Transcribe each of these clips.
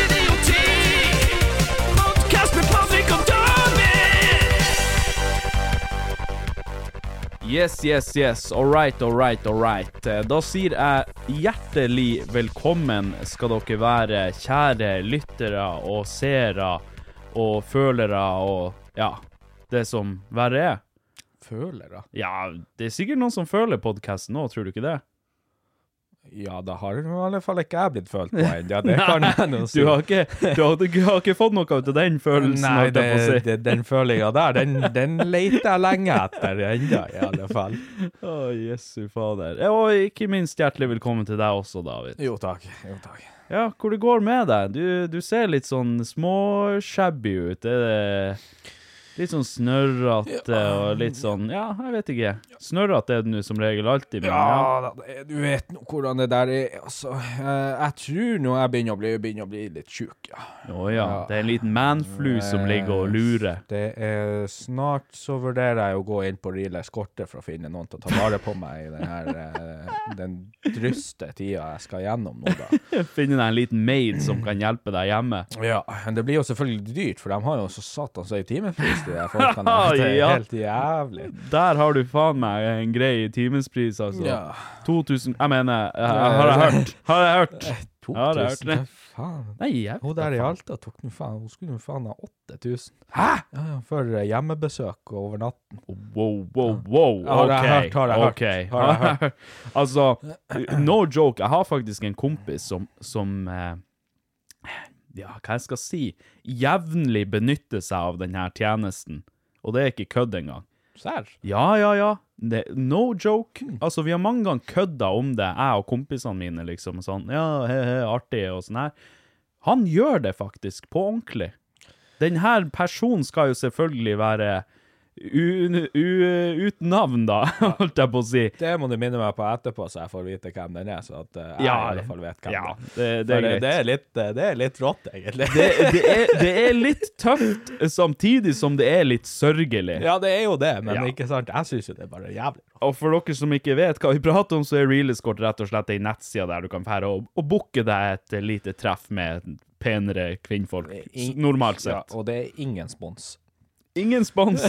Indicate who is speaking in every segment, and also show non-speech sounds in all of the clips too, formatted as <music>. Speaker 1: Idioti! Podcast med Patrick og Daniel!
Speaker 2: Yes, yes, yes. All right, all right, all right. Eh, Da sier jeg hjertelig velkommen skal dere være, kjære lyttere og seere og følere og ja, det som verre er.
Speaker 3: Føler da?
Speaker 2: Ja, det er sikkert noen som føler podkasten nå, tror du ikke det?
Speaker 3: Ja, da har i alle fall ikke jeg blitt følt på <laughs> ennå. Det kan jeg nå si.
Speaker 2: Du har ikke, du har, du har ikke fått noe ut av den følelsen,
Speaker 3: Nei,
Speaker 2: holdt
Speaker 3: det,
Speaker 2: jeg på å si.
Speaker 3: det, den følinga der, den, den leter jeg lenge etter ennå, i alle fall.
Speaker 2: Å, Jesu fader. Ja, Og ikke minst hjertelig velkommen til deg også, David.
Speaker 3: Jo takk. Jo takk.
Speaker 2: Ja, hvor det går med deg? Du, du ser litt sånn småshabby ut. Er det litt sånn snørrete og litt sånn Ja, jeg vet ikke. Snørrete er det nå som regel alltid, men ja.
Speaker 3: Ja da, det- du vet nå hvordan det der er, altså. Eh, Jeg tror nå jeg begynner å bli, begynner å bli litt sjuk, ja. Eh,
Speaker 2: Å ja. Det er en liten manflu som ligger og lurer.
Speaker 3: Det er Snart så vurderer jeg å gå inn på Riles Eskorte for å finne noen til å ta vare på meg i den her eh, den dryste tida jeg skal gjennom nå, da.
Speaker 2: Finne deg en liten maid som kan hjelpe deg hjemme.
Speaker 3: Ja, men det blir jo selvfølgelig dyrt, for de har jo så satans høy timepris, de der
Speaker 2: <laughs>
Speaker 3: folkene. Det er
Speaker 2: Ja.
Speaker 3: helt jævlig.
Speaker 2: Der har du faen meg en grei timespris, altså.
Speaker 3: Ja.
Speaker 2: 2000 Jeg mener, eh, har jeg hørt? Har jeg hørt? Ja, det er
Speaker 3: 2000,
Speaker 2: hørt.
Speaker 3: hva faen.
Speaker 2: Nei, jeg
Speaker 3: Hun
Speaker 2: vet da
Speaker 3: der i
Speaker 2: faen.
Speaker 3: Alta tok nå faen, hun skulle jo faen ha 8000. Hæ?! Ja, ja, for eh, hjemmebesøk og over natt.
Speaker 2: Wow, wow, wow.
Speaker 3: Har
Speaker 2: ok,
Speaker 3: jeg hørt, har jeg hørt,
Speaker 2: ok.
Speaker 3: har jeg hørt.
Speaker 2: <laughs> altså, no joke. Jeg har faktisk en kompis som, som eh, Ja, hva jeg skal si? Jevnlig benytter seg av denne tjenesten. Og det er ikke kødd engang.
Speaker 3: Serr?
Speaker 2: Ja, ja, ja. Det, no joke.
Speaker 3: Hmm.
Speaker 2: Altså, vi har mange ganger kødda om det, jeg og kompisene mine, liksom. Sånn, ja, he, he, artig, og sånn her. Han gjør det faktisk, på ordentlig. Den her personen skal jo selvfølgelig være u, u, uten navn, da, <laughs> holdt jeg på å si.
Speaker 3: Det må du minne meg på etterpå, så jeg får vite hvem den er, så at eh, jeg i alle fall vet hvem
Speaker 2: ja,
Speaker 3: det
Speaker 2: det,
Speaker 3: er. For
Speaker 2: det er greit.
Speaker 3: det er litt, eh, det er litt rått, egentlig.
Speaker 2: det, det, er, det er litt tøft, samtidig som det er litt sørgelig.
Speaker 3: <laughs> ja, det er jo det, men
Speaker 2: Ja.
Speaker 3: ikke sant? Jeg syns jo det er bare jævlig rått.
Speaker 2: Og for dere som ikke vet hva vi prater om, så er Realiscort rett og slett ei nettside der du kan fære og, og booke deg et lite treff med penere kvinnfolk, s- normalt sett.
Speaker 3: Eh, Ja, og det er ingen spons.
Speaker 2: Ingen
Speaker 3: <laughs>
Speaker 2: spons!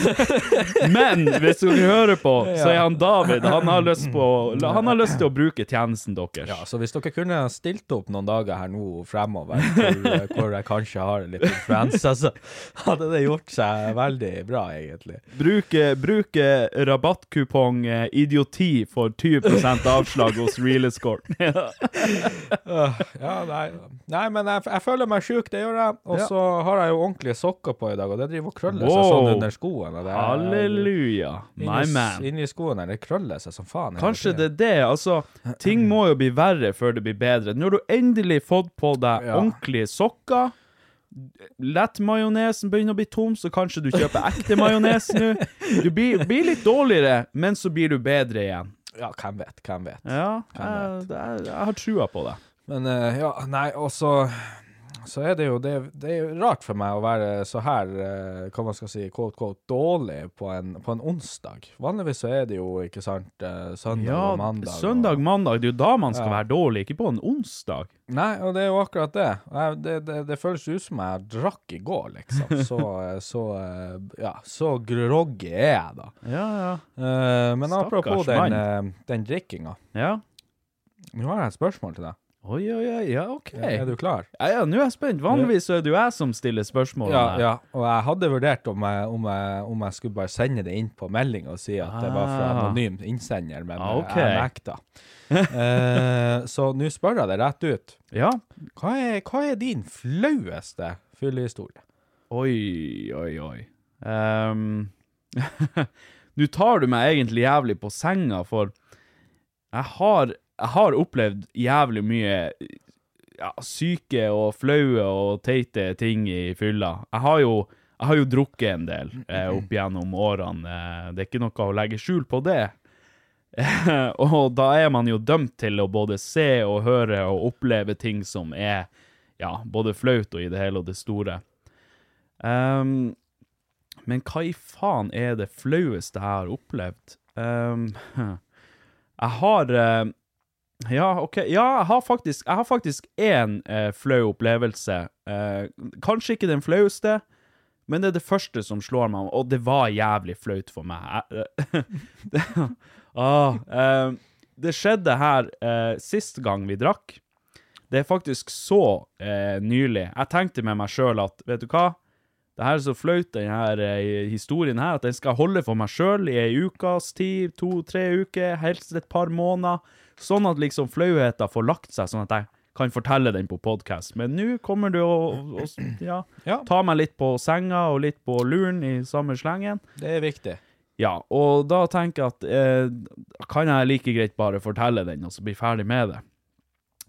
Speaker 2: Men hvis dere hører på, så er han David. Han har lyst, på, han har lyst til å bruke tjenesten deres.
Speaker 3: Mm. Ja, så hvis dere kunne stilt opp noen dager her nå fremover, <laughs> hvor, hvor jeg kanskje har litt influensa, så hadde det gjort seg veldig bra, egentlig.
Speaker 2: Bruke, bruke rabattkupong eh, idioti for 20 avslag hos
Speaker 3: <laughs>
Speaker 2: Realiscort.
Speaker 3: Ja, nei, nei men jeg, jeg føler meg sjuk, det gjør jeg. Og
Speaker 2: Ja.
Speaker 3: så har jeg jo ordentlige sokker på i dag, og det driver og krøller seg
Speaker 2: Wow.
Speaker 3: sånn under skoene. og det er-
Speaker 2: Halleluja, my
Speaker 3: Inni,
Speaker 2: man.
Speaker 3: inni skoene, det krøller seg som faen. hele
Speaker 2: Kanskje
Speaker 3: tiden.
Speaker 2: det er det. Altså, ting må jo bli verre før det blir bedre. Når du endelig fått på deg
Speaker 3: Ja.
Speaker 2: ordentlige sokker, lettmajonesen begynner å bli tom, så kanskje du kjøper ekte majones nå. Du blir, blir litt dårligere, men så blir du bedre igjen.
Speaker 3: Ja, hvem vet, hvem vet.
Speaker 2: Ja,
Speaker 3: Hvem
Speaker 2: jeg, det er- jeg har trua på det.
Speaker 3: Men eh, ja, nei, og så så er det jo det, det er jo rart for meg å være så her, eh, hva man skal si, quote, quote, dårlig på en, på en onsdag. Vanligvis så er det jo, ikke sant, eh, søndag
Speaker 2: Ja,
Speaker 3: og mandag. og-
Speaker 2: søndag, mandag, det er jo da man skal
Speaker 3: Ja.
Speaker 2: være dårlig, ikke på en onsdag.
Speaker 3: Nei, og det er jo akkurat det. Jeg, det, det, det føles ut som jeg drakk i går,
Speaker 2: <laughs>
Speaker 3: liksom. Så, eh, så eh, ja, så groggy er jeg, da.
Speaker 2: Ja, ja.
Speaker 3: Eh, men
Speaker 2: Stakkars
Speaker 3: apropos den, eh, den drikkinga.
Speaker 2: Ja.
Speaker 3: Nå har jeg et spørsmål til deg.
Speaker 2: Oi, oi, oi, ja, OK.
Speaker 3: Er du klar?
Speaker 2: Ja, ja, nå er jeg spent. Vanligvis så er det jo jeg som stiller spørsmål.
Speaker 3: Ja, ja, og jeg hadde vurdert om jeg, om jeg, om jeg skulle bare sende det inn på melding og si at det var fra
Speaker 2: Ah.
Speaker 3: anonym innsender, men
Speaker 2: Ah, ok.
Speaker 3: jeg nekta. <laughs> Eh, så nå spør jeg deg rett ut.
Speaker 2: ja.
Speaker 3: Hva er, hva er din flaueste fyllehistorie?
Speaker 2: Oi, oi, oi. Ehm, <laughs> Nå tar du meg egentlig jævlig på senga, for jeg har, jeg har opplevd jævlig mye ja, syke og flaue og teite ting i fylla. Jeg har jo, jeg har jo drukket en del eh, opp gjennom årene. Eh, det er ikke noe å legge skjul på det. <laughs> og da er man jo dømt til å både se og høre og oppleve ting som er ja, både flaut og i det hele og det store. Ehm, men hva i faen er det flaueste jeg har opplevd? Ehm, <laughs> jeg har eh, Ja, OK. Ja, jeg har faktisk, jeg har faktisk én eh, flau opplevelse. Eh, kanskje ikke den flaueste, men det er det første som slår meg, og det var jævlig flaut for meg. Jeg, eh, <laughs> det, ah, ehm, det skjedde her eh, sist gang vi drakk. Det er faktisk så eh, nylig. Jeg tenkte med meg sjøl at, vet du hva? Det her er så flaut, den her eh, historien her, at den skal jeg holde for meg sjøl i ei ukas tid, to-tre uker, helst et par måneder, sånn at liksom flauheten får lagt seg, sånn at jeg kan fortelle den på podkast. Men nå kommer du og, og ja,
Speaker 3: Ja.
Speaker 2: ta meg litt på senga og litt på luren i samme slengen.
Speaker 3: Det er viktig.
Speaker 2: Ja, og da tenker jeg at eh, kan jeg like greit bare fortelle den, og så bli ferdig med det.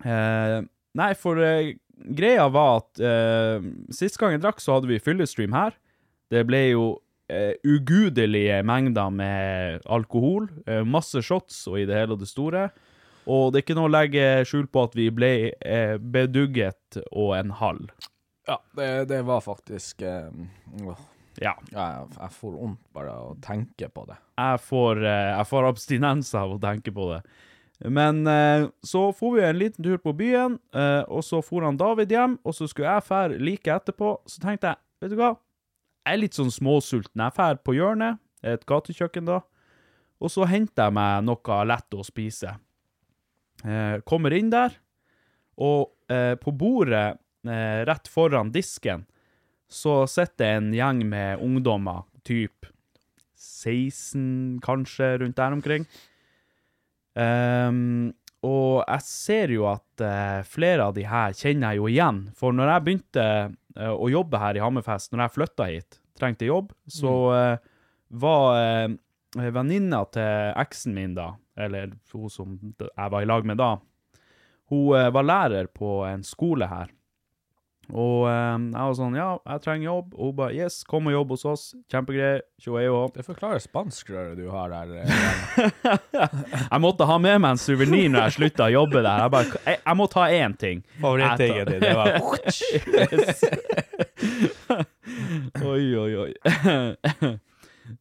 Speaker 2: Eh, nei, for eh, greia var at eh, sist gang jeg drakk, så hadde vi fyllestream her. Det ble jo eh, ugudelige mengder med alkohol, eh, masse shots og i det hele og det store. Og det er ikke noe å legge skjul på at vi ble eh, bedugget og en halv.
Speaker 3: Ja, det, det var faktisk eh, åh,
Speaker 2: Ja.
Speaker 3: jeg, jeg får vondt bare av å tenke på det.
Speaker 2: jeg får, eh, jeg får abstinens av å tenke på det. Men eh, så for vi en liten tur på byen, eh, og så for han David hjem, og så skulle jeg fære like etterpå. Så tenkte jeg, vet du hva, jeg er litt sånn småsulten. Jeg fær på hjørnet, et gatekjøkken da, og så henter jeg meg noe lett å spise. Eh, kommer inn der, og eh, på bordet eh, rett foran disken, så sitter en gjeng med ungdommer, typ 16, kanskje, rundt der omkring. Ehm, og jeg ser jo at eh, flere av de her kjenner jeg jo igjen. For når jeg begynte eh, å jobbe her i Hammerfest, når jeg flytta hit, trengte jobb, så eh, var eh, venninna til eksen min da, eller hun som jeg var i lag med da, hun eh, var lærer på en skole her. Og eh, jeg var sånn, ja, jeg trenger jobb. Og hun bare, yes, kom og jobb hos oss. Kjempegreier. Tjo og hei og hå.
Speaker 3: Det forklarer spanskrøret du har der. eh,
Speaker 2: <laughs> Jeg måtte ha med meg en suvenir når jeg slutta å jobbe der. Jeg, bare, jeg, jeg må ta én ting.
Speaker 3: <laughs> Favorittingen din, <laughs> det var
Speaker 2: yes. <laughs> Oi, oi, oi. <laughs>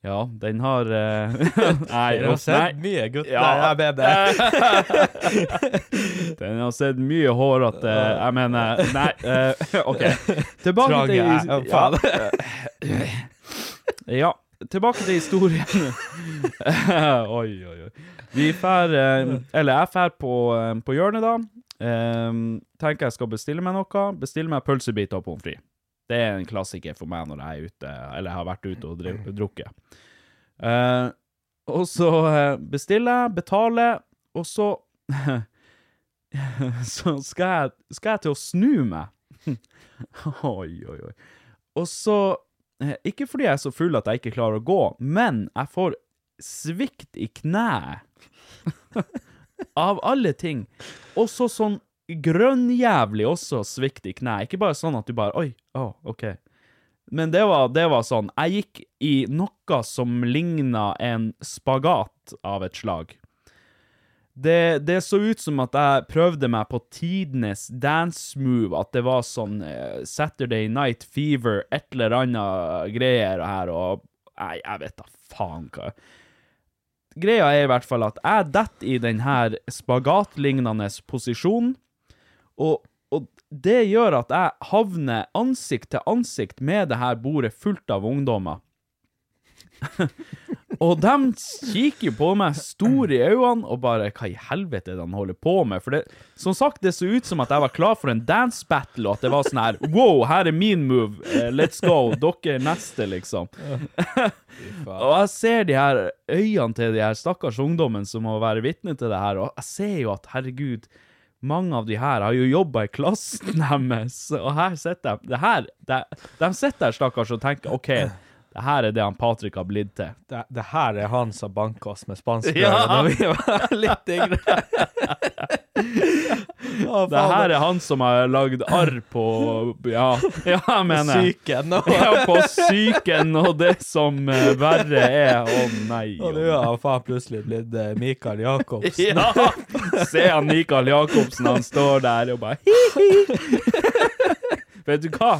Speaker 2: Ja, den har
Speaker 3: <laughs>
Speaker 2: eh, Nei,
Speaker 3: Jeg har
Speaker 2: uff,
Speaker 3: sett
Speaker 2: nei.
Speaker 3: mye gutter.
Speaker 2: Ja.
Speaker 3: Nei, jeg mener det.
Speaker 2: <laughs> Den har sett mye hårete Jeg mener Nei, eh, <laughs>
Speaker 3: <laughs>
Speaker 2: OK. Tilbake
Speaker 3: Trang
Speaker 2: til
Speaker 3: jeg. Ja, faen.
Speaker 2: Ja, tilbake til historien. <laughs> oi, oi, oi. Vi fær, eh, eller jeg fær på, eh, på hjørnet da. Ehm, tenker jeg skal bestille meg noe. Bestille meg pølsebiter og pommes frites. Det er en klassiker for meg når jeg er ute, eller har vært ute og driv, drukket. Eh, og så eh, bestiller jeg, betaler, og så <laughs> Så skal jeg, skal jeg til å snu meg. <laughs> oi, oi, oi. Og så Eh, Ikke fordi jeg er så full at jeg ikke klarer å gå, men jeg får svikt i kneet. Av alle ting. Og så sånn grønnjævlig også svikt i kneet. Ikke bare sånn at du bare Oi, å, OK. Men det var, det var sånn Jeg gikk i noe som ligna en spagat av et slag. det, det så ut som at jeg prøvde meg på tidenes dance move, at det var sånn eh, Saturday Night Fever, et eller annet greier her, og Nei, jeg vet da faen hva Greia er i hvert fall at jeg detter i den her spagatlignende posisjonen, og, og det gjør at jeg havner ansikt til ansikt med det her bordet fullt av ungdommer. Og de kikker på meg store i øynene og bare Hva i helvete er det han holder på med? For det, som sagt, det så ut som at jeg var klar for en dance battle, og at det var sånn her Wow, her er min move. Eh, Let's go. Dere er neste, liksom. og jeg ser de her øynene til de her stakkars ungdommen som må være vitne til det her, og jeg ser jo at herregud mange av de her har jo jobba i klassen deres, og her sitter de det her, det, De sitter der, stakkars, og tenker OK, det her er det han Patrick har blitt til.
Speaker 3: Det, det her er han som banka oss med <laughs> spansk
Speaker 2: <laughs> Ja.
Speaker 3: da vi var <laughs> litt yngre. Å,
Speaker 2: Det
Speaker 3: faen,
Speaker 2: her er han som har lagd arr på
Speaker 3: <laughs>
Speaker 2: Ja, ja jeg mener jeg.
Speaker 3: Syken <laughs> nå.
Speaker 2: Ja, på psyken og det som eh, verre er. Å nei.
Speaker 3: Og nå
Speaker 2: å
Speaker 3: har han faen plutselig blitt eh, Mikael
Speaker 2: nei.
Speaker 3: Jacobsen.
Speaker 2: <laughs> Ja! Se han Mikael Jacobsen, han står der og bare hi-hi. <laughs> Vet du hva?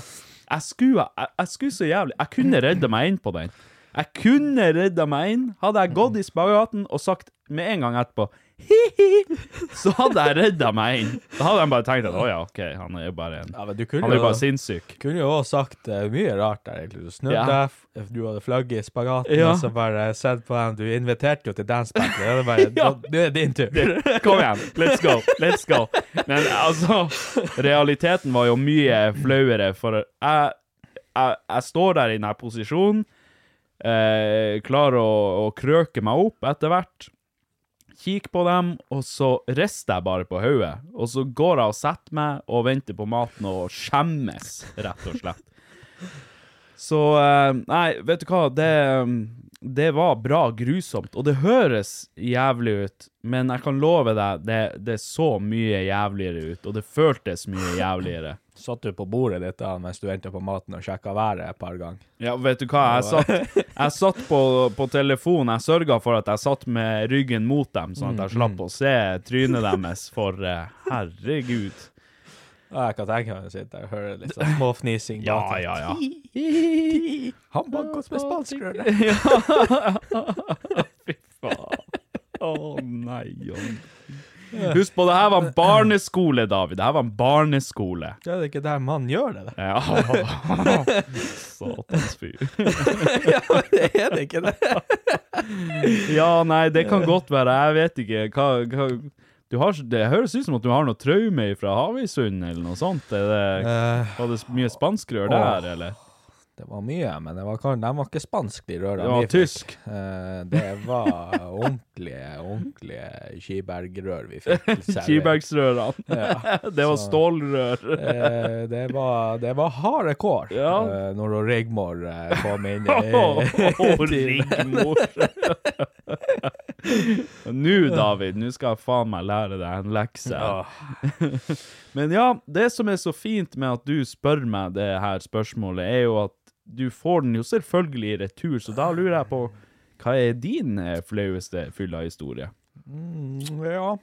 Speaker 2: Jeg skulle, jeg, jeg skulle så jævlig Jeg kunne redda meg inn på den. Jeg kunne redda meg inn. Hadde jeg gått i spagaten og sagt med en gang etterpå hi-hi, så hadde jeg redda meg inn. Da hadde de bare tenkt at å ja, OK, han er jo bare en
Speaker 3: Ja, men du kunne
Speaker 2: Han er jo bare
Speaker 3: jo,
Speaker 2: sinnssyk.
Speaker 3: kunne jo også sagt eh, mye rart der, egentlig. Du snudde
Speaker 2: Ja.
Speaker 3: deg, f- eh, du hadde flagget i spagaten,
Speaker 2: Ja.
Speaker 3: og så bare sett på dem. Du inviterte jo til dance battle. Det er bare,
Speaker 2: <laughs> Ja.
Speaker 3: nå- Nå er det din tur.
Speaker 2: <laughs> Kom igjen, let's go, let's go. Men altså, realiteten var jo mye flauere, for jeg, jeg, jeg står der i denne posisjonen, eh, klarer å, å krøke meg opp etter hvert, kikk på dem, og så rister jeg bare på hodet. Og så går jeg og setter meg og venter på maten og skjemmes, rett og slett. Så eh, Nei, vet du hva, det det var bra grusomt, og det høres jævlig ut, men jeg kan love deg, det, det så mye jævligere ut, og det føltes mye jævligere.
Speaker 3: Satt du på bordet ditt da, mens du ventet på maten og sjekket været et par ganger?
Speaker 2: <laughs> Ja, vet du hva, jeg satt, jeg satt på, på telefon, jeg sørget for at jeg satt med ryggen mot dem, sånn at jeg slapp å se trynet deres, for eh, herregud.
Speaker 3: Ja, jeg kan tenke meg å sitte der og høre litt sånn småfnising.
Speaker 2: Ja,
Speaker 3: bak.
Speaker 2: ja, ja. <laughs>
Speaker 3: Han banket oss med spansk røre.
Speaker 2: Fy faen. Å nei, å nei. Husk på, det her var en barneskole, David. Det her var en barneskole.
Speaker 3: Ja, det er ikke der mannen gjør det, da.
Speaker 2: Ja. <laughs> Satans fyr.
Speaker 3: Ja, men <laughs> det er det ikke det.
Speaker 2: Ja, nei, det kan godt være. Jeg vet ikke. Hva, hva du har, Det høres ut som at du har noe traume fra Havøysund eller noe sånt. Er det, var det mye spanskrør
Speaker 3: Eh. åh.
Speaker 2: der, eller?
Speaker 3: <laughs> Det var mye, men det var, kan- de var ikke spansk, de røra.
Speaker 2: Det var tysk.
Speaker 3: det var ordentlige, ordentlige Skiberg-rør vi fikk.
Speaker 2: <laughs>
Speaker 3: servert.
Speaker 2: Kibergsrørene.
Speaker 3: Ja.
Speaker 2: <laughs> Det var stålrør.
Speaker 3: Eh, det, var, det var harde kår
Speaker 2: Ja.
Speaker 3: eh, når hun Rigmor eh, kom
Speaker 2: <laughs>
Speaker 3: inn Eh,
Speaker 2: Åh,
Speaker 3: i
Speaker 2: Rigmor. <laughs> Nå, David, nå skal jeg faen meg lære deg en lekse. <laughs> Men ja, det som er så fint med at du spør meg det her spørsmålet, er jo at du får den jo selvfølgelig i retur, så da lurer jeg på hva er din eh, flaueste fylla historie?
Speaker 3: Ja.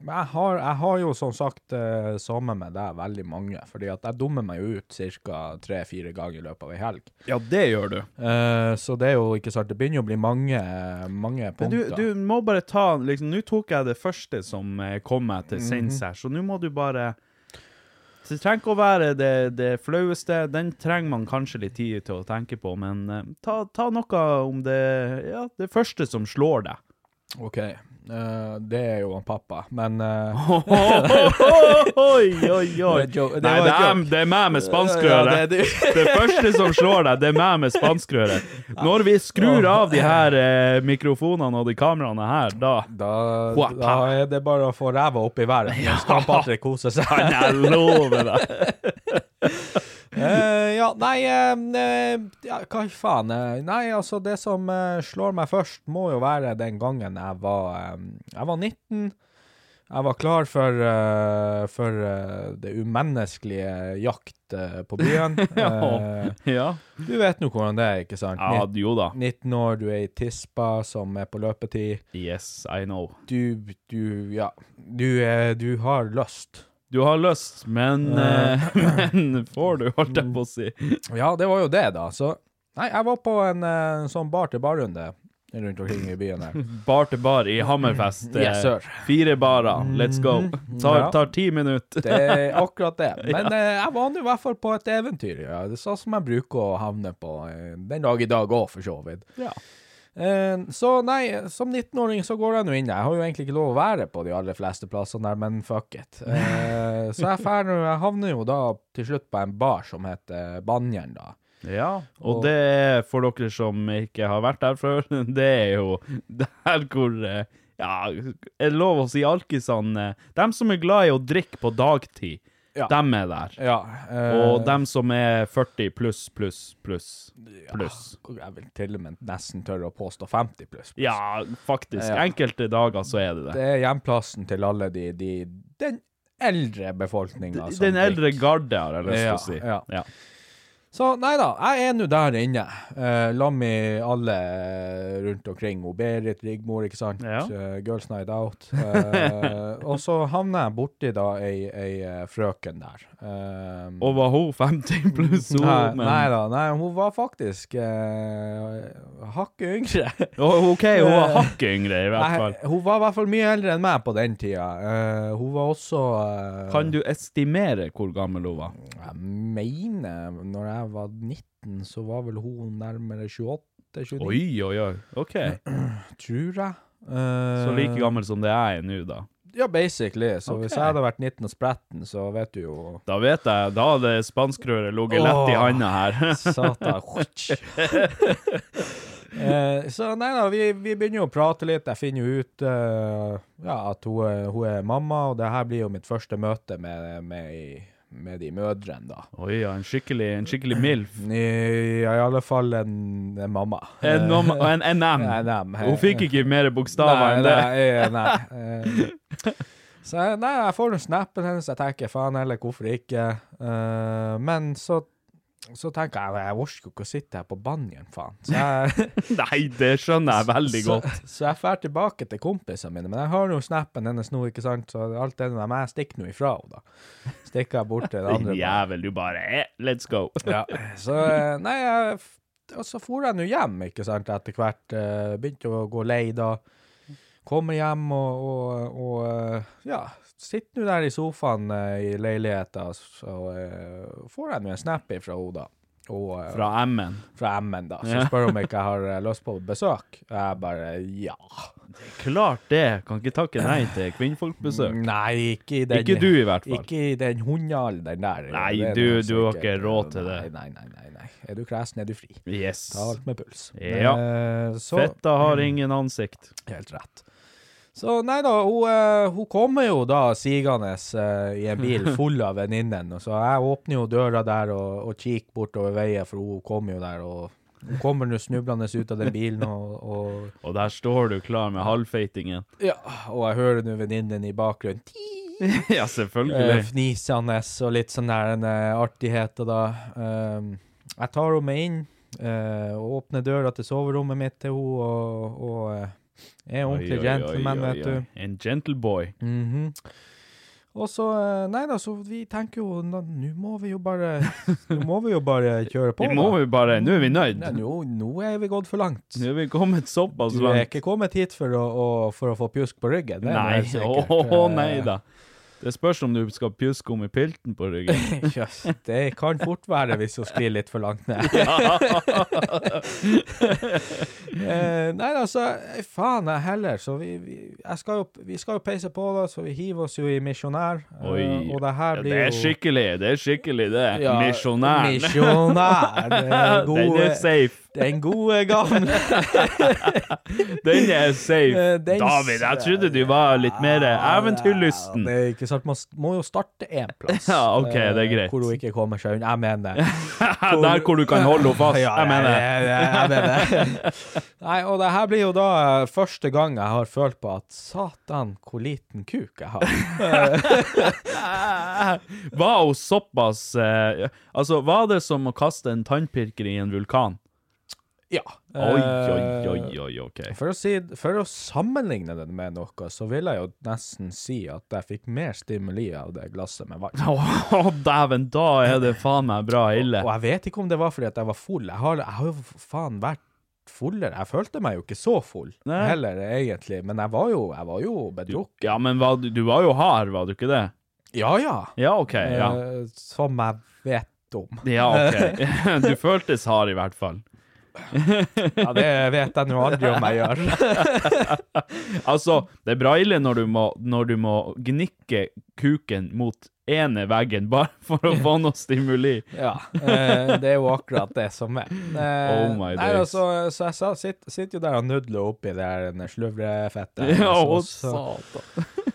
Speaker 3: Men jeg har, jeg har jo som sagt eh, sammen med deg veldig mange, fordi at jeg dummer meg jo ut ca. tre-fire ganger i løpet av ei helg.
Speaker 2: Ja, det gjør du.
Speaker 3: Eh, så det er jo ikke sant, det begynner jo å bli mange, eh, mange
Speaker 2: Men du,
Speaker 3: punkter.
Speaker 2: du må bare ta liksom, Nå tok jeg det første som eh, kom meg
Speaker 3: Mhm.
Speaker 2: til sinns her, så nå må du bare Det trenger ikke å være det, det flaueste. Den trenger man kanskje litt tid til å tenke på, men eh, ta, ta noe om det Ja, det første som slår deg.
Speaker 3: Ok, eh, det er jo han pappa, men eh,
Speaker 2: <laughs> Oi, oi, oi.
Speaker 3: Det var jo- det
Speaker 2: Nei,
Speaker 3: var
Speaker 2: det er,
Speaker 3: joke.
Speaker 2: det er meg med
Speaker 3: Ja,
Speaker 2: spanskrøret.
Speaker 3: det er du.
Speaker 2: <laughs> Det første som slår deg, det er meg med spanskrøret. Når vi skrur av de her eh, mikrofonene og de kameraene her,
Speaker 3: <laughs>
Speaker 2: da
Speaker 3: da,
Speaker 2: Wappa.
Speaker 3: da er det bare å få ræva opp i været. Ja. Skal Patrick kose
Speaker 2: <laughs>
Speaker 3: seg?
Speaker 2: Kan jeg love deg?
Speaker 3: Eh, ja, nei eh, eh, ja, Hva i faen? eh, nei, altså, det som eh, slår meg først, må jo være den gangen jeg var eh, Jeg var 19. Jeg var klar for, eh, for eh, det umenneskelige jakt eh, på byen.
Speaker 2: <laughs>
Speaker 3: Eh,
Speaker 2: Ja.
Speaker 3: du vet nå hvordan det er, ikke sant?
Speaker 2: ja,
Speaker 3: Nitt-
Speaker 2: jo da.
Speaker 3: 19 år, du er i tispa som er på løpetid.
Speaker 2: Yes, I know.
Speaker 3: Du, du, ja. Du, eh, du har lyst.
Speaker 2: Du har lyst, men, eh, <laughs> men får du, holdt jeg på å si.
Speaker 3: Ja, det var jo det, da. Så Nei, jeg var på en eh, sånn bar-til-bar-runde rundt omkring i byen her.
Speaker 2: Bar til bar i Hammerfest. eh,
Speaker 3: Yes, sir. Mm.
Speaker 2: Fire barer, let's go. Tar,
Speaker 3: Ja.
Speaker 2: tar ti minutter.
Speaker 3: Det er akkurat <laughs> det. Men eh, jeg var nå i hvert fall på et eventyr, ja. Det er sånn som jeg bruker å havne på eh, den dag i dag òg, for så vidt.
Speaker 2: Ja.
Speaker 3: Eh, så nei, som 19-åring så går jeg nå inn. Jeg har jo egentlig ikke lov å være på de aller fleste plassene der, men fuck it. Eh, så jeg, fær, nå- jeg havner jo da til slutt på en bar som heter Banjern, da.
Speaker 2: <laughs> Ja, og det er for dere som ikke har vært der før, <laughs> det er jo der hvor eh, Ja, er det lov å si alkisene eh, Dem som er glad i å drikke på dagtid,
Speaker 3: Ja.
Speaker 2: dem er der.
Speaker 3: Ja, eh,
Speaker 2: Og dem som er 40 pluss, pluss, pluss, pluss.
Speaker 3: Jeg vil til og med nesten tørre å påstå 50 pluss.
Speaker 2: Ja, faktisk.
Speaker 3: Ja.
Speaker 2: Enkelte dager så er det det.
Speaker 3: Det er hjemplassen til alle de, de Den eldre befolkninga.
Speaker 2: Den eldre garde, har jeg lyst til
Speaker 3: Ja,
Speaker 2: å si.
Speaker 3: ja. Så nei da, jeg er nå der inne. Uh, la med alle eh, rundt omkring. O Berit, Rigmor, ikke sant.
Speaker 2: Ja.
Speaker 3: Eh, Girls Night Out.
Speaker 2: <laughs>
Speaker 3: Eh, og så havner jeg borti da ei, ei eh, frøken der. Eh,
Speaker 2: Og var hun 50 pluss, hun?
Speaker 3: nei,
Speaker 2: men-
Speaker 3: nei da, nei, hun var faktisk eh, hakket yngre. <laughs>
Speaker 2: Å, OK, hun var hakket yngre, i hvert fall.
Speaker 3: Nei, hun var i hvert fall mye eldre enn meg på den tida. Eh, hun var også eh,
Speaker 2: Kan du estimere hvor gammel hun var?
Speaker 3: Jeg mener, når jeg var 19, så var vel hun nærmere 28-29,
Speaker 2: Oi, oi, oi. Eh. OK.
Speaker 3: tror jeg. Eh,
Speaker 2: Så like gammel som det jeg er nå, da.
Speaker 3: Ja, basically. Så
Speaker 2: Ok.
Speaker 3: hvis jeg hadde vært 19 og spretten, så vet du jo
Speaker 2: Da vet jeg, da hadde spanskrøret ligget lett i
Speaker 3: Åh.
Speaker 2: handa her. <laughs>
Speaker 3: Satan. Eh, så nei da, vi, vi begynner jo å prate litt. Jeg finner jo ut eh, ja, at hun, er- hun er mamma, og det her blir jo mitt første møte med, med, med de mødrene, da.
Speaker 2: Oi, ja, en skikkelig, en skikkelig milf.
Speaker 3: I, ja, i alle fall en, en mamma. Eh,
Speaker 2: En, nom- Eh.
Speaker 3: <laughs>
Speaker 2: en eh. NM.
Speaker 3: En NM, hei.
Speaker 2: Hun fikk ikke mer bokstaver enn det.
Speaker 3: Nei, nei, nei. eh. Så jeg- nei, jeg får jo snappen hennes, jeg tenker faen heller, hvorfor ikke? Eh, men så, så tenker jeg, jeg orker jo ikke å sitte her på banjen, faen. Så jeg,
Speaker 2: Nei, <laughs> det skjønner jeg veldig
Speaker 3: så,
Speaker 2: godt.
Speaker 3: så jeg drar tilbake til kompisene mine, men jeg har jo snappen hennes nå, ikke sant? Så alt det der, men jeg stikker nå ifra henne, da. Stikker jeg
Speaker 2: <laughs>
Speaker 3: bort til det
Speaker 2: Din
Speaker 3: andre.
Speaker 2: jævel, du bare eh, Let's go.
Speaker 3: Ja, så eh, Nei, jeg, f- og så for jeg nå hjem, ikke sant, etter hvert. eh, Begynte å gå lei da. Kommer hjem og, og, og eh, ja, sitter nå der i sofaen eh, i leiligheten, så eh, får jeg nå en snap fra henne, da. Og, eh,
Speaker 2: Fra M-en.
Speaker 3: fra M-en, da.
Speaker 2: Ja.
Speaker 3: Som spør om ikke jeg
Speaker 2: <laughs>
Speaker 3: har eh, lyst på besøk. Jeg bare ja.
Speaker 2: Klart det. Kan ikke takke nei til
Speaker 3: Mm,
Speaker 2: kvinnfolkbesøk.
Speaker 3: Nei, ikke i den
Speaker 2: Ikke du, i hvert fall.
Speaker 3: Ikke i den hundealderen der.
Speaker 2: Nei,
Speaker 3: Det er
Speaker 2: du-
Speaker 3: altså
Speaker 2: du har ikke råd til det.
Speaker 3: Nei, nei, nei. nei. Er du kresen, er du fri.
Speaker 2: Yes.
Speaker 3: Ta alt med puls.
Speaker 2: Ja.
Speaker 3: Eh, så,
Speaker 2: Fetta har ingen ansikt.
Speaker 3: Helt rett. Så nei da, hun, eh, hun kommer jo da sigende eh, i en bil full av venninnen, og så jeg åpner jo døra der og, og kikker bortover veien, for hun kommer jo der, og hun kommer nå snublende ut av den bilen, og, og,
Speaker 2: Og der står du klar med
Speaker 3: <laughs>
Speaker 2: halvfeitingen.
Speaker 3: ja, og jeg hører nå venninnen i bakgrunnen
Speaker 2: ja,
Speaker 3: eh,
Speaker 2: selvfølgelig.
Speaker 3: fnisende og litt sånn der en eh, artigheter da. Um, jeg tar henne med inn eh, og åpner døra til soverommet mitt til henne, og, og eh, er ordentlig
Speaker 2: Oi, oi, oi,
Speaker 3: gentleman,
Speaker 2: oi,
Speaker 3: vet
Speaker 2: oi.
Speaker 3: du.
Speaker 2: En gentleboy.
Speaker 3: Mhm. Og så, eh, nei da, så vi tenker jo, "Nå- nå må vi jo bare, nå må vi jo
Speaker 2: <laughs>
Speaker 3: bare kjøre på.
Speaker 2: Vi må
Speaker 3: da."
Speaker 2: jo bare Nå er vi nøyd.
Speaker 3: Nei, nå, nå er vi gått for langt.
Speaker 2: Nå er vi kommet såpass
Speaker 3: Du er
Speaker 2: langt.
Speaker 3: ikke kommet hit for å, å, for å få pjusk på ryggen. det er
Speaker 2: Nei,
Speaker 3: helt sikkert.
Speaker 2: <laughs> åh,
Speaker 3: Eh,
Speaker 2: nei da. Det spørs om du skal pjuske om i pilten på
Speaker 3: <laughs>
Speaker 2: ryggen.
Speaker 3: Yes, det kan fort være hvis hun sklir litt for langt
Speaker 2: <laughs>
Speaker 3: ned. <laughs> eh, nei, altså, eh, faen jeg heller. Så vi, vi, jeg skal jo, vi skal jo peise på, da, så vi hiver oss jo i misjonær. Eh,
Speaker 2: Oi.
Speaker 3: og det her blir
Speaker 2: det er
Speaker 3: jo-
Speaker 2: skikkelig, det er skikkelig, det.
Speaker 3: Ja,
Speaker 2: Misjonær.
Speaker 3: Misjonær. det er
Speaker 2: <laughs> Den
Speaker 3: gode-
Speaker 2: er safe.
Speaker 3: Den gode gamle
Speaker 2: Den er safe.
Speaker 3: Eh, den-
Speaker 2: David, jeg trodde du var <laughs> litt mer eventyrlysten.
Speaker 3: Det er ikke sant, man s- må jo starte én plass.
Speaker 2: Ja, ok, det er
Speaker 3: eh,
Speaker 2: greit.
Speaker 3: Hvor hun ikke kommer seg unna. Jeg mener det.
Speaker 2: Der hvor du kan holde henne fast.
Speaker 3: Ja,
Speaker 2: Jeg mener
Speaker 3: jeg- jeg- jeg mener
Speaker 2: <laughs>
Speaker 3: det. Nei, og det her blir jo da eh, første gang jeg har følt på at satan, hvor liten kuk jeg har.
Speaker 2: <laughs> Var hun såpass eh, Altså, var det som å kaste en tannpirker i en vulkan?
Speaker 3: Ja.
Speaker 2: Oi, oi, oi, oi, OK.
Speaker 3: Eh, For å, si, for å sammenligne det med noe, så vil jeg jo nesten si at jeg fikk mer stimuli av det glasset med vann.
Speaker 2: Å, dæven, da er det faen meg bra ille.
Speaker 3: Og jeg vet ikke om det var fordi at jeg var full. Jeg har, jeg har jo f- faen vært fullere. Jeg følte meg jo ikke så full
Speaker 2: Nei.
Speaker 3: heller, egentlig. Men jeg var jo, jeg var jo bedrukket.
Speaker 2: Ja, men var, du- du var jo hard, var du ikke det?
Speaker 3: Ja, ja.
Speaker 2: Ja, OK. Ja,
Speaker 3: Eh, Som jeg vet om. Eh,
Speaker 2: ja ok. Du føltes hard, i hvert fall.
Speaker 3: Ja, det vet jeg nå aldri om jeg gjør.
Speaker 2: Altså, det er bra ille når du må, når du må gnikke kuken mot ene veggen bare <laughs> for å få noe stimuli.
Speaker 3: <laughs> Ja, eh, det er jo akkurat det som er. Eh,
Speaker 2: Oh my
Speaker 3: nei,
Speaker 2: days.
Speaker 3: altså, så jeg sa, sitt, sitter jo der og nudler oppi det her slurvrefettet.
Speaker 2: <laughs> Ja,
Speaker 3: og
Speaker 2: og
Speaker 3: så-
Speaker 2: satan.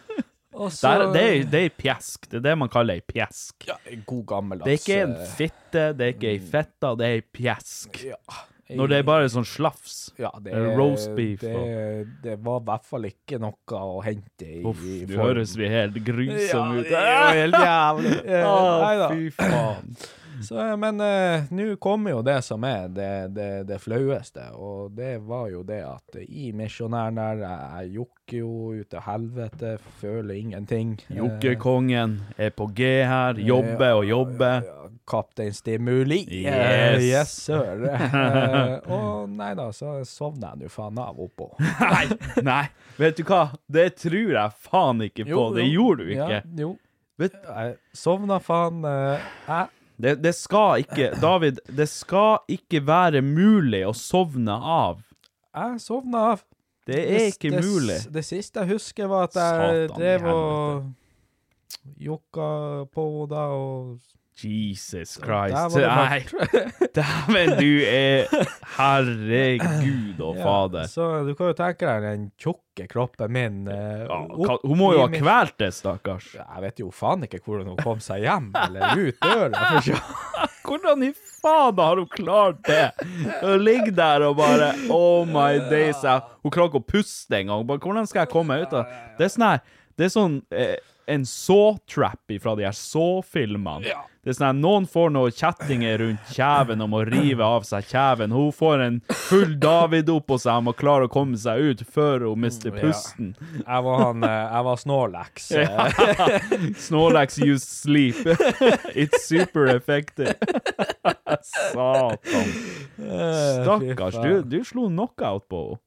Speaker 3: og så-
Speaker 2: Der- Det er- det er ei pjesk. Det er det man kaller ei pjesk.
Speaker 3: Ja, god gammeldags
Speaker 2: Det er ikke en
Speaker 3: eh,
Speaker 2: fitte, det er ikke
Speaker 3: mm.
Speaker 2: ei fetta, det er ei pjesk.
Speaker 3: ja,
Speaker 2: Når det er bare sånn slafs.
Speaker 3: ja, det
Speaker 2: eh,
Speaker 3: er-
Speaker 2: roast beef
Speaker 3: Det, det var i hvert fall ikke noe å hente i
Speaker 2: Uff,
Speaker 3: i
Speaker 2: du
Speaker 3: form.
Speaker 2: høres vi helt grusomme
Speaker 3: ja,
Speaker 2: ut.
Speaker 3: det er
Speaker 2: <laughs>
Speaker 3: <laughs> jo helt jævlig. Eh,
Speaker 2: Å,
Speaker 3: neida.
Speaker 2: fy faen.
Speaker 3: Så, eh, men eh, nå kommer jo det som er det, det, det flaueste, og det var jo det at i misjonæren der, jeg, jeg jokker jo ut til helvete, føler ingenting. eh,
Speaker 2: Jokkekongen er på G her. Jobber og jobber.
Speaker 3: Eh, Kaptein Stimuli.
Speaker 2: Yes.
Speaker 3: Eh, yes sir. Eh, og nei da, så sovner jeg nå faen av
Speaker 2: <laughs>
Speaker 3: oppå.
Speaker 2: Nei, nei, vet du hva? Det tror jeg faen ikke på. Det gjorde du ikke.
Speaker 3: Ja, jo.
Speaker 2: Vet,
Speaker 3: Jeg sovna faen eh, jeg-
Speaker 2: det, det skal ikke, David, det skal ikke være mulig å sovne av.
Speaker 3: Jeg sovna av.
Speaker 2: Det er ikke
Speaker 3: det, s-
Speaker 2: mulig.
Speaker 3: Det siste jeg husker, var at jeg
Speaker 2: Satan i
Speaker 3: drev og jokka på henne da, og
Speaker 2: Jesus
Speaker 3: Der
Speaker 2: Christ.
Speaker 3: var det
Speaker 2: Nei,
Speaker 3: mørkt. <laughs>
Speaker 2: dæven, du er Herregud og
Speaker 3: Ja,
Speaker 2: fader.
Speaker 3: så du kan jo tenke deg den tjukke kroppen min. eh,
Speaker 2: Ja,
Speaker 3: opp
Speaker 2: hva- hun må jo
Speaker 3: i
Speaker 2: ha
Speaker 3: min-
Speaker 2: kvalt det, stakkars.
Speaker 3: Jeg vet jo faen ikke hvordan hun kom seg hjem, eller ut døra. for sjø-
Speaker 2: Hvordan i faen har hun klart det? Hun ligger der og bare Oh my days. jeg- Hun klarer ikke å puste engang. Bare, Hvordan skal jeg komme meg ut av det? Det er sånn her Det er sånn eh, en så-trap fra de her så-filmene. Det er sånn her, Noen får noen kjettinger rundt kjeven og må rive av seg kjeven. Hun får en full David oppå seg og må klare å komme seg ut før hun mister pusten.
Speaker 3: Jeg var han, eh, jeg var Snorlax. eh,
Speaker 2: <laughs> Snorlax used sleep. <laughs> It's super effective. <laughs> Satan. Stakkars, du, du slo knockout på henne.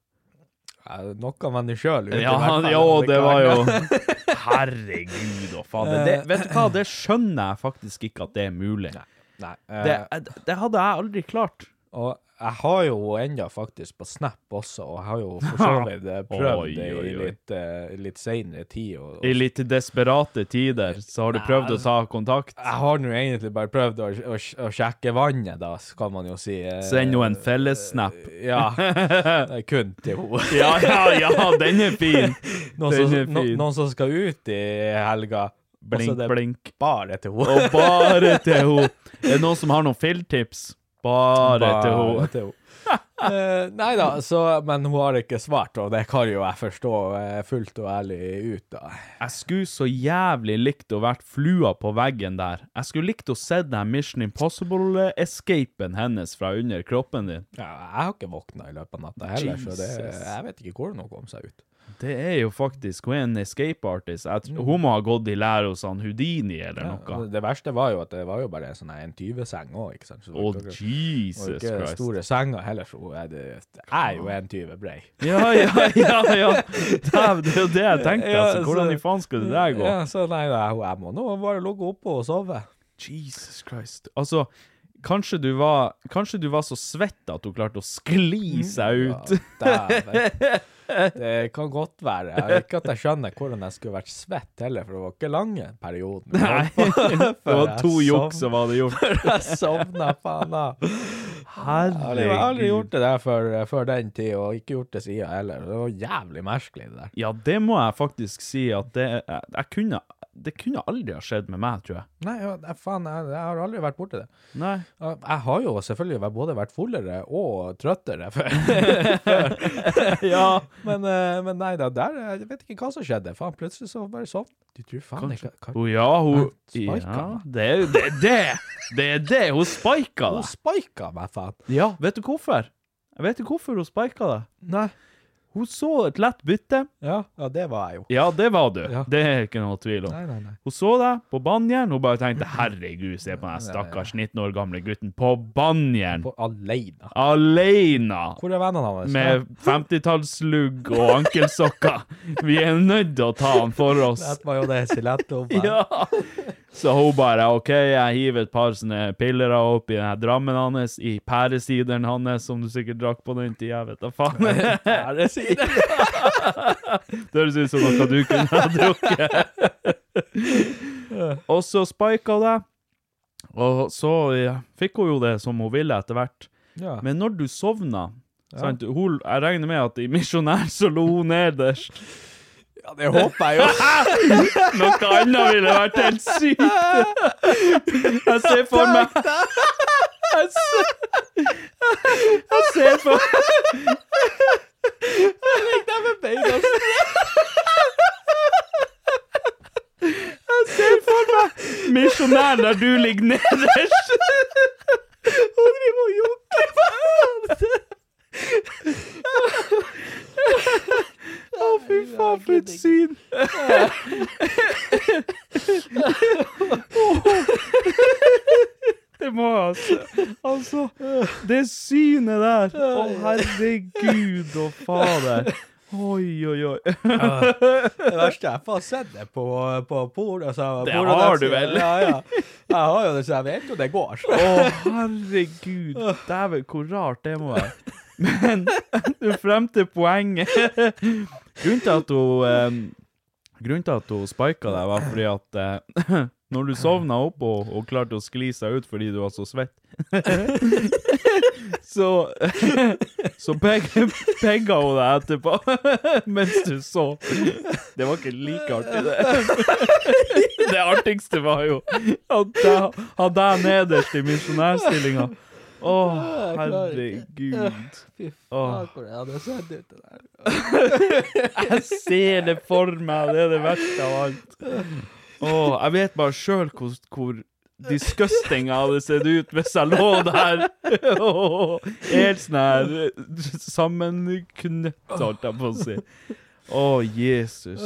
Speaker 3: Eh, Noe med deg sjøl.
Speaker 2: Ja, jo, det var jo <laughs> Herregud og fader. Det, vet du hva, det skjønner jeg faktisk ikke at det er mulig.
Speaker 3: Nei,
Speaker 2: Det,
Speaker 3: eh,
Speaker 2: det hadde jeg aldri klart.
Speaker 3: Og jeg har jo enda faktisk på Snap også, og jeg har jo
Speaker 2: <laughs>
Speaker 3: for så vidt eh, prøvd
Speaker 2: Oi,
Speaker 3: det i
Speaker 2: oi, oi.
Speaker 3: litt, eh, litt seinere tid. Og, og
Speaker 2: I litt desperate tider så har du prøvd å ta kontakt.
Speaker 3: jeg har nå egentlig bare prøvd å, å, å sjekke vannet, da, kan man jo si. eh,
Speaker 2: Send henne en fellessnap. <laughs>
Speaker 3: Ja. det er Kun til henne.
Speaker 2: Ja, ja, ja, den er
Speaker 3: <laughs>
Speaker 2: fin! Den
Speaker 3: Noen, som-
Speaker 2: er
Speaker 3: no,
Speaker 2: fin.
Speaker 3: noen som skal ut i helga. og så er
Speaker 2: Blink,
Speaker 3: det
Speaker 2: blink.
Speaker 3: Bare til
Speaker 2: Og
Speaker 3: henne.
Speaker 2: bare til henne. Er det noen som har noen filtips? Bare, til
Speaker 3: Bare
Speaker 2: henne.
Speaker 3: til henne. <laughs> Eh, nei da, så, men hun har ikke svart, og det kan jo jeg forstå eh, fullt og ærlig ut av.
Speaker 2: Jeg skulle så jævlig likt å vært flua på veggen der. Jeg skulle likt å se den Mission Impossible-escapen hennes fra under kroppen din.
Speaker 3: Ja, jeg har ikke våkna i løpet av natta heller, så det,
Speaker 2: Jesus.
Speaker 3: jeg vet ikke hvordan hun kom seg ut.
Speaker 2: Det er jo faktisk Hun er en escape artist. Jeg tr- hun må ha gått i lære hos han Houdini eller noe.
Speaker 3: Det verste var jo at det var jo bare en sånn her en 20-seng òg, ikke sant. Så det
Speaker 2: Å,
Speaker 3: var ikke-
Speaker 2: Jesus
Speaker 3: og ikke
Speaker 2: Christ.
Speaker 3: store senger heller, så hun er, det, det er jo en 20 brei.
Speaker 2: Ja, ja, ja. ja. Dæven, det er jo det jeg tenkte. Altså. Hvordan i faen skal det der gå?
Speaker 3: Ja, så nei, nei, hun- jeg må nå bare ligge oppe og sove.
Speaker 2: Jesus Christ. Altså, kanskje du var, kanskje du var så svett at hun klarte å skli seg
Speaker 3: Mm,
Speaker 2: <laughs> ut.
Speaker 3: Dæven. Det kan godt være. Jeg- Ikke at jeg skjønner hvordan jeg skulle vært svett heller, for det var ikke lange
Speaker 2: <laughs>
Speaker 3: perioden. <laughs>
Speaker 2: Nei, det var to jukk som hadde gjort.
Speaker 3: Jeg sovna faen av. Jeg har aldri
Speaker 2: Herregud.
Speaker 3: gjort det der før, før den tid, og ikke gjort det siden heller. Det var jævlig merkelig, det der.
Speaker 2: Ja, det må jeg faktisk si at det jeg, jeg kunne, Det kunne aldri ha skjedd med meg, tror jeg.
Speaker 3: Nei, ja, nei, faen, jeg, jeg har aldri vært borti det.
Speaker 2: Nei.
Speaker 3: <laughs> Jeg jeg har jo selvfølgelig vært- både vært fullere og trøttere før. <laughs>
Speaker 2: Ja.
Speaker 3: men, eh, men nei da, der Jeg vet ikke hva som skjedde. Faen, plutselig så bare sånn. Du tror faen ikke hva-
Speaker 2: Hun, ja, hun
Speaker 3: Jeg spika
Speaker 2: ja,
Speaker 3: meg.
Speaker 2: Det er jo det, det! Det er det! Hun spika
Speaker 3: Hun
Speaker 2: deg!
Speaker 3: spika meg, faen.
Speaker 2: Ja, vet du hvorfor? Jeg vet ikke hvorfor hun spika deg.
Speaker 3: Nei.
Speaker 2: Hun så et lett bytte.
Speaker 3: Ja, ja, det var jeg jo.
Speaker 2: Ja, det var du.
Speaker 3: Ja.
Speaker 2: Det er ikke noe tvil om.
Speaker 3: Nei, nei, nei.
Speaker 2: Hun så deg på banjeren. Hun bare tenkte 'herregud, se på den stakkars 19 år gamle gutten på banjeren'.
Speaker 3: På aleine.
Speaker 2: Aleine!
Speaker 3: Hvor er vennene hans?
Speaker 2: Med 50-tallslugg og ankelsokker. Vi er nødt til å ta han for oss.
Speaker 3: Det var jo det
Speaker 2: <laughs>
Speaker 3: Siletto.
Speaker 2: Ja. Så hun bare OK, jeg hiver et par sånne piller opp i den her drammen hans, i pæresideren hans, som du sikkert drakk på den tida, vet da faen. Pæresiden? <laughs> det høres ut som noe du kunne ha drukket. og så spika hun deg, og så ja, fikk hun jo det som hun ville etter hvert.
Speaker 3: Ja.
Speaker 2: Men når du sovna sant? Hun, Jeg regner med at i misjonær så lå hun nederst.
Speaker 3: Ja, det håper jeg jo.
Speaker 2: Noe annet ville vært helt sykt. Jeg ser for meg Jeg ser, jeg ser for Jeg ser for meg misjonæren der du ligger nederst. <laughs> Hun driver og jokker på Å, fy faen, for et syn. Det må jeg altså. Altså, det synet der. Å, herregud og fader. Oi, oi, oi.
Speaker 3: <laughs> Det verste er at jeg får sett det på, på porno. Altså,
Speaker 2: Det
Speaker 3: porno-
Speaker 2: har du vel?
Speaker 3: Ja, ja. Jeg har jo det, så jeg vet jo det går.
Speaker 2: Å,
Speaker 3: <laughs>
Speaker 2: herregud. Dæven, hvor rart det må være. Men <laughs> frem til poenget. Grunnen til at hun eh, Grunnen til at hun spika deg, var fordi at eh, <laughs> når du sovna opp og, og klarte å skli seg ut fordi du var så svett, så <laughs> Så pegga hun deg etterpå <laughs> mens du sov. Det var ikke like artig, det. <laughs> Det artigste var jo at jeg hadde jeg nederst i misjonærstillinga. Å, herregud. Åh.
Speaker 3: Hvordan hadde jeg sett ut det der?
Speaker 2: Jeg ser det for meg, det er det verste av alt. Åh, jeg vet bare sjøl hvor, hvor disgusting jeg hadde sett ut hvis jeg lå der. Åh, helt sånn her eh, sammenknøtt, holdt jeg på å si. Å, Jesus.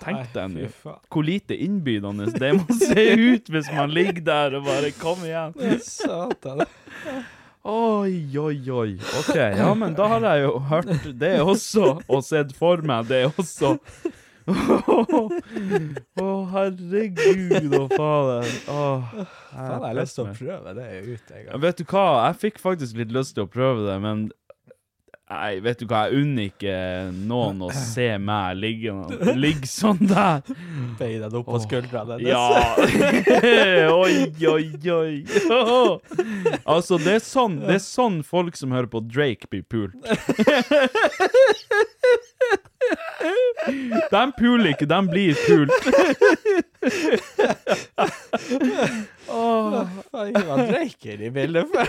Speaker 2: Tenk deg nå.
Speaker 3: faen.
Speaker 2: Hvor lite innbydende det må se ut hvis man ligger der og bare Kom igjen. <laughs>
Speaker 3: Satan.
Speaker 2: Oi, oi, oi. OK, ja, men da har jeg jo hørt det også, og sett for meg det også. Å, herregud og fader. Åh, jeg
Speaker 3: Faen, jeg har lyst til å
Speaker 2: meg.
Speaker 3: prøve det ut en gang.
Speaker 2: Vet du hva, jeg fikk faktisk litt lyst til å prøve det, men Nei, vet du hva, jeg unner ikke noen å se meg ligge, ligge sånn der.
Speaker 3: Bein den opp på skuldrene hennes.
Speaker 2: Ja! <laughs> oi, oi, oi. Åh. <laughs> Altså, det er, sånn, det er sånn folk som hører på Drake blir pult. <laughs> De puler ikke, de blir pult.
Speaker 3: Faen, ikke man dreiker i bildet før.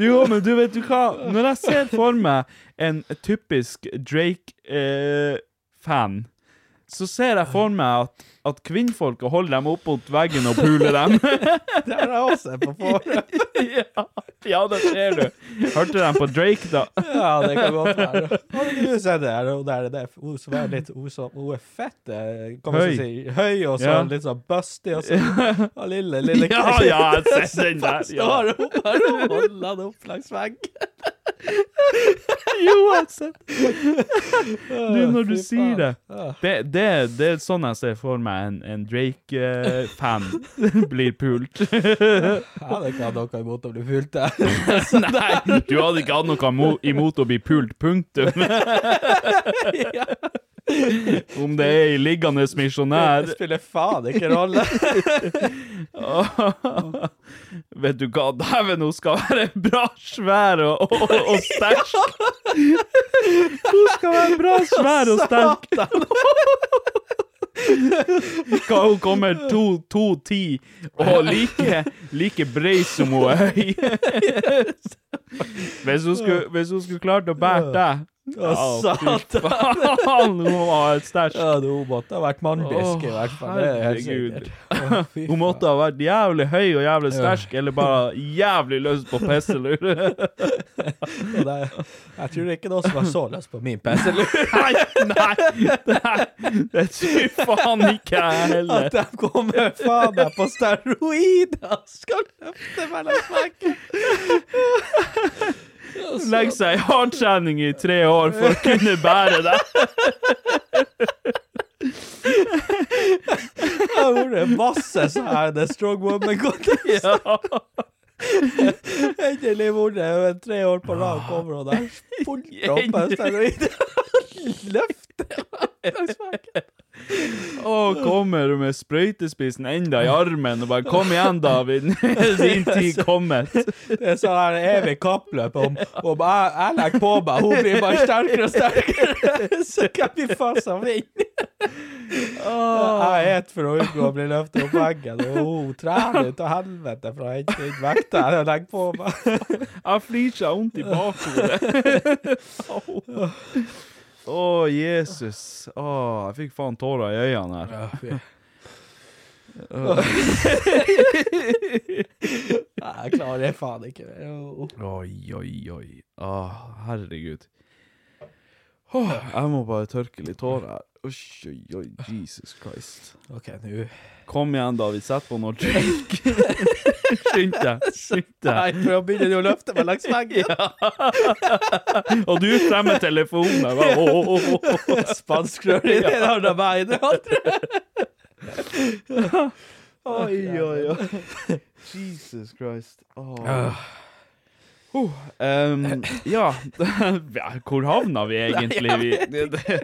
Speaker 2: Jo, men du vet du hva? Når jeg ser for meg en typisk Drake-fan, så ser jeg for meg at, at kvinnfolket holder dem opp mot veggen og puler dem.
Speaker 3: Det har jeg også på forhånd.
Speaker 2: <laughs> ja, ja, det ser du. Hørte de på Drake, da?
Speaker 3: Ja, det kan godt være. Har ikke du sett det her? Hun der, det er hun som er litt hun som, hun er fett eh, kan man
Speaker 2: Høy.
Speaker 3: si. Høy og så
Speaker 2: Ja.
Speaker 3: litt sånn busty og så og lille,
Speaker 2: <laughs>
Speaker 3: lille
Speaker 2: Ja, ja, jeg har
Speaker 3: <laughs>
Speaker 2: sett den der.
Speaker 3: Så
Speaker 2: Ja.
Speaker 3: har hun bare holdt han opp langs veggen.
Speaker 2: Jo, altså. jeg har sett Nå når du
Speaker 3: Fy
Speaker 2: sier
Speaker 3: faen.
Speaker 2: det.
Speaker 3: Ja.
Speaker 2: Det, det, det er sånn jeg ser for meg en, en
Speaker 3: <laughs>
Speaker 2: Drake-fan blir pult.
Speaker 3: Jeg hadde ikke hatt noe imot å bli fulgt <laughs> der.
Speaker 2: Nei, du hadde ikke hatt noe mo- imot å bli pult, punktum.
Speaker 3: <laughs> ja.
Speaker 2: Om det er ei liggende misjonær
Speaker 3: Det spiller faen ikke rolle.
Speaker 2: <laughs> Vet du hva, dæven, hun skal være bra svær og, og, og sterk. <laughs> Hun skal være bra svær og <laughs> sterk. Hva, hun kommer 2,10 og like, like bred som hun er høy. <laughs> Hvis hun skulle, hvis hun skulle klart å bære deg
Speaker 3: Å, satan.
Speaker 2: Faen, hun har et stæsj.
Speaker 3: Ja, det hun måtte ha vært mannbisk, i
Speaker 2: Åh,
Speaker 3: hvert fall. Det er helt
Speaker 2: herregud. <laughs>
Speaker 3: sikkert. Å, fy
Speaker 2: Hun måtte ha vært jævlig høy og jævlig sterk, eller bare jævlig løs på pisselur.
Speaker 3: faen, det er- Jeg tror det er ikke noen som har så lyst på min PC.
Speaker 2: <laughs> Nei, nei, nei, det tror faen ikke jeg
Speaker 3: At
Speaker 2: heller.
Speaker 3: de kommer faen meg på steroider! Skal løfte mellom <laughs> snakke!
Speaker 2: Legg seg i hardtrening i tre år for å kunne bære deg.
Speaker 3: Jeg har vært masse sånn her The Strong Woman <laughs> Contest.
Speaker 2: Ja.
Speaker 3: Endelig vært det men tre år på rad, kommer hun der. Fullt opp med steroider. <laughs> Løfte mellom snakke.
Speaker 2: Og kommer du med sprøytespissen enda i armen og bare 'Kom igjen, David. <laughs> Din tid kommet'.
Speaker 3: Det er sånn her evig kappløp om, om jeg, jeg legger på meg, hun blir bare sterkere og sterkere. <laughs> Så kan vi faen som vinne. Jeg et for å unngå å bli løftet opp veggen, og hun trener ut av helvete for å hente inn vekta jeg legger på meg.
Speaker 2: Jeg flirer seg vondt i bakhodet. Au. Å, Jesus. Å, jeg fikk faen tårer i øynene her.
Speaker 3: Nei, jeg klarer det faen ikke. Jo.
Speaker 2: Oi, oi, oi. Ah, herregud. Åh, jeg må bare tørke litt tårer her. Oi, oi, oi, Jesus Christ.
Speaker 3: OK, nå
Speaker 2: Kom igjen, David. Sett på noe
Speaker 3: <laughs>
Speaker 2: drink. Skynd deg. Skynd
Speaker 3: Nei,
Speaker 2: deg.
Speaker 3: for å begynne å løfte meg langs
Speaker 2: <laughs>
Speaker 3: veggen.
Speaker 2: Og du fremmer telefonen. Jeg bare, Åh, åh, åh, åh.
Speaker 3: Spanskrør i det ene meg i det andre. Oi, oi, oi.
Speaker 2: Jesus Christ. Åh. Huh, ehm, ja. <laughs> ja Hvor havna vi egentlig? Vi, det, det,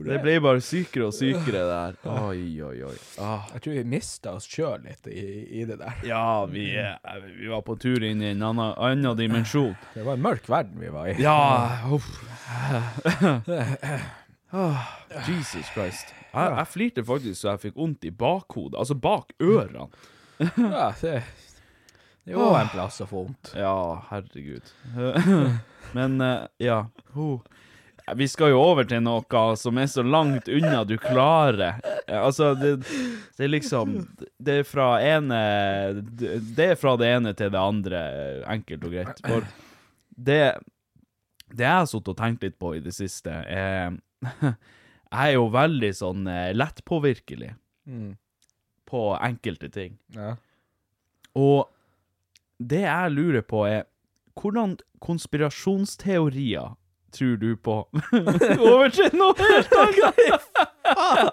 Speaker 2: <laughs> det ble bare sykere og sykere, det her. Oi, oi, oi. Ah.
Speaker 3: Jeg tror vi mista oss sjøl litt i, i det der.
Speaker 2: Ja, vi, er- vi var på tur inn i en annen, annen dimensjon.
Speaker 3: Det var en mørk verden vi var i.
Speaker 2: Ja uff. Ah, Jesus Christ. Jeg, jeg flirte faktisk så jeg fikk vondt i bakhodet, altså bak ørene.
Speaker 3: Ja, det, det var en plass å få vondt.
Speaker 2: Ja, herregud. Men eh, ja Ho. Vi skal jo over til noe som er så langt unna du klarer. Eh, Altså, det, det er liksom Det er fra ene Det er fra det ene til det andre, enkelt og greit. For det Det jeg har sittet og tenkt litt på i det siste, er <laughs> Jeg er jo veldig sånn eh, lettpåvirkelig på enkelte ting.
Speaker 3: Mm, Ja.
Speaker 2: Og det jeg lurer på er Hvordan konspirasjonsteorier tror du på? Over til noe helt annet!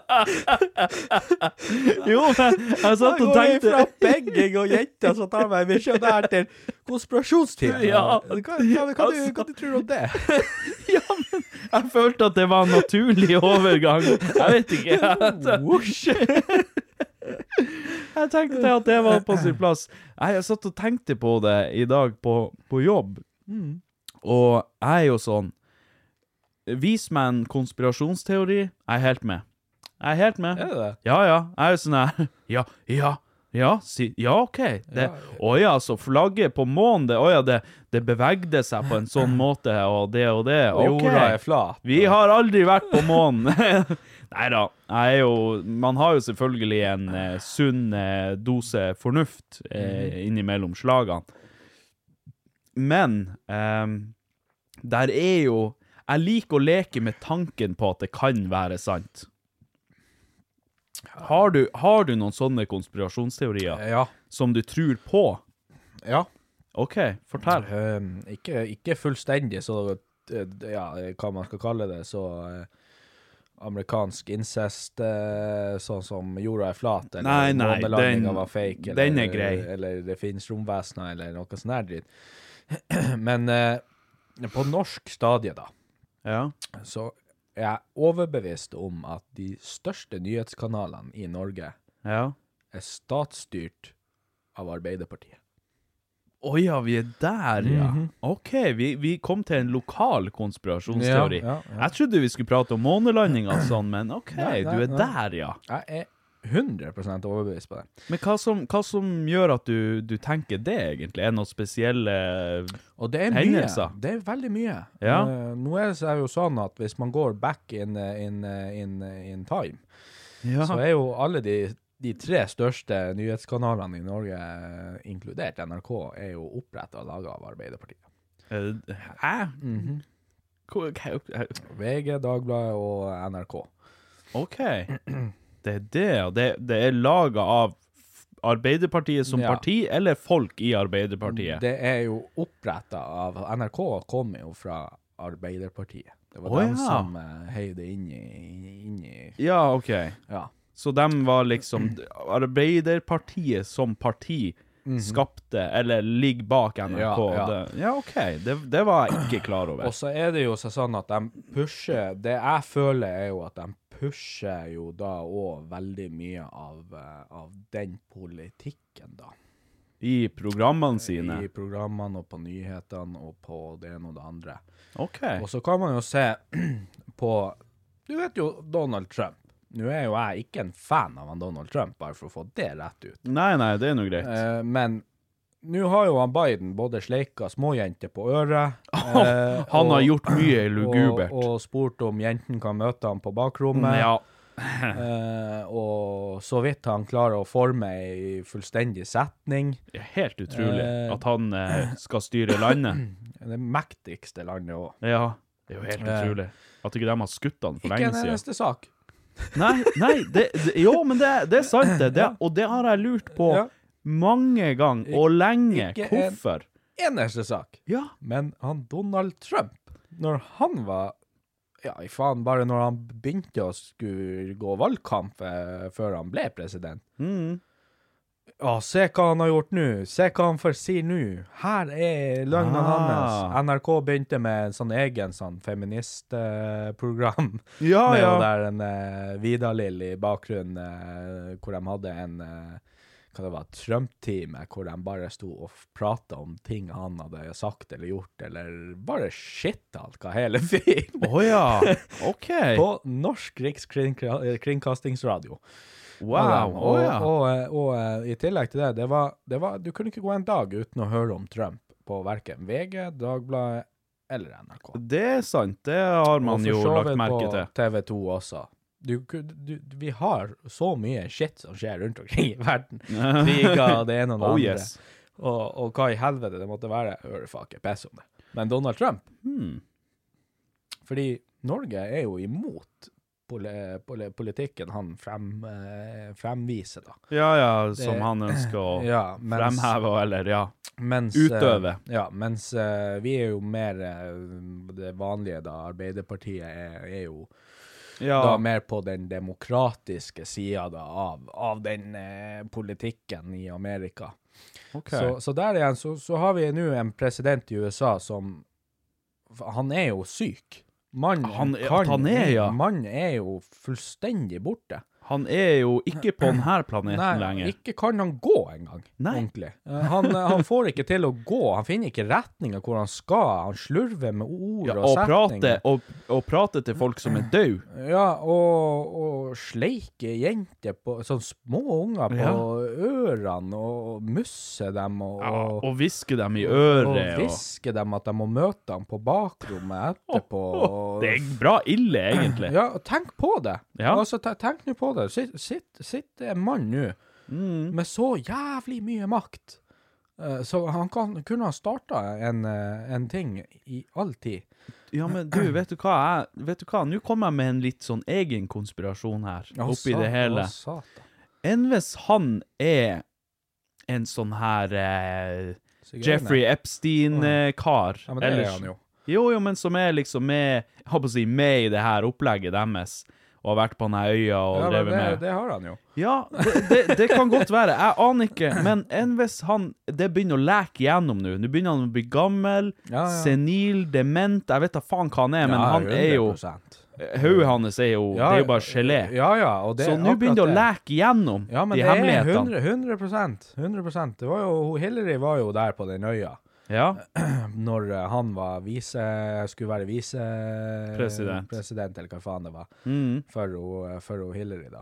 Speaker 2: jo, men jeg satt og
Speaker 3: fra
Speaker 2: <laughs> tenkte
Speaker 3: begging og jenter som tar meg misjonær til konspirasjonstid.
Speaker 2: Ja.
Speaker 3: Hva, hva, hva, du,
Speaker 2: Altså.
Speaker 3: hva du tror du om det?
Speaker 2: Ja, men jeg følte at det var en naturlig overgang. Jeg vet
Speaker 3: <laughs>
Speaker 2: ikke. Jeg,
Speaker 3: Whoosh.
Speaker 2: jeg tenkte at det var på sin plass. Nei, Jeg satt og tenkte på det i dag på, på jobb,
Speaker 3: Mm.
Speaker 2: og jeg er jo sånn Vis meg en konspirasjonsteori, jeg er helt med. Jeg er helt med.
Speaker 3: Er det det?
Speaker 2: Ja, ja. Jeg er jo sånn her <laughs> Ja, ja. Ja, si, ja, OK. Det, Å ja, så flagget på månen, det, å ja, det, det bevegde seg på en
Speaker 3: <laughs>
Speaker 2: sånn måte, og det og det.
Speaker 3: Og
Speaker 2: OK.
Speaker 3: Jorda er flat.
Speaker 2: Vi har aldri vært på månen. <laughs> Nei da. Jeg er jo Man har jo selvfølgelig en eh, sunn eh, dose fornuft eh, innimellom slagene. Men ehm, der er jo Jeg liker å leke med tanken på at det kan være sant. Har du, har du noen sånne konspirasjonsteorier
Speaker 3: Ja.
Speaker 2: som du tror på?
Speaker 3: ja.
Speaker 2: OK, fortell.
Speaker 3: Um, ikke, ikke fullstendig så eh, Ja, hva man skal kalle det, så eh, amerikansk incest, eh, sånn som jorda er flat, eller
Speaker 2: Nei, nei,
Speaker 3: månelandingen
Speaker 2: den-
Speaker 3: var fake, eller,
Speaker 2: den er grei.
Speaker 3: eller det finnes romvesener, eller noe sånn her dritt. <clears throat> Men eh, på norsk stadie, da,
Speaker 2: Ja.
Speaker 3: så er jeg overbevist om at de største nyhetskanalene i Norge
Speaker 2: Ja.
Speaker 3: er statsstyrt av Arbeiderpartiet.
Speaker 2: Å ja, vi er der, ja.
Speaker 3: Mhm.
Speaker 2: OK, vi, vi kom til en lokal konspirasjonsteori.
Speaker 3: Ja, ja, ja.
Speaker 2: Jeg trodde vi skulle prate om månelandinga og
Speaker 3: <clears throat>
Speaker 2: sånn, men OK,
Speaker 3: Nei, nei,
Speaker 2: du er
Speaker 3: nei.
Speaker 2: der, ja.
Speaker 3: Jeg er 100 overbevist på det.
Speaker 2: Men hva som, hva som gjør at du, du tenker det, egentlig? Er det noen spesielle
Speaker 3: Og det er mye.
Speaker 2: Hendelser.
Speaker 3: Det er veldig mye.
Speaker 2: Ja.
Speaker 3: Eh, nå er det så er det jo sånn at hvis man går back in, eh, in, eh, in, eh, in time,
Speaker 2: Ja.
Speaker 3: så er jo alle de, de tre største nyhetskanalene i Norge, eh, inkludert NRK, er jo oppretta og laga av Arbeiderpartiet.
Speaker 2: Eh, Hæ?
Speaker 3: Mhm.
Speaker 2: Hvor- hva-
Speaker 3: VG, Dagbladet og NRK.
Speaker 2: OK. Det er det, og det, det er laga av Arbeiderpartiet som
Speaker 3: Ja.
Speaker 2: parti, eller folk i Arbeiderpartiet?
Speaker 3: Det er jo oppretta av NRK kom jo fra Arbeiderpartiet. Det var
Speaker 2: Å,
Speaker 3: dem
Speaker 2: ja.
Speaker 3: som eh, heiv det inn i, inn i
Speaker 2: Ja, OK.
Speaker 3: Ja.
Speaker 2: Så de var liksom Arbeiderpartiet som parti skapte, eller ligger bak NRK.
Speaker 3: Mhm. Ja,
Speaker 2: Ja,
Speaker 3: ja.
Speaker 2: Det, ja OK. Det, det var jeg ikke klar over.
Speaker 3: Og så er det jo så sånn at de pusher Det jeg føler, er jo at de pusher jo da òg veldig mye av, eh, av den politikken, da.
Speaker 2: I programmene sine.
Speaker 3: I programmene og på nyhetene og på det ene og det andre.
Speaker 2: OK.
Speaker 3: Og så kan man jo se <clears throat> på Du vet jo Donald Trump. Nå er jo jeg ikke en fan av han Donald Trump, bare for å få det rett ut.
Speaker 2: Nei, nei, det er nå greit.
Speaker 3: Eh, men nå har jo han Biden både sleika småjenter på øret eh,
Speaker 2: <laughs> Han har
Speaker 3: og-
Speaker 2: gjort mye lugubert. Mm,
Speaker 3: Og, og spurt om jenten kan møte ham på bakrommet.
Speaker 2: ja.
Speaker 3: Eh, og så vidt han klarer å forme ei fullstendig setning.
Speaker 2: Det er Helt utrolig
Speaker 3: Eh.
Speaker 2: at han eh, skal styre landet.
Speaker 3: <clears throat> Det mektigste landet òg.
Speaker 2: Ja. Det er jo helt utrolig. At ikke de har skutt han for
Speaker 3: Eh. Ikke
Speaker 2: lenge
Speaker 3: en
Speaker 2: siden.
Speaker 3: eneste sak.
Speaker 2: Nei, nei det, det, jo, men det, det er sant, det. det. Og det har jeg lurt på
Speaker 3: Ja.
Speaker 2: mange ganger og lenge.
Speaker 3: ikke en-
Speaker 2: Hvorfor?
Speaker 3: Eneste sak.
Speaker 2: Ja.
Speaker 3: Men han Donald Trump, når han var Ja, i faen, bare når han begynte å skulle gå valgkamp eh, før han ble president.
Speaker 2: Mm.
Speaker 3: Ja, se hva han har gjort nå. Se hva han får si nå. Her er løgnen
Speaker 2: Ah.
Speaker 3: hans. NRK begynte med en sånn egen sånn feministprogram.
Speaker 2: Ja, ja.
Speaker 3: med jo der en uh, Vidar-Lill i bakgrunnen, eh, hvor de hadde en eh, hva det var, Trump-time, hvor de bare sto og f- prata om ting han hadde sagt eller gjort, eller bare shit-alka hele <laughs>
Speaker 2: Å
Speaker 3: filmen. <laughs>
Speaker 2: ja. OK.
Speaker 3: På norsk rikskringkastingsradio.
Speaker 2: Wow. Å
Speaker 3: og,
Speaker 2: ja.
Speaker 3: og, eh, og, eh, i tillegg til det, det var, det var Du kunne ikke gå en dag uten å høre om Trump på verken VG, Dagbladet eller NRK.
Speaker 2: Det er sant. Det har man
Speaker 3: Og for
Speaker 2: jo
Speaker 3: så
Speaker 2: lagt
Speaker 3: vidt
Speaker 2: merke
Speaker 3: på
Speaker 2: til.
Speaker 3: TV 2 også. Du, du, vi har så mye shit som skjer rundt omkring i
Speaker 2: <laughs>
Speaker 3: verden. Kriger og det ene og det
Speaker 2: Oh
Speaker 3: andre.
Speaker 2: yes.
Speaker 3: Og, og hva i helvete det måtte være. Jeg hører faen ikke piss om det. Men Donald Trump
Speaker 2: Hmm.
Speaker 3: Fordi Norge er jo imot poli, poli, politikken han frem, eh, fremviser, da.
Speaker 2: Ja ja, som
Speaker 3: Det-
Speaker 2: han ønsker å
Speaker 3: <laughs> Ja, mens-
Speaker 2: fremheve, eller ja.
Speaker 3: Mens,
Speaker 2: Utøve.
Speaker 3: eh, ja, mens eh, vi er jo mer eh, det vanlige, da. Arbeiderpartiet er, er jo
Speaker 2: ja.
Speaker 3: da mer på den demokratiske sida da, av, av den eh, politikken i Amerika.
Speaker 2: OK.
Speaker 3: Så, så der igjen så, så har vi nå en president i USA som Han er jo syk. Mannen
Speaker 2: Han er- at han er, ja.
Speaker 3: Mannen er jo fullstendig borte.
Speaker 2: Han er jo ikke på denne planeten lenger.
Speaker 3: ikke kan han gå engang,
Speaker 2: Nei.
Speaker 3: ordentlig. Eh, Han, han får ikke til å gå, han finner ikke retninga hvor han skal, han slurver med ord
Speaker 2: Ja,
Speaker 3: og,
Speaker 2: og,
Speaker 3: setninger.
Speaker 2: prate, og, og prate til folk som er døde.
Speaker 3: Ja, og, og sleike jenter på Sånn små unger på
Speaker 2: Ja.
Speaker 3: ørene og musse dem og,
Speaker 2: Ja,
Speaker 3: og,
Speaker 2: og hviske dem i øret.
Speaker 3: og
Speaker 2: Og
Speaker 3: hviske dem at de må møte dem på
Speaker 2: <laughs>
Speaker 3: bakrommet etterpå. og-
Speaker 2: Det er bra ille, egentlig.
Speaker 3: Ja, og tenk på det!
Speaker 2: Ja.
Speaker 3: Altså, te- tenk nå på det. Sitt, sitt, sitt en mann nå
Speaker 2: Mm.
Speaker 3: med så jævlig mye makt. Eh, Så han kan, kunne ha starta en, eh, en ting i all tid.
Speaker 2: Ja, men du, vet du hva? Jeg, vet du hva? Nå kommer jeg med en litt sånn egen konspirasjon her,
Speaker 3: Å,
Speaker 2: oppi
Speaker 3: satan,
Speaker 2: det hele.
Speaker 3: å, satan.
Speaker 2: Enn hvis han er en sånn her eh,
Speaker 3: Sikkert
Speaker 2: Jeffrey
Speaker 3: enig.
Speaker 2: Epstein-kar.
Speaker 3: Ja, men det er han jo.
Speaker 2: Jo, jo, men som er liksom med, jeg holdt på å si, med i det her opplegget deres, og har vært på denne øya og
Speaker 3: Ja, men
Speaker 2: drevet
Speaker 3: det,
Speaker 2: med.
Speaker 3: det har han jo.
Speaker 2: Ja, det, det, det kan godt være. Jeg aner ikke. Men enn hvis han Det begynner å leke gjennom nå. Nå begynner han å bli gammel,
Speaker 3: Ja, ja.
Speaker 2: senil, dement. Jeg vet da faen hva han er, men han er jo Hodet hans er jo Det er jo bare gelé.
Speaker 3: Ja, ja, og det
Speaker 2: Så
Speaker 3: er
Speaker 2: nå begynner det å
Speaker 3: akkurat
Speaker 2: leke gjennom
Speaker 3: Ja, men
Speaker 2: de
Speaker 3: det er
Speaker 2: hemmelighetene.
Speaker 3: 100, 100%, 100 Det var jo, hun Hillary var jo der på den øya
Speaker 2: Ja.
Speaker 3: når eh, han var vise, skulle være visepresident,
Speaker 2: President.
Speaker 3: president, eller hva faen det var,
Speaker 2: Mm.
Speaker 3: for, hun, for hun Hillary, da.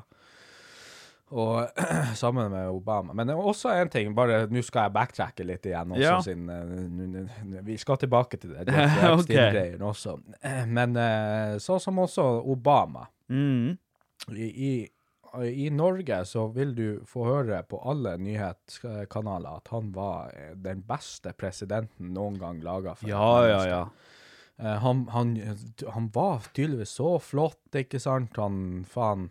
Speaker 3: Og <clears throat> sammen med Obama. Men det var også en ting, bare nå skal jeg backtracke litt igjen. Også,
Speaker 2: Ja.
Speaker 3: sin, eh, n- n- n- vi skal tilbake til det.
Speaker 2: <laughs>
Speaker 3: Jeffrey
Speaker 2: Ok.
Speaker 3: Epstein-greien også. <clears throat> Men eh, så som også Obama.
Speaker 2: Mm.
Speaker 3: I, i, I Norge så vil du få høre på alle nyhetskanaler at han var eh, den beste presidenten noen gang laga.
Speaker 2: ja, ja, ja.
Speaker 3: Eh, Han, han, han var tydeligvis så flott, ikke sant? Han faen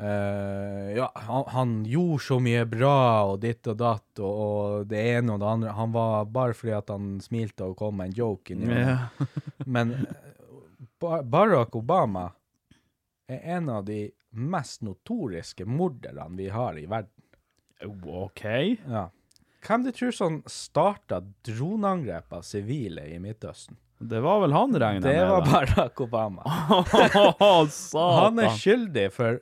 Speaker 3: eh, Ja, han, han gjorde så mye bra, og ditt og datt, og, og det ene og det andre. Han var bare fordi at han smilte og kom med en joke inni
Speaker 2: ja.
Speaker 3: men eh, Ba- Barack Obama er en av de mest notoriske morderne vi har i verden.
Speaker 2: OK.
Speaker 3: Ja. Hvem du tror som starta droneangrep av sivile i Midtøsten?
Speaker 2: Det var vel han regna med?
Speaker 3: Det var
Speaker 2: <laughs>
Speaker 3: Barack Obama.
Speaker 2: bare
Speaker 3: Han
Speaker 2: Satan.
Speaker 3: er skyldig for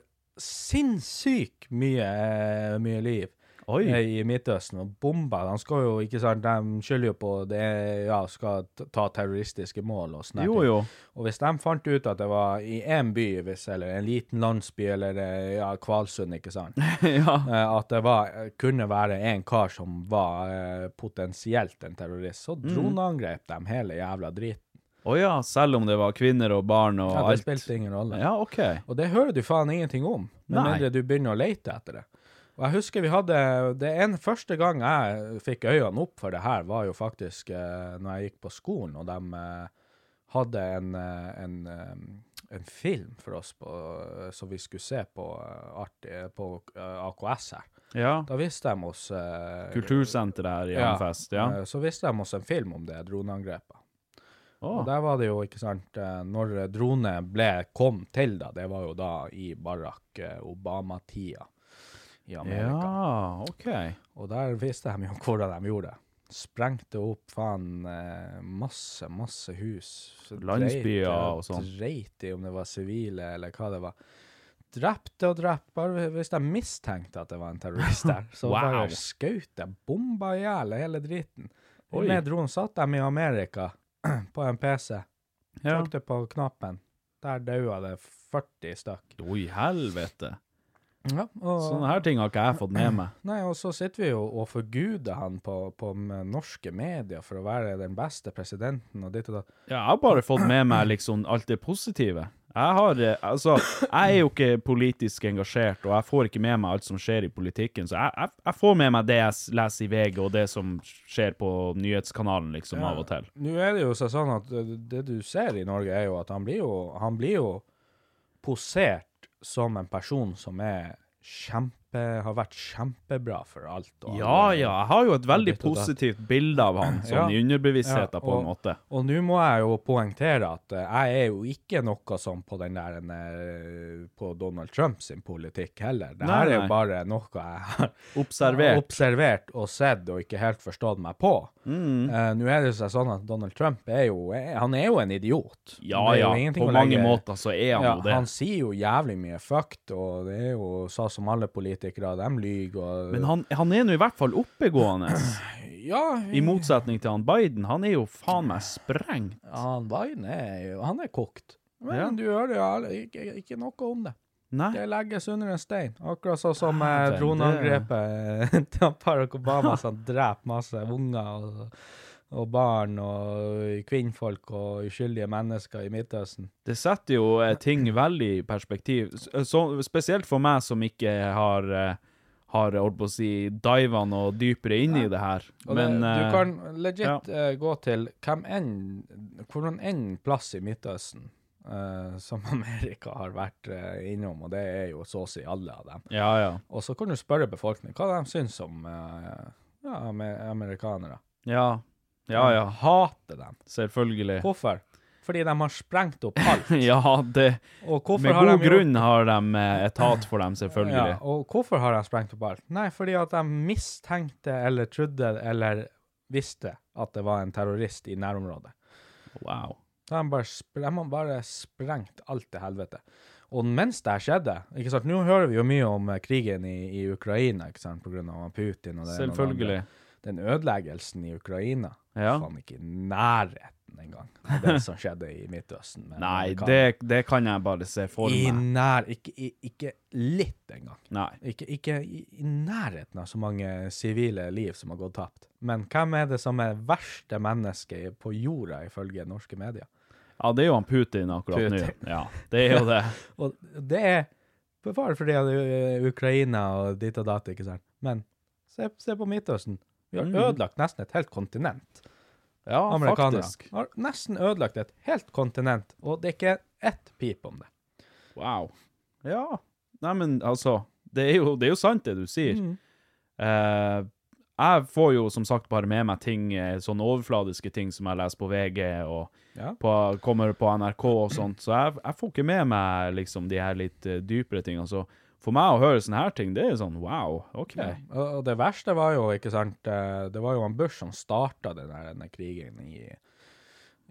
Speaker 3: sinnssykt mye, eh, mye liv
Speaker 2: Oi.
Speaker 3: eh, i Midtøsten, og bomba. Han skal jo, ikke sant, de skylder jo på det, ja, skal t- ta terroristiske mål og sånne
Speaker 2: Jo,
Speaker 3: ting. <laughs>
Speaker 2: jo.
Speaker 3: Og hvis de fant ut at det var i én by, hvis, eller en liten landsby, eller eh, ja, Kvalsund, ikke
Speaker 2: <laughs>
Speaker 3: sant,
Speaker 2: ja.
Speaker 3: eh, at det var, kunne være en kar som var eh, potensielt en terrorist, så
Speaker 2: Mm.
Speaker 3: droneangrep de hele jævla driten.
Speaker 2: Å ja, selv om det var kvinner og barn og
Speaker 3: Ja, det
Speaker 2: alt.
Speaker 3: spilte ingen rolle.
Speaker 2: Ja, OK.
Speaker 3: Og det hører du faen ingenting om, med
Speaker 2: Nei.
Speaker 3: mindre du begynner å lete etter det. Og jeg husker vi hadde Det en første gang jeg fikk øynene opp for det her, var jo faktisk eh, når jeg gikk på skolen, og de eh, hadde en, eh, en, eh, en film for oss på, som vi skulle se på, eh, artig, på eh, AKS her.
Speaker 2: Ja.
Speaker 3: Da viste de oss eh,
Speaker 2: Kultursenteret her i Hammerfest, ja.
Speaker 3: eh, Så viste de oss en film om det droneangrepet.
Speaker 2: Å, Ah.
Speaker 3: Og der var det jo, ikke sant, eh, når drone ble, kom til da, det var jo da i Barack eh, Obama-tida i Amerika.
Speaker 2: Ja, OK.
Speaker 3: Og der viste de jo <laughs> hvordan de gjorde det. Sprengte opp faen eh, masse, masse hus. Så
Speaker 2: Landsbyer
Speaker 3: dreit i-
Speaker 2: og sånn.
Speaker 3: Dreit i om det var sivile eller hva det var. Drepte og drepte, bare hvis de mistenkte at det var en terrorist
Speaker 2: <laughs>
Speaker 3: der. Så
Speaker 2: Wow.
Speaker 3: bare skjøt de, bomba i hjel hele driten.
Speaker 2: Oi.
Speaker 3: Og med dronen satt de i Amerika <clears throat> på en PC.
Speaker 2: Ja.
Speaker 3: Trykte på knappen. Der daua det 40 stykk.
Speaker 2: Oi, helvete.
Speaker 3: Ja, og,
Speaker 2: Sånne her ting har ikke jeg fått med
Speaker 3: <clears throat>
Speaker 2: meg.
Speaker 3: nei, og så sitter vi jo og forguder han på, på m- norske medier for å være den beste presidenten og ditt og datt.
Speaker 2: Ja, jeg har bare fått med meg liksom alt det positive. Jeg har, eh, altså, jeg er jo ikke politisk engasjert, og jeg får ikke med meg alt som skjer i politikken, så jeg, jeg, jeg får med meg det jeg s- leser i VG, og det som skjer på nyhetskanalen, liksom, av og til.
Speaker 3: Nå er det jo så sånn at det, det du ser i Norge, er jo at han blir jo, han blir jo posert som en person som er kjempe, har vært kjempebra for alt. og alle.
Speaker 2: Ja, ja, jeg har jo et veldig
Speaker 3: Litt og datt.
Speaker 2: positivt bilde av han, sånn
Speaker 3: Ja.
Speaker 2: i underbevisstheten, på en
Speaker 3: og-
Speaker 2: måte.
Speaker 3: Og nå må jeg jo poengtere at eh, jeg er jo ikke noe sånn på den der eh, på Donald Trump sin politikk heller. Det
Speaker 2: Nei,
Speaker 3: her er
Speaker 2: nei.
Speaker 3: jo bare noe jeg har
Speaker 2: Observert.
Speaker 3: observert og sett og ikke helt forstått meg på.
Speaker 2: Mm.
Speaker 3: Eh, nå er det jo sånn at Donald Trump er jo eh, han er jo en idiot.
Speaker 2: Ja,
Speaker 3: Det er jo
Speaker 2: ja,
Speaker 3: ingenting
Speaker 2: på
Speaker 3: å
Speaker 2: mange
Speaker 3: legge-
Speaker 2: måter så er han
Speaker 3: ja,
Speaker 2: jo det.
Speaker 3: han sier jo jævlig mye fucked, og det er jo så som alle politikere, de lyver og
Speaker 2: Men han, han er nå i hvert fall oppegående, <clears throat>
Speaker 3: Ja,
Speaker 2: i motsetning til han Biden. Han er jo faen meg sprengt.
Speaker 3: Han Biden er jo Han er kokt. Men
Speaker 2: Ja.
Speaker 3: du hører jo alle- ikke, ikke noe om det.
Speaker 2: Nei.
Speaker 3: Det legges under en stein. Akkurat sånn som eh,
Speaker 2: Dæven,
Speaker 3: droneangrepet til <laughs> Barack Obama, som dreper masse unger og, og barn og kvinnfolk og uskyldige mennesker i Midtøsten.
Speaker 2: Det setter jo eh, ting veldig i perspektiv. S- eh, Så, spesielt for meg som ikke har eh, har, holdt på å si, diva noe dypere inn i det her.
Speaker 3: Og
Speaker 2: Men
Speaker 3: det,
Speaker 2: eh,
Speaker 3: du kan legit eh, gå til hvem enn, hvordan enn plass i Midtøsten eh, som <laughs> Amerika har vært eh, innom, og det er jo så å si alle av dem.
Speaker 2: Ja, ja.
Speaker 3: Og så kan du spørre befolkningen hva de syns om eh, ja, amer amerikanere.
Speaker 2: Ja, ja. ja.
Speaker 3: De hater dem.
Speaker 2: Selvfølgelig.
Speaker 3: Hvorfor? Fordi de har sprengt opp
Speaker 2: <laughs>
Speaker 3: alt.
Speaker 2: Ja, det
Speaker 3: Og hvorfor
Speaker 2: Med
Speaker 3: har
Speaker 2: god
Speaker 3: de gjort-
Speaker 2: grunn har de eh, et hat for dem,
Speaker 3: Ja,
Speaker 2: selvfølgelig.
Speaker 3: og hvorfor har de sprengt opp alt? Nei, fordi at de mistenkte eller trodde eller visste at det var en terrorist i nærområdet.
Speaker 2: Wow.
Speaker 3: Da har han bare, spre- de har bare sprengt alt til helvete. Og mens det her skjedde ikke sant? Nå hører vi jo mye om eh, krigen i, i Ukraina ikke sant? på grunn av Putin. Og det ene og det andre.
Speaker 2: Selvfølgelig.
Speaker 3: Den ødeleggelsen i Ukraina
Speaker 2: Ja.
Speaker 3: faen ikke i nærheten engang av det som skjedde i Midtøsten. med
Speaker 2: Nei,
Speaker 3: amerikanerne.
Speaker 2: det, det kan jeg bare se for
Speaker 3: I
Speaker 2: meg.
Speaker 3: nær, ikke, i- ikke litt engang.
Speaker 2: Nei.
Speaker 3: Ikke, ikke i i nærheten av så mange sivile liv som har gått tapt. Men hvem er det som er verste menneske på jorda, ifølge norske medier?
Speaker 2: Ja, det er jo han Putin akkurat
Speaker 3: Putin.
Speaker 2: nå. Ja, det er jo det.
Speaker 3: Og det er bevare fordi at ø, Ukraina og ditt og datt, ikke sant. Men se, se på Midtøsten. Vi har ødelagt nesten et helt kontinent.
Speaker 2: Mm. Ja,
Speaker 3: Amerikanerne
Speaker 2: faktisk.
Speaker 3: har nesten ødelagt et helt kontinent, og det er ikke ett pip om det.
Speaker 2: Wow. Ja. Nei, men altså, det er jo, det er jo sant det du sier. Eh, jeg får jo som sagt bare med meg ting, eh, sånne overfladiske ting som jeg leser på VG og
Speaker 3: Ja.
Speaker 2: på, kommer på NRK og sånt, så jeg, jeg får ikke med meg liksom de her litt eh, dypere tingene. Så for meg å høre sånne her ting, det er sånn wow, OK.
Speaker 3: Ja, og og det verste var jo, ikke sant, eh, det var jo han Bush som starta den der denne krigen i,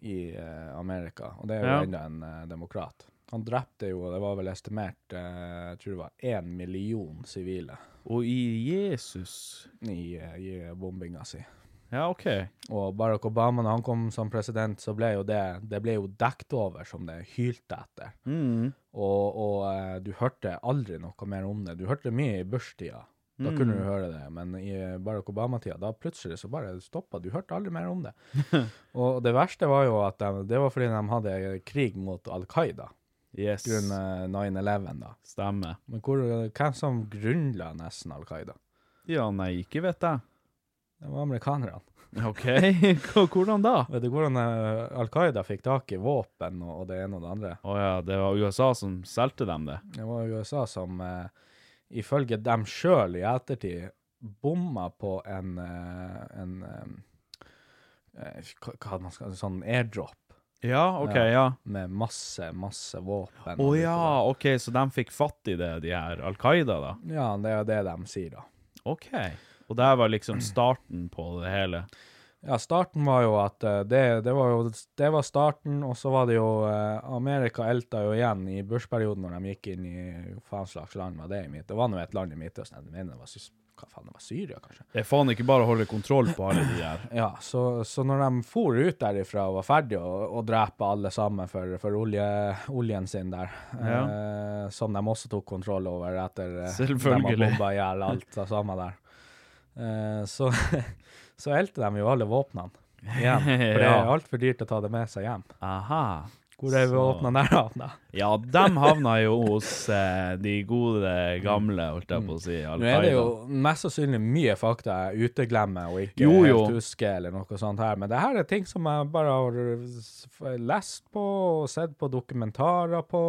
Speaker 3: i eh, Amerika, og det er jo
Speaker 2: Ja.
Speaker 3: enda en eh, demokrat. Han drepte jo, det var vel estimert, eh, jeg tror det var én million sivile
Speaker 2: Og i Jesus
Speaker 3: i, eh, i bombinga si.
Speaker 2: Ja, OK.
Speaker 3: Og Barack Obama, når han kom som president, så ble jo det det ble jo dekt over som det hylte etter.
Speaker 2: Mm.
Speaker 3: Og, og eh, du hørte aldri noe mer om det. Du hørte mye i Bush-tida. Da kunne du høre det, men i Barack Obama-tida, da plutselig så bare stoppa. Du hørte aldri mer om det. og det verste var jo at de, det var fordi de hadde krig mot Al Qaida
Speaker 2: Yes.
Speaker 3: grunnet 9-11, da.
Speaker 2: Stemmer.
Speaker 3: Men hvor, hvem som grunnla nesten Al Qaida?
Speaker 2: Ja, nei, ikke vet jeg.
Speaker 3: Det var amerikanerne.
Speaker 2: <laughs> OK, hvordan da?
Speaker 3: Vet du hvordan eh, Al Qaida fikk tak i våpen og, og det ene og det andre?
Speaker 2: Å ja, det var USA som solgte dem det.
Speaker 3: Det var USA som, eh, ifølge dem sjøl i ettertid, bomma på en, eh, en eh, eh, hva hva hadde man skal, sånn airdrop
Speaker 2: Ja, OK, ja.
Speaker 3: med masse, masse våpen.
Speaker 2: Å ja, OK, så de fikk fatt i det, de her Al Qaida, da?
Speaker 3: sånn. Ja, det er jo det de sier, da.
Speaker 2: OK. Og der var liksom starten på det hele.
Speaker 3: Ja, starten var jo at eh, det, det var jo det var starten, og så var det jo eh, Amerika elta jo igjen i Bush-perioden når de gikk inn i faen slags land var det i mitt Det var nå et land i Midtøsten, jeg mener det var, Sys- hva faen, det var Syria, kanskje?
Speaker 2: Det er faen ikke bare å holde kontroll på alle de der.
Speaker 3: Ja, så, så når de for ut derifra og var ferdige å å drepe alle sammen for, for olje, oljen sin der, eh, som de også tok kontroll over etter eh,
Speaker 2: Selvfølgelig.
Speaker 3: de har bomba i hjel alt det samme der, eh, så, <laughs> så elte de jo alle våpnene
Speaker 2: <laughs>
Speaker 3: igjen. For det
Speaker 2: Ja.
Speaker 3: er altfor dyrt å ta det med seg hjem.
Speaker 2: Aha.
Speaker 3: Hvor er
Speaker 2: Så-
Speaker 3: våpnene der havna?
Speaker 2: Ja, <laughs> dem havna jo hos eh, de gode gamle, holdt jeg på å si, Al
Speaker 3: Nå er det
Speaker 2: Qaida.
Speaker 3: jo mest sannsynlig mye fakta jeg uteglemmer og ikke
Speaker 2: Jo, jo.
Speaker 3: helt husker, eller noe sånt her, men det her er ting som jeg bare har s- lest på og sett på dokumentarer på.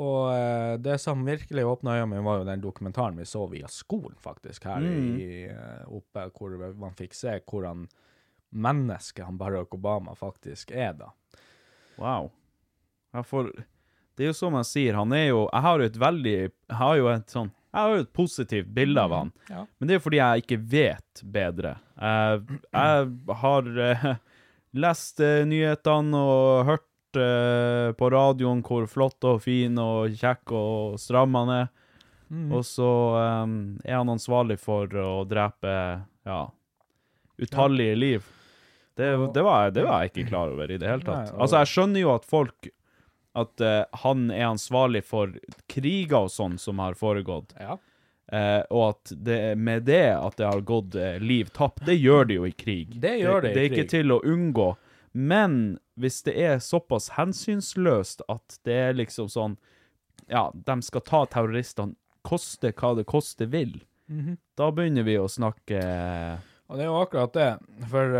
Speaker 3: Og eh, det som virkelig åpna øynene mine, var jo den dokumentaren vi så via skolen, faktisk, her
Speaker 2: Mm.
Speaker 3: i, eh, oppe, hvor man fikk se hvordan menneske han Barack Obama faktisk er, da.
Speaker 2: Wow. Ja, for det er jo som jeg sier, han er jo Jeg har jo et veldig Jeg har jo et sånn Jeg har jo et positivt bilde av han.
Speaker 3: ja.
Speaker 2: Men det er jo fordi jeg ikke vet bedre. Jeg, jeg har eh, lest eh, nyhetene og hørt eh, på radioen hvor flott og fin og kjekk og stram han er.
Speaker 3: Mm.
Speaker 2: Og så eh, er han ansvarlig for å drepe ja, utallige liv. Det, det, var, jeg- det var jeg ikke klar over i det hele tatt.
Speaker 3: Nei, og-
Speaker 2: Altså, jeg skjønner jo at folk At eh, han er ansvarlig for kriger og sånn som har foregått.
Speaker 3: Ja.
Speaker 2: Eh, og at det, med det at det har gått eh, liv tapt, det gjør det jo i krig.
Speaker 3: Det gjør det i
Speaker 2: Det er
Speaker 3: krig.
Speaker 2: ikke til å unngå. Men hvis det er såpass hensynsløst at det er liksom sånn Ja, de skal ta terroristene, koste hva det koste vil.
Speaker 3: Mhm.
Speaker 2: Da begynner vi å snakke eh,
Speaker 3: Og det er jo akkurat det. For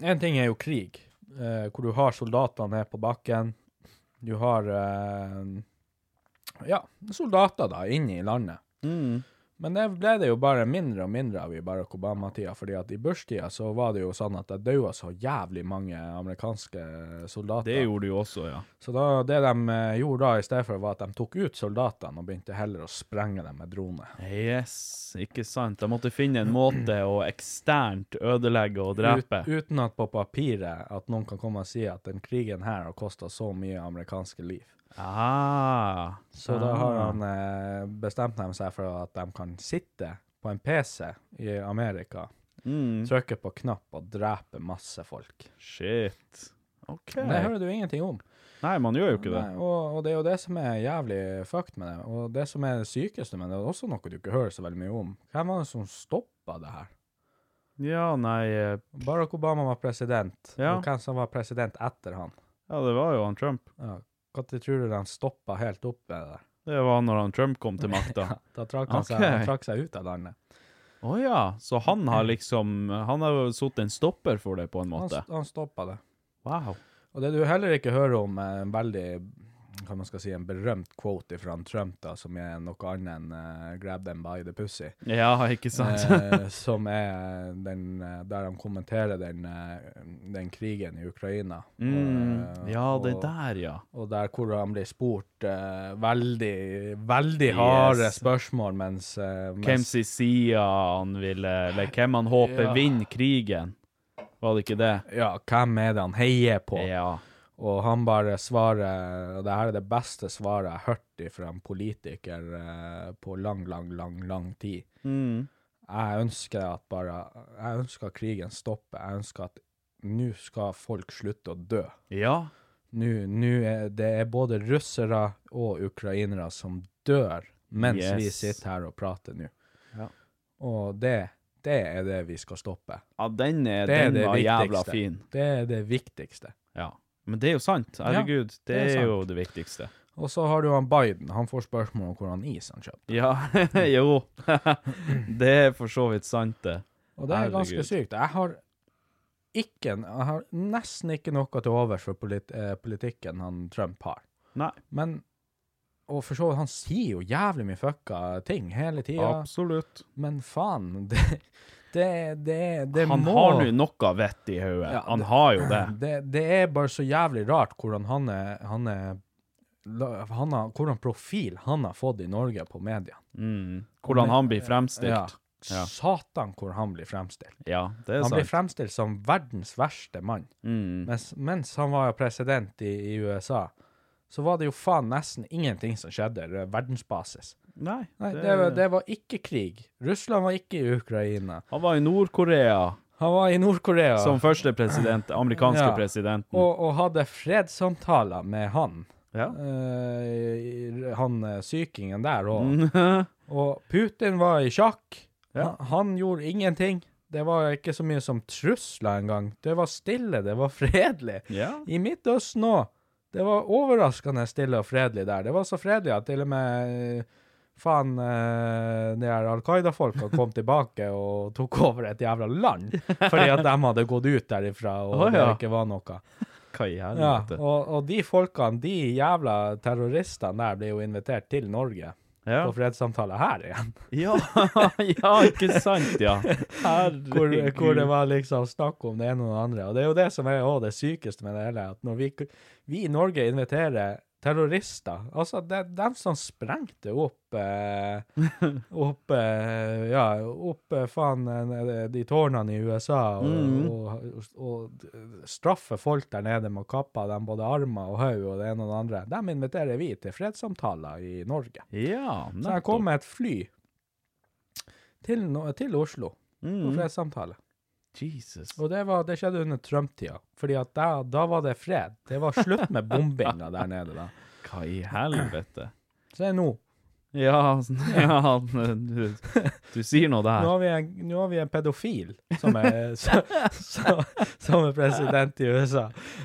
Speaker 3: én ting er jo krig, eh, hvor du har soldatene ned på bakken. Du
Speaker 2: Mm.
Speaker 3: har eh, ja, soldater da, inne i landet. Men det ble det jo bare mindre og mindre av i Barack Obama-tida, fordi at i Bush-tida så var det jo sånn at det daua så jævlig mange amerikanske soldater.
Speaker 2: Det gjorde du jo også, ja.
Speaker 3: Så da, det de eh, gjorde da i stedet for, var at de tok ut soldatene og begynte heller å sprenge dem med drone.
Speaker 2: Yes, ikke sant. Jeg måtte finne en måte å eksternt ødelegge og drepe.
Speaker 3: Ut, uten at på papiret at noen kan komme og si at den krigen her har kosta så mye amerikanske liv.
Speaker 2: Ah,
Speaker 3: Så da har han eh, bestemt dem seg for at de kan sitte på en PC i Amerika,
Speaker 2: mm,
Speaker 3: trykke på knapp og drepe masse folk.
Speaker 2: Shit. OK.
Speaker 3: Men Det hører du ingenting om.
Speaker 2: Nei, man gjør jo ikke det.
Speaker 3: Nei, og, og det er jo det som er jævlig fucked med det. Og det som er det sykeste med det, er også noe du ikke hører så veldig mye om. Hvem var det som stoppa det her?
Speaker 2: Ja, nei eh,
Speaker 3: Barack Obama var president,
Speaker 2: Ja.
Speaker 3: og hvem som var president etter han?
Speaker 2: Ja, det var jo han Trump.
Speaker 3: Ja. Når tror du de stoppa helt opp med det <laughs> der?
Speaker 2: Det var når han Trump kom
Speaker 3: <laughs>
Speaker 2: til makta.
Speaker 3: Ja, da trakk han,
Speaker 2: Ok.
Speaker 3: seg, han trakk seg ut av landet.
Speaker 2: Å ja, så han har liksom Han har jo satt en stopper for det, på en
Speaker 3: Han,
Speaker 2: måte.
Speaker 3: han stoppa det.
Speaker 2: Wow.
Speaker 3: Og det du heller ikke hører om, er en veldig hva man skal si, en berømt quote fra Trump, da, som er noe annet enn eh, 'grab them by the pussy',
Speaker 2: Ja, <laughs> ikke sant?
Speaker 3: eh, som er den, eh, der han kommenterer den, eh, den krigen i Ukraina.
Speaker 2: <laughs> Mm.
Speaker 3: eh,
Speaker 2: Ja, det
Speaker 3: og-
Speaker 2: der, ja.
Speaker 3: Og der hvor han blir spurt eh, veldig, veldig
Speaker 2: Yes.
Speaker 3: harde spørsmål, mens, eh,
Speaker 2: Hvem
Speaker 3: mens
Speaker 2: sin side han ville Eller hvem han håper
Speaker 3: Ja.
Speaker 2: vinner krigen? Var det ikke det?
Speaker 3: ja, hvem er det han heier på?
Speaker 2: Ja.
Speaker 3: Og han bare svarer Og det her er det beste svaret jeg har hørt fra en politiker eh, på lang, lang, lang lang tid.
Speaker 2: Mm.
Speaker 3: Jeg ønsker at bare Jeg ønsker at krigen stopper. Jeg ønsker at nå skal folk slutte å dø.
Speaker 2: Ja.
Speaker 3: Nå, nå er det er både russere og ukrainere som dør mens vi
Speaker 2: Yes.
Speaker 3: sitter her og prater nå.
Speaker 2: Ja.
Speaker 3: Og det, det er det vi skal stoppe.
Speaker 2: Ja, den, er,
Speaker 3: Det er
Speaker 2: den
Speaker 3: det
Speaker 2: var jævla
Speaker 3: viktigste.
Speaker 2: fin.
Speaker 3: Det er det viktigste.
Speaker 2: Ja. Men det er jo sant. Herregud, det,
Speaker 3: det er
Speaker 2: er,
Speaker 3: sant.
Speaker 2: jo det viktigste.
Speaker 3: Og så har du han Biden. Han får spørsmål om hvordan is han kjøper.
Speaker 2: Ja, <laughs> jo. det er for så vidt sant, det.
Speaker 3: Og det er ganske
Speaker 2: Herregud.
Speaker 3: sykt. Jeg har ikke, jeg har nesten ikke noe til overs for polit, eh, politikken han Trump har.
Speaker 2: Nei,
Speaker 3: Men og for så vidt, han sier jo jævlig mye fucka ting hele tida,
Speaker 2: absolutt.
Speaker 3: men faen <laughs> Det, det, det, det
Speaker 2: Han
Speaker 3: må
Speaker 2: har nå noe vett i hodet.
Speaker 3: Ja,
Speaker 2: han
Speaker 3: det-
Speaker 2: har jo det.
Speaker 3: <clears throat> det, det er bare så jævlig rart hvordan han er, han er la- han har, Hvordan profil han har fått i Norge på media.
Speaker 2: Mm. Hvordan han blir fremstilt. Ja.
Speaker 3: Satan, hvor han blir fremstilt.
Speaker 2: Ja, det er
Speaker 3: Han blir
Speaker 2: sant.
Speaker 3: fremstilt som verdens verste mann.
Speaker 2: Mm.
Speaker 3: Mens, mens han var president i, i USA, så var det jo faen nesten ingenting som skjedde eh, verdensbasis.
Speaker 2: Nei,
Speaker 3: Nei, det, var- det var ikke krig. Russland var ikke i Ukraina.
Speaker 2: Han var i Nord-Korea
Speaker 3: Han var i Nord-Korea
Speaker 2: som første
Speaker 3: <clears throat>
Speaker 2: president, amerikanske
Speaker 3: Ja.
Speaker 2: presidenten.
Speaker 3: og, og hadde fredssamtaler med han. <laughs>
Speaker 2: ja.
Speaker 3: Eh, han eh, sykingen der òg. Og Putin var i sjakk.
Speaker 2: Ja.
Speaker 3: Han, han gjorde ingenting. Det var ikke så mye som trusler engang. Det var stille, det var <laughs> fredelig.
Speaker 2: Ja.
Speaker 3: I Midtøsten nå, det var overraskende stille og fredelig der. Det var så fredelig at til og med eh, faen eh, de her Al-Qaida-folka kom tilbake og tok over et jævla land, fordi at de hadde gått ut derifra og
Speaker 2: Å, ja.
Speaker 3: det ikke var noe.
Speaker 2: Hva i
Speaker 3: Ja,
Speaker 2: helvete?
Speaker 3: og, og de folkene, de jævla terroristene der, ble jo invitert til Norge
Speaker 2: Ja.
Speaker 3: på fredssamtaler her igjen.
Speaker 2: Ja. <laughs> ja, ikke sant,
Speaker 3: <laughs>
Speaker 2: ja.
Speaker 3: Hvor,
Speaker 2: Herregud.
Speaker 3: hvor det var liksom snakk om det ene og det andre. Og det er jo det som er også det sykeste med det hele, at når vi, vi i Norge inviterer terrorister, altså de, dem som sprengte opp eh, opp, eh, ja, opp eh, faen eh, de tårnene i USA og, og, og, straffer folk der nede med å kappe av dem både armer og høy og det ene og det andre, dem inviterer vi til fredssamtaler i Norge.
Speaker 2: Ja,
Speaker 3: Så jeg kom med et fly til, No- til Oslo på
Speaker 2: Mm.
Speaker 3: fredssamtale.
Speaker 2: Jesus.
Speaker 3: Og det, var, det skjedde under Trump-tida. Fordi at da, da var det fred. Det var slutt med bombinga der nede da.
Speaker 2: Hva i helvete?
Speaker 3: Så det er nå.
Speaker 2: Ja, sånn- <laughs> ja du, du sier noe
Speaker 3: altså. Nå
Speaker 2: der.
Speaker 3: har vi en, nå har vi en pedofil som er, <laughs> så, så, som er president i USA.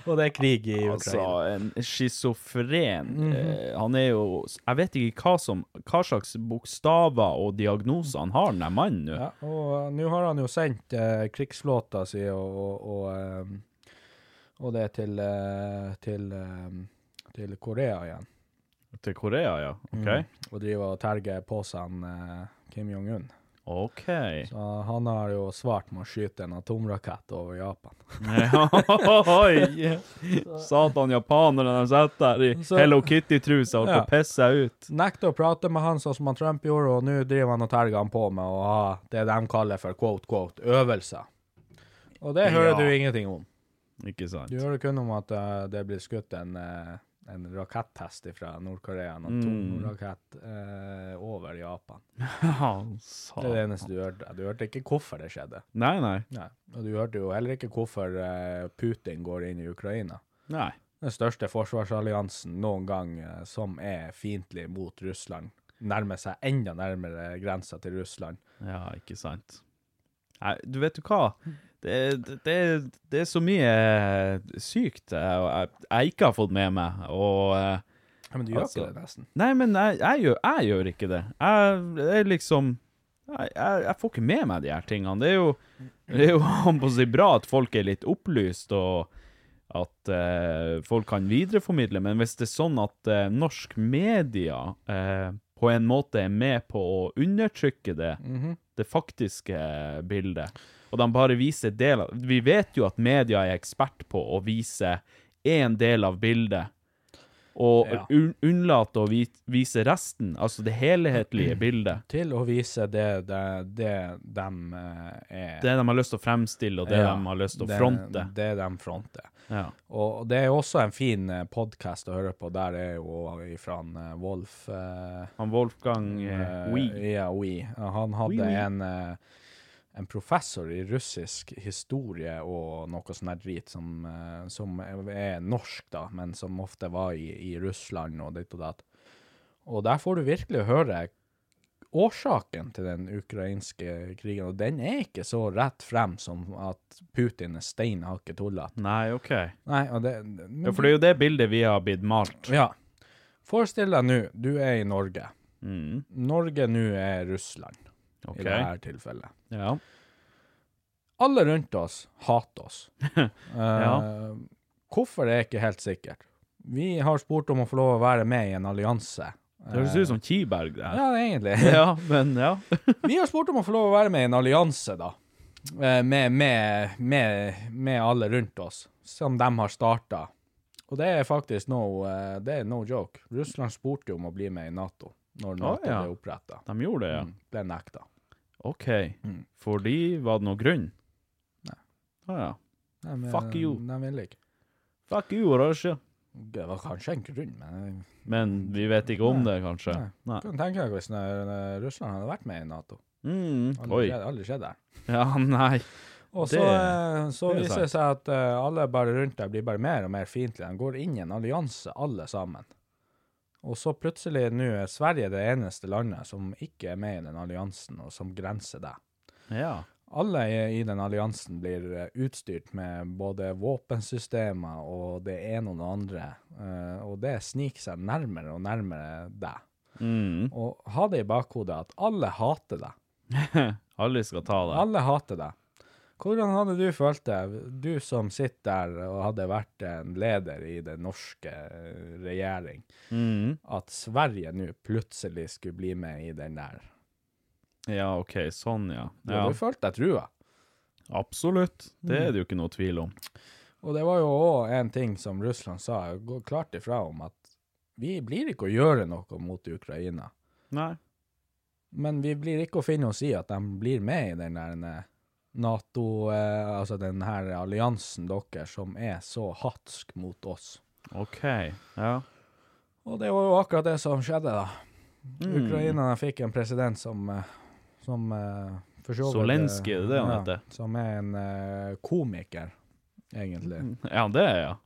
Speaker 3: Og det er krig i
Speaker 2: Altså,
Speaker 3: Ukraina.
Speaker 2: en schizofren
Speaker 3: Mhm.
Speaker 2: eh, Han er jo Jeg vet ikke hva, som, hva slags bokstaver og diagnoser han har, den der mannen nå.
Speaker 3: Ja, og nå har han jo sendt eh, krigsflåta si og, og, og, ehm, og det til, eh, til, ehm, til Korea igjen.
Speaker 2: Til Korea, ja. OK?
Speaker 3: Mhm. Og driver og terger på seg en, eh, Kim Jong-un.
Speaker 2: OK. <laughs>
Speaker 3: Så Han har jo svart med å skyte en atomrakett over Japan.
Speaker 2: Oi! Satan, japanerne de sitter der i
Speaker 3: Så-
Speaker 2: Hello Kitty-trusa og holder på
Speaker 3: Ja.
Speaker 2: å pisse seg ut.
Speaker 3: Nekter å prate med han sånn som han Trump gjorde, og nå driver han og terger han på med å ha det de kaller for quote, quote, øvelser. Og det hører
Speaker 2: Ja.
Speaker 3: du ingenting om.
Speaker 2: Ikke sant?
Speaker 3: Du
Speaker 2: <laughs>
Speaker 3: hører kun om at eh, det blir skutt en, eh, en rakettest fra Nord-Korea, en atomrakett eh, over Japan.
Speaker 2: Ja,
Speaker 3: Det er det
Speaker 2: satan.
Speaker 3: eneste du hørte. Du hørte ikke hvorfor det skjedde.
Speaker 2: Nei, nei.
Speaker 3: Nei. Og du hørte jo heller ikke hvorfor eh, Putin går inn i Ukraina.
Speaker 2: Nei.
Speaker 3: Den største forsvarsalliansen noen gang eh, som er fiendtlig mot Russland, nærmer seg enda nærmere grensa til Russland.
Speaker 2: Ja, ikke sant. Nei, du vet du hva? Det, det, det- det er så mye sykt jeg, jeg, jeg ikke har fått med meg, og eh,
Speaker 3: Ja, men du gjør
Speaker 2: Altså.
Speaker 3: ikke det, nesten.
Speaker 2: Nei, men jeg, jeg, gjør, jeg gjør ikke det. Jeg, jeg liksom jeg, jeg, jeg får ikke med meg de her tingene. Det er jo, det er jo <laughs> han på å si bra at folk er litt opplyst, og at eh, folk kan videreformidle, men hvis det er sånn at eh, norsk media eh, på en måte er med på å undertrykke det, det faktiske bildet, og de bare viser deler Vi vet jo at media er ekspert på å vise én del av bildet, og
Speaker 3: Ja.
Speaker 2: un unnlate å vi vise resten, altså det helhetlige bildet.
Speaker 3: Til å vise det, det, det de er
Speaker 2: Det de har lyst til å fremstille, og det
Speaker 3: Ja,
Speaker 2: de har lyst til å
Speaker 3: det-
Speaker 2: fronte.
Speaker 3: Det de fronter.
Speaker 2: Ja.
Speaker 3: Og det er også en fin podkast å høre på. Der er jo ifra han eh, Wolf eh,
Speaker 2: Han Wolfgang eh,
Speaker 3: Eh,
Speaker 2: Wee.
Speaker 3: Ja, We. Han hadde
Speaker 2: Wee, Wee.
Speaker 3: En, eh, en professor i russisk historie og noe sånn her drit som, eh, som er norsk, da, men som ofte var i, i Russland og ditt og datt. Og der får du virkelig høre årsaken til den ukrainske krigen, og den er ikke så rett frem som at Putin er steinhakket tullete.
Speaker 2: Nei, OK.
Speaker 3: Nei, og det men-
Speaker 2: Ja, for det er jo det bildet vi har blitt malt.
Speaker 3: ja. Forestill deg nå, du er i Norge.
Speaker 2: Mm.
Speaker 3: Norge nå er Russland,
Speaker 2: OK.
Speaker 3: i dette tilfellet.
Speaker 2: Ja.
Speaker 3: Alle rundt oss hater oss.
Speaker 2: <laughs> Ja.
Speaker 3: Eh, Hvorfor er ikke helt sikkert. Vi har spurt om å få lov å være med i en allianse.
Speaker 2: Det høres ut som Kiberg, det her.
Speaker 3: Ja, egentlig.
Speaker 2: <laughs>
Speaker 3: <laughs>
Speaker 2: Ja, men ja.
Speaker 3: Vi har spurt om å få lov å være med i en allianse, da. Eh, Med, med, med, med alle rundt oss, som de har starta. Og det er faktisk no, eh, det er no joke. Russland spurte jo om å bli med i Nato, når Nato
Speaker 2: ja.
Speaker 3: ble oppretta.
Speaker 2: De gjorde det, ja.
Speaker 3: Ble nekta.
Speaker 2: OK.
Speaker 3: Mm.
Speaker 2: Fordi var det noe grunn? Nei. Å ja.
Speaker 3: Nei, men
Speaker 2: Fuck you.
Speaker 3: De ville ikke.
Speaker 2: Fuck you, Russia.
Speaker 3: Det var kanskje en grunn, men jeg
Speaker 2: Men vi vet ikke om det, kanskje. Nei.
Speaker 3: kunne tenke meg hvis eh, Russland hadde vært med i Nato.
Speaker 2: Mm.
Speaker 3: Aldri
Speaker 2: Oi.
Speaker 3: skjedd, aldri skjedd der.
Speaker 2: Ja, nei.
Speaker 3: Og
Speaker 2: Det-
Speaker 3: så, eh, så
Speaker 2: det er
Speaker 3: viser det seg at eh, alle bare rundt deg blir bare mer og mer fiendtlige. De går inn i en allianse, alle sammen. Og så plutselig nå er Sverige det eneste landet som ikke er med i den alliansen, og som grenser deg.
Speaker 2: Ja.
Speaker 3: Alle i i den alliansen blir eh, utstyrt med både våpensystemer og det ene og det andre, eh, og det sniker seg nærmere og nærmere deg.
Speaker 2: Mm.
Speaker 3: Og ha det i bakhodet at alle hater deg.
Speaker 2: <laughs> Alle skal ta det.
Speaker 3: Alle hater deg. Hvordan hadde du følt det, du som sitter der og hadde vært en leder i den norske eh, regjering,
Speaker 2: Mm.
Speaker 3: at Sverige nå plutselig skulle bli med i den der?
Speaker 2: Ja, OK. Sånn, ja.
Speaker 3: Du
Speaker 2: ja.
Speaker 3: hadde jo følt deg trua.
Speaker 2: Absolutt. Det er det jo ikke noe tvil om.
Speaker 3: Og det var jo òg en ting som Russland sa, gå klart ifra om at vi blir ikke å gjøre noe mot Ukraina,
Speaker 2: Nei.
Speaker 3: men vi blir ikke å finne oss i at de blir med i den der eh, Nato, eh, altså den her alliansen deres som er så hatsk mot oss.
Speaker 2: OK. Ja.
Speaker 3: Og det var jo akkurat det som skjedde, da.
Speaker 2: Mm.
Speaker 3: Ukraina fikk en president som eh, Som eh, for så vidt, eh,
Speaker 2: Zelenskyj, det er det han heter.
Speaker 3: Som er en eh, komiker, egentlig.
Speaker 2: Ja, det er ja. <laughs>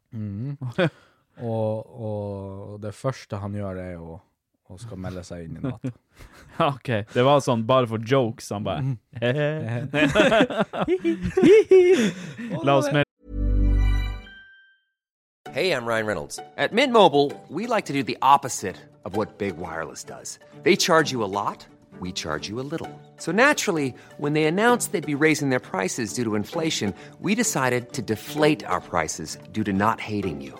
Speaker 3: Og, og det første han gjør, er jo å skal melde seg inn i Nato.
Speaker 2: Ja, OK. Det var sånn bare for jokes. Han
Speaker 3: Mm.
Speaker 2: bare <laughs>
Speaker 3: <laughs>
Speaker 2: Hehe. La oss melde
Speaker 4: <laughs> Hey, I'm Ryan Reynolds. At Mint Mobile, we like to do the opposite of what Big Wireless does. They charge you a lot, we charge you a little. So naturally, when they announced they'd be raising their prices due to inflation, we decided to deflate our prices due to not hating you.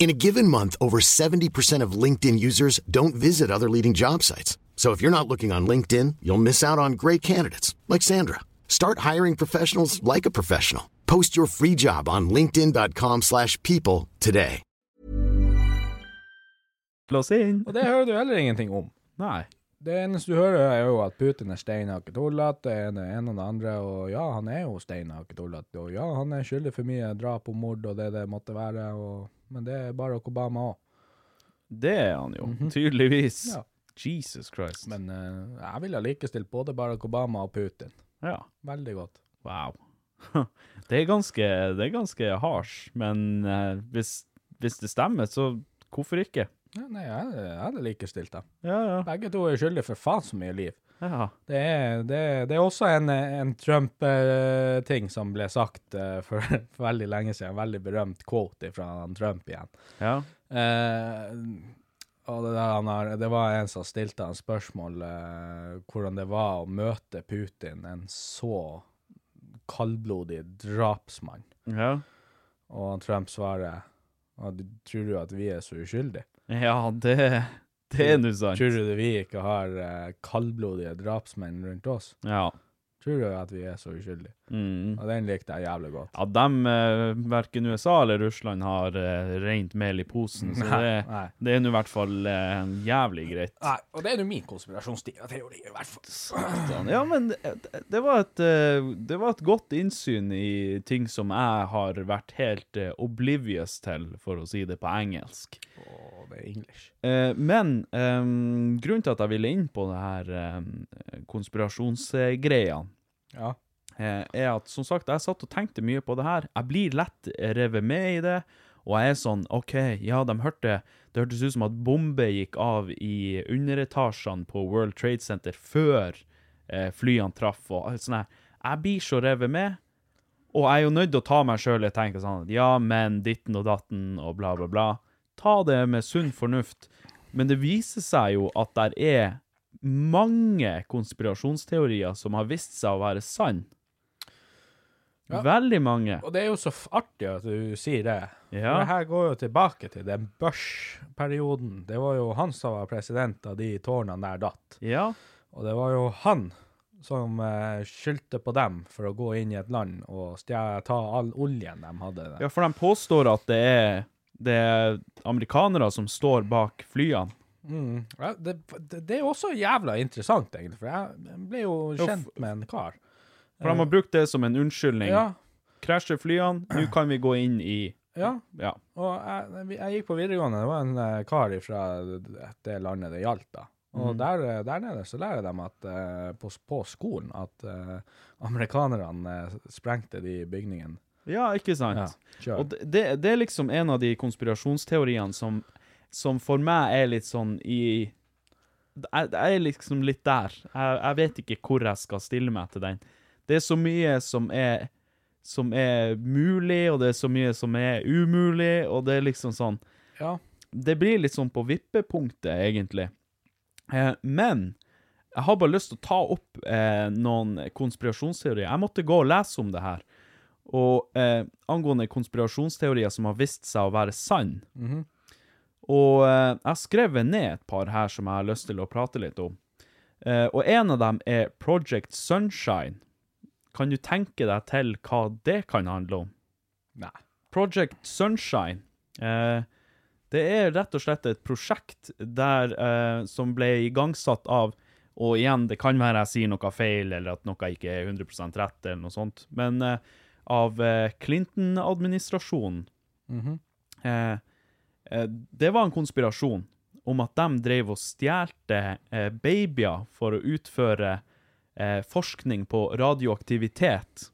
Speaker 5: In a given month, over 70% of LinkedIn users don't visit other leading job sites. So if you're not looking on LinkedIn, you'll miss out on great candidates like Sandra. Start hiring professionals like a professional. Post your free job on linkedin.com/people slash people today.
Speaker 2: Lås inn.
Speaker 3: Og det hører du heller ingenting om.
Speaker 2: Nei.
Speaker 3: Det eneste du hører, er jo at Putin er steinhakket tullete, det ene det ene og det andre, og ja, han er jo steinhakket tullete, og ja, han er skyldig for mye drap og mord og det det måtte være, og, men det er Barack Obama òg.
Speaker 2: Det er han jo, tydeligvis.
Speaker 3: Mhm. Ja.
Speaker 2: Jesus Christ.
Speaker 3: Men eh, jeg ville ha likestilt både Barack Obama og Putin.
Speaker 2: Ja.
Speaker 3: Veldig godt.
Speaker 2: Wow. <laughs> Det er ganske, det er ganske harsh, men eh, hvis, hvis det stemmer, så hvorfor ikke?
Speaker 3: Ja, nei, jeg, jeg hadde likestilt dem.
Speaker 2: Ja, ja.
Speaker 3: Begge to er skyldige for faen så mye liv.
Speaker 2: ja.
Speaker 3: Det er, det, det er også en, en Trump-ting som ble sagt eh, for, <laughs> for veldig lenge siden. En veldig berømt quote fra Trump igjen.
Speaker 2: ja.
Speaker 3: Eh, og det, der han har, det var en som stilte han spørsmål eh, hvordan det var å møte Putin, en så kaldblodig drapsmann.
Speaker 2: ja.
Speaker 3: Og han Trump svarer «Ja, du- Tror du at vi er så uskyldige?
Speaker 2: Ja, det, det er nå sant.
Speaker 3: Tror du vi ikke har eh, kaldblodige drapsmenn rundt oss?
Speaker 2: Ja.
Speaker 3: Tror du at vi er så uskyldige?
Speaker 2: Mm.
Speaker 3: Og den likte jeg jævlig godt.
Speaker 2: Ja, dem, eh, hverken USA eller Russland har eh, rent mel i posen, så det,
Speaker 3: nei. Ah.
Speaker 2: det er nå i hvert fall eh, jævlig greit.
Speaker 3: Nei, og det er jo min konspirasjonsteori, i hvert fall.
Speaker 2: Sånn. Ja, men det, det, var et, eh, det var et godt innsyn i ting som jeg har vært helt eh, oblivious til, for å si det på engelsk.
Speaker 3: Og det er English.
Speaker 2: Eh, men ehm, grunnen til at jeg ville inn på det her eh, konspirasjonsgreiene,
Speaker 3: Ja.
Speaker 2: eh, er at som sagt, jeg satt og tenkte mye på det her. Jeg blir lett revet med i det, og jeg er sånn OK, ja, de hørte Det hørtes ut som at bombe gikk av i underetasjene på World Trade Center før eh, flyene traff, og alt sånt her. Jeg blir så revet med. Og jeg er jo nødt til å ta meg sjøl og tenke sånn at ja, men ditten og datten og bla, bla, bla. Ta det med sunn fornuft. Men det viser seg jo at der er mange konspirasjonsteorier som har vist seg å være sann. Veldig mange.
Speaker 3: Og det er jo så f- artig at du sier det.
Speaker 2: Ja.
Speaker 3: For det her går jo tilbake til den Bush-perioden. Det var jo han som var president da de tårnene der datt.
Speaker 2: Ja.
Speaker 3: Og det var jo han som eh, skyldte på dem for å gå inn i et land og stjæ- ta all oljen de hadde der.
Speaker 2: ja, for de påstår at det er, det er amerikanere som står bak flyene.
Speaker 3: Mm. Ja, det, det, det er jo også jævla interessant, egentlig, for jeg ble jo
Speaker 2: Jo,
Speaker 3: kjent
Speaker 2: f-
Speaker 3: med en kar.
Speaker 2: For de har brukt det som en unnskyldning.
Speaker 3: Ja,
Speaker 2: Krasjer flyene, nå kan vi gå inn i
Speaker 3: ja.
Speaker 2: Ja.
Speaker 3: Og jeg, jeg gikk på videregående, det var en eh, kar fra det landet det gjaldt da. Og
Speaker 2: Mhm.
Speaker 3: der, eh, der nede så lærer de at, eh, på, på skolen at eh, amerikanerne eh, sprengte de bygningene.
Speaker 2: Ja, ikke sant?
Speaker 3: Ja, kjør.
Speaker 2: Og det, det- det er liksom en av de konspirasjonsteoriene som, som for meg er litt sånn i Jeg, jeg er liksom litt der. Jeg, jeg vet ikke hvor jeg skal stille meg til den. Det er så mye som er som er mulig, og det er så mye som er umulig, og det er liksom sånn
Speaker 3: Ja.
Speaker 2: Det blir litt sånn på vippepunktet, egentlig. Eh, men jeg har bare lyst til å ta opp eh, noen konspirasjonsteorier. Jeg måtte gå og lese om det her. Og eh, angående konspirasjonsteorier som har vist seg å være sann. Og eh, jeg har skrevet ned et par her som jeg har lyst til å prate litt om. Eh, og en av dem er Project Sunshine. Kan du tenke deg til hva det kan handle om?
Speaker 3: Nei.
Speaker 2: Project Sunshine. Eh, det er rett og slett et prosjekt der, eh, som ble igangsatt av Og igjen, det kan være jeg sier noe feil, eller at noe ikke er 100 rett, eller noe sånt, men eh, av eh, Clinton-administrasjonen. Eh, eh, det var en konspirasjon om at de drev og stjelte eh, babyer for å utføre eh, forskning på radioaktivitet.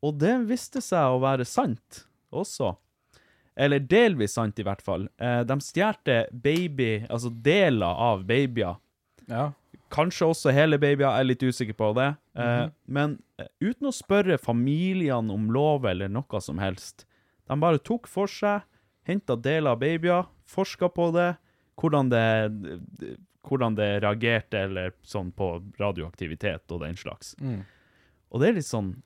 Speaker 2: Og det viste seg å være sant også. Eller delvis sant, i hvert fall. Eh, De stjal baby, altså deler av babyer,
Speaker 3: Ja.
Speaker 2: Kanskje også hele babyer, jeg er litt usikker på det. Eh, Men eh, uten å spørre familiene om lov eller noe som helst. De bare tok for seg, henta deler av babyer, forska på det, hvordan det, hvordan det reagerte eller sånn på radioaktivitet og den slags. Og det er litt sånn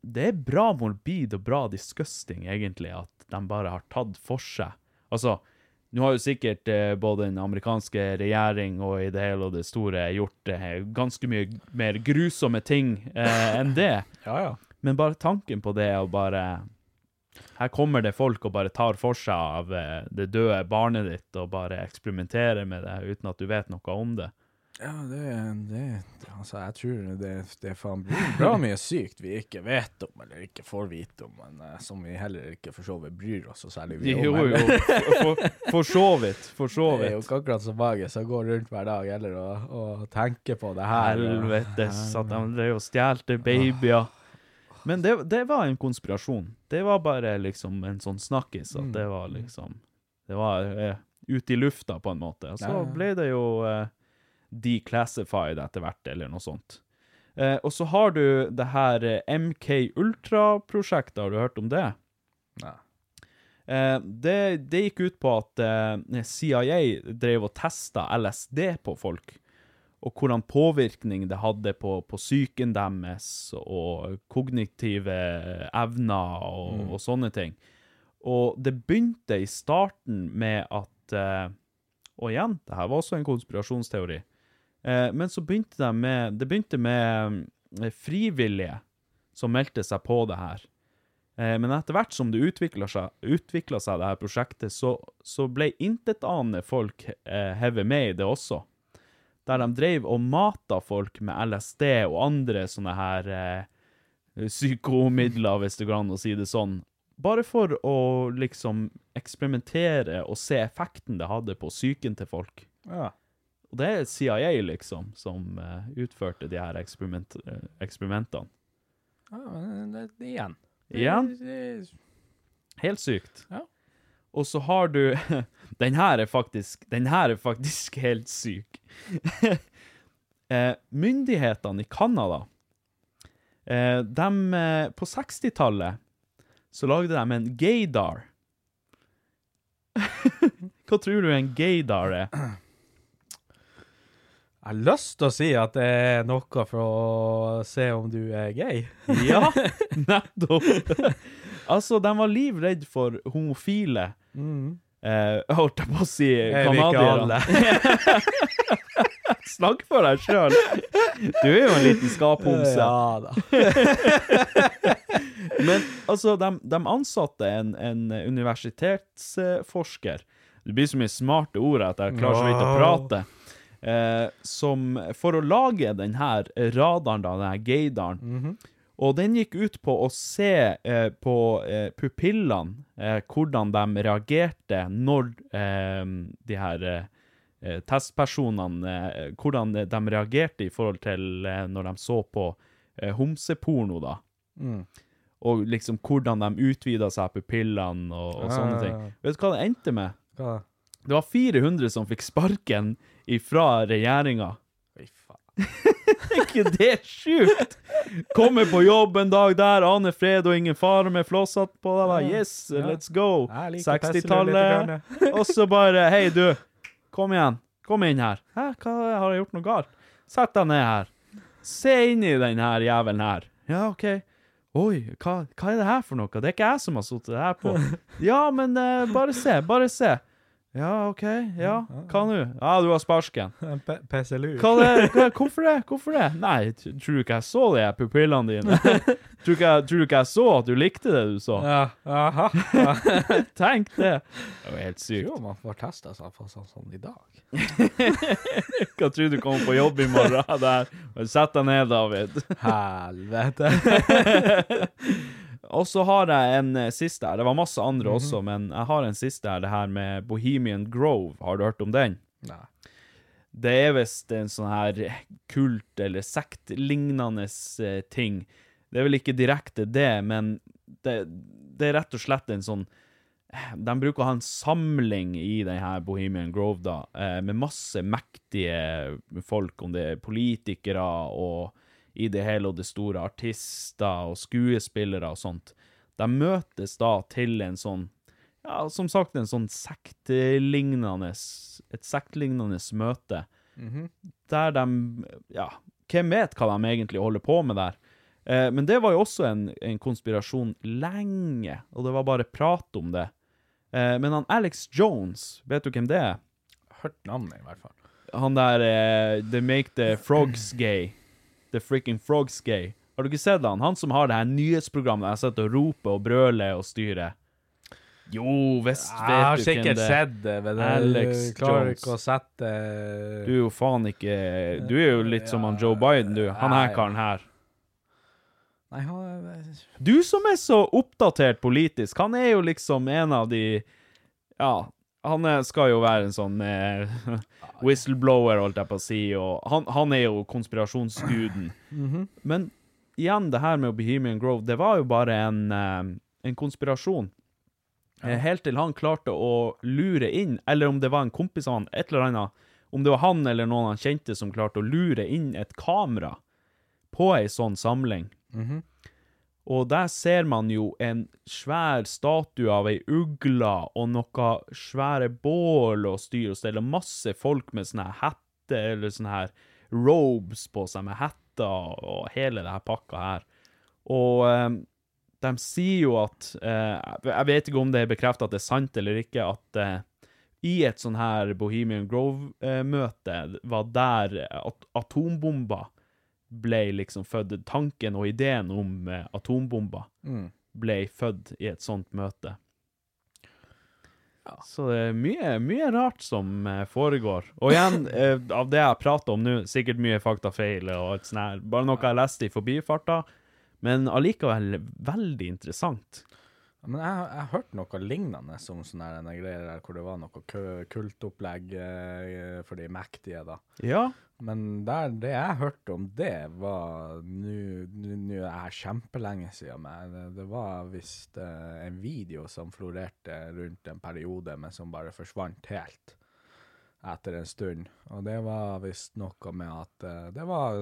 Speaker 2: Det er bra morbid og bra disgusting, egentlig, at de bare har tatt for seg. Altså, nå har jo sikkert eh, både den amerikanske regjering og i det hele og det store gjort eh, ganske mye mer grusomme ting eh, enn det.
Speaker 3: Ja, ja.
Speaker 2: Men bare tanken på det og bare Her kommer det folk og bare tar for seg av eh, det døde barnet ditt og bare eksperimenterer med det uten at du vet noe om det.
Speaker 3: Ja, det, det Altså, jeg tror det, det er faen blir bra mye sykt vi ikke vet om, eller ikke får vite om, men eh, som vi heller ikke for så vidt bryr oss så særlig vi
Speaker 2: <laughs> Jo,
Speaker 3: om.
Speaker 2: jo.
Speaker 3: heller.
Speaker 2: For, for så vidt. For så
Speaker 3: Det er jo
Speaker 2: vidt.
Speaker 3: ikke akkurat så mange som går rundt hver dag heller og, og tenker på det her.
Speaker 2: eh, Helvetes at de drev og stjelte babyer. eh. Men det, det var en konspirasjon. Det var bare liksom en sånn snakkis.
Speaker 3: Mm.
Speaker 2: At det var liksom Det var eh, ute i lufta, på en måte. Og så
Speaker 3: Ja, ja.
Speaker 2: ble det jo eh, declassified etter hvert, eller noe sånt. Eh, og så har du det her eh, MK Ultra-prosjektet. Har du hørt om det?
Speaker 3: Nei.
Speaker 2: Eh, det, det gikk ut på at eh, CIA drev og testa LSD på folk, og hvordan påvirkning det hadde på, på psyken deres, og kognitive evner og, og sånne ting. Og det begynte i starten med at eh, Og igjen, det her var også en konspirasjonsteori. Eh, men så begynte det med Det begynte med eh, frivillige som meldte seg på det her. Eh, Men etter hvert som det utvikla seg, utviklet seg det her prosjektet, så, så ble intetanende folk eh, hevet med i det også. Der de drev og mata folk med LSD og andre sånne her eh, psykomidler, hvis det går an å si det sånn. Bare for å liksom eksperimentere og se effekten det hadde på psyken til folk.
Speaker 3: Ja.
Speaker 2: Og det er CIA, liksom, som eh, utførte de her eksperiment, eh, eksperimentene.
Speaker 3: ja, men det, det, igjen.
Speaker 2: Igjen?
Speaker 3: Det, det,
Speaker 2: Helt sykt.
Speaker 3: Ja.
Speaker 2: Og så har du <laughs> Den her er faktisk Den her er faktisk <laughs> helt syk. Eh, Myndighetene i Canada eh, dem, eh, På 60-tallet så lagde de en gaydar. <laughs> Hva tror du en gaydar er?
Speaker 3: jeg har lyst til å si at det er noe for å se om du er gay.
Speaker 2: Ja, nettopp! <laughs> altså, de var livredd for homofile. Eh, jeg holdt jeg på å si
Speaker 3: Er vi ikke
Speaker 2: canadiere. <laughs> Snakk for deg
Speaker 3: <laughs>
Speaker 2: sjøl! Du er jo en liten skaphomse.
Speaker 3: Ja da.
Speaker 2: Men altså, de, de ansatte en, en universitetsforsker Det blir så mye smarte ord at jeg klarer så vidt å
Speaker 3: Wow.
Speaker 2: prate. Eh, som For å lage den her radaren, da, den her gaydaren Og den gikk ut på å se eh, på eh, pupillene, eh, hvordan de reagerte når eh, de her eh, eh, testpersonene eh, Hvordan de reagerte i forhold til eh, når de så på eh, homseporno, da og liksom hvordan de utvida seg pupillene og, og
Speaker 3: Ah.
Speaker 2: sånne ting. Vet du hva det endte med?
Speaker 3: Hva?
Speaker 2: Det var 400 som fikk sparken ifra regjeringa.
Speaker 3: Fy faen.
Speaker 2: <laughs> ikke det sjukt? Kommer på jobb en dag der, aner fred og ingen fare med flåshatt på deg.
Speaker 3: Ah,
Speaker 2: bare, Yes, let's go.
Speaker 3: Jeg liker Tesla
Speaker 2: 60-tallet. <laughs> Og så bare Hei, du. Kom igjen. Kom inn her. Hæ, hva har jeg gjort noe galt? Sett deg ned her. Se inn i den her jævelen her. Ja, OK. Oi, hva, hva er det her for noe? Det er ikke jeg som har sittet det her
Speaker 3: <laughs>
Speaker 2: på. Ja, men eh, bare se, bare se. Ja, OK. Ja, hva nå? Ja, du har sparken.
Speaker 3: En pe- PSLU.
Speaker 2: Hva det, hva, hvorfor det? Hvorfor det? Nei, t- tror du ikke jeg så de her pupillene
Speaker 3: <laughs>
Speaker 2: dine? tror, du ikke, jeg- tror du ikke jeg så at du likte det du så?
Speaker 3: Ja, aha. Ja.
Speaker 2: Tenk det! Det var helt
Speaker 3: <laughs>
Speaker 2: sykt.
Speaker 3: Jo, man får testa seg for sånn som i dag.
Speaker 2: Hva tror du kommer på jobb i <laughs> morgen? Der. Men Sett deg ned, David.
Speaker 3: Helvete.
Speaker 2: <laughs> Og så har jeg en eh, siste her. Det var masse andre også, men jeg har en siste her. Det her med Bohemian Grove. Har du hørt om den?
Speaker 3: <laughs> Nei.
Speaker 2: Det er visst en sånn her kult- eller sektlignende eh, ting. Det er vel ikke direkte det, men det, det er rett og slett en sånn de bruker å ha en samling i denne Bohemian Grove da, eh, med masse mektige folk, om det er politikere og i det hele og det store artister og skuespillere og sånt. De møtes da til en sånn, ja, som sagt, en sånn sektelignende, et sektlignende møte, der de, ja, hvem vet hva de egentlig holder på med der? Eh, men det var jo også en, en konspirasjon lenge, og det var bare prat om det. Eh, men han Alex Jones, vet du hvem det er?
Speaker 3: Hørt navnet, i hvert fall.
Speaker 2: Han der eh, They Make The Frogs Gay. The Freaking Frogs Gay. Har du ikke sett han? Han som har det her nyhetsprogrammet der han sitter og roper og brøler og styrer. Jo, visst vet
Speaker 3: Jeg har
Speaker 2: du hvem
Speaker 3: sikkert
Speaker 2: det er.
Speaker 3: sett det, men
Speaker 2: Alex
Speaker 3: jeg klarer
Speaker 2: Jones.
Speaker 3: ikke å sette
Speaker 2: Du er jo faen ikke Du er jo litt som han Joe Biden, du. Han her
Speaker 3: Nei.
Speaker 2: karen her.
Speaker 3: Nei, han
Speaker 2: Du som er så oppdatert politisk, han er jo liksom en av de Ja, han er, skal jo være en sånn eh, <laughs> whistleblower, holdt jeg på å si, og han, han er jo konspirasjonsguden. Men igjen, det her med Bohemian Grove, det var jo bare en, eh, en konspirasjon. Eh, Helt til han klarte å lure inn, eller om det var en kompis av han, et eller annet, om det var han eller noen han kjente som klarte å lure inn et kamera på ei sånn samling. Og der ser man jo en svær statue av ei ugle og noe svære bål og styr og stell, og masse folk med sånne her hette eller sånne her robes på seg med hetter og hele det her pakka her. Og eh, de sier jo at eh, Jeg vet ikke om det er bekrefta at det er sant eller ikke, at eh, i et sånn her Bohemian Grove-møte var der at atombomber ble liksom født Tanken og ideen om eh, atombomber
Speaker 3: Mm.
Speaker 2: ble født i et sånt møte. Så det er mye, mye rart som eh, foregår. Og
Speaker 3: <laughs>
Speaker 2: igjen, eh, av det jeg prater om nå, sikkert mye faktafeil og alt sånt her. Bare noe jeg leste i forbifarta, men allikevel veldig interessant.
Speaker 3: Men jeg, jeg har hørt noe lignende som sånne her- denne greier der hvor det var noe kø- kultopplegg eh, for de mektige, da.
Speaker 2: Ja.
Speaker 3: Men der, det jeg hørte om det, var Nå nå er jeg kjempelenge siden, men det, det var visst eh, en video som florerte rundt en periode, men som bare forsvant helt etter en stund. Og det var visst noe med at eh, Det var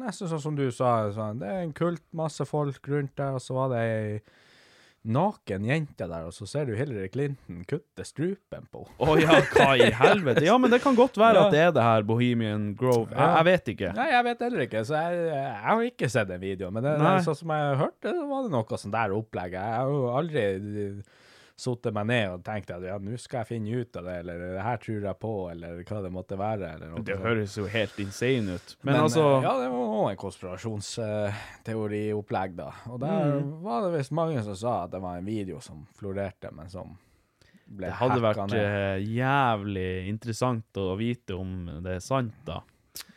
Speaker 3: nesten sånn som du sa. Sånn, det er en kult, masse folk rundt der, og så var det ei naken jente der, og så ser du Hillary Clinton kutte strupen på henne.
Speaker 2: Å ja, hva i helvete? Ja, men det kan godt være at det er det her Bohemian Grove. Jeg, jeg vet ikke.
Speaker 3: Nei, jeg vet heller ikke, så jeg, jeg har ikke sett den videoen. Men det, det,
Speaker 2: Nei.
Speaker 3: sånn som jeg hørte, så var det noe sånn der opplegg. Jeg har jo aldri sittet meg ned og tenkt at ja, nå skal jeg finne ut av det, eller det her tror jeg på, eller hva det måtte være. Eller noe
Speaker 2: Det
Speaker 3: sånt.
Speaker 2: høres jo helt insane ut. Men,
Speaker 3: Men,
Speaker 2: altså
Speaker 3: eh, Ja, det var òg en konspirasjonsteoriopplegg, da. Og der
Speaker 2: Mm.
Speaker 3: var det visst mange som sa at det var en video som florerte, men som ble
Speaker 2: Det hadde
Speaker 3: hacka
Speaker 2: vært
Speaker 3: ned.
Speaker 2: eh, jævlig interessant å vite om det er sant, da.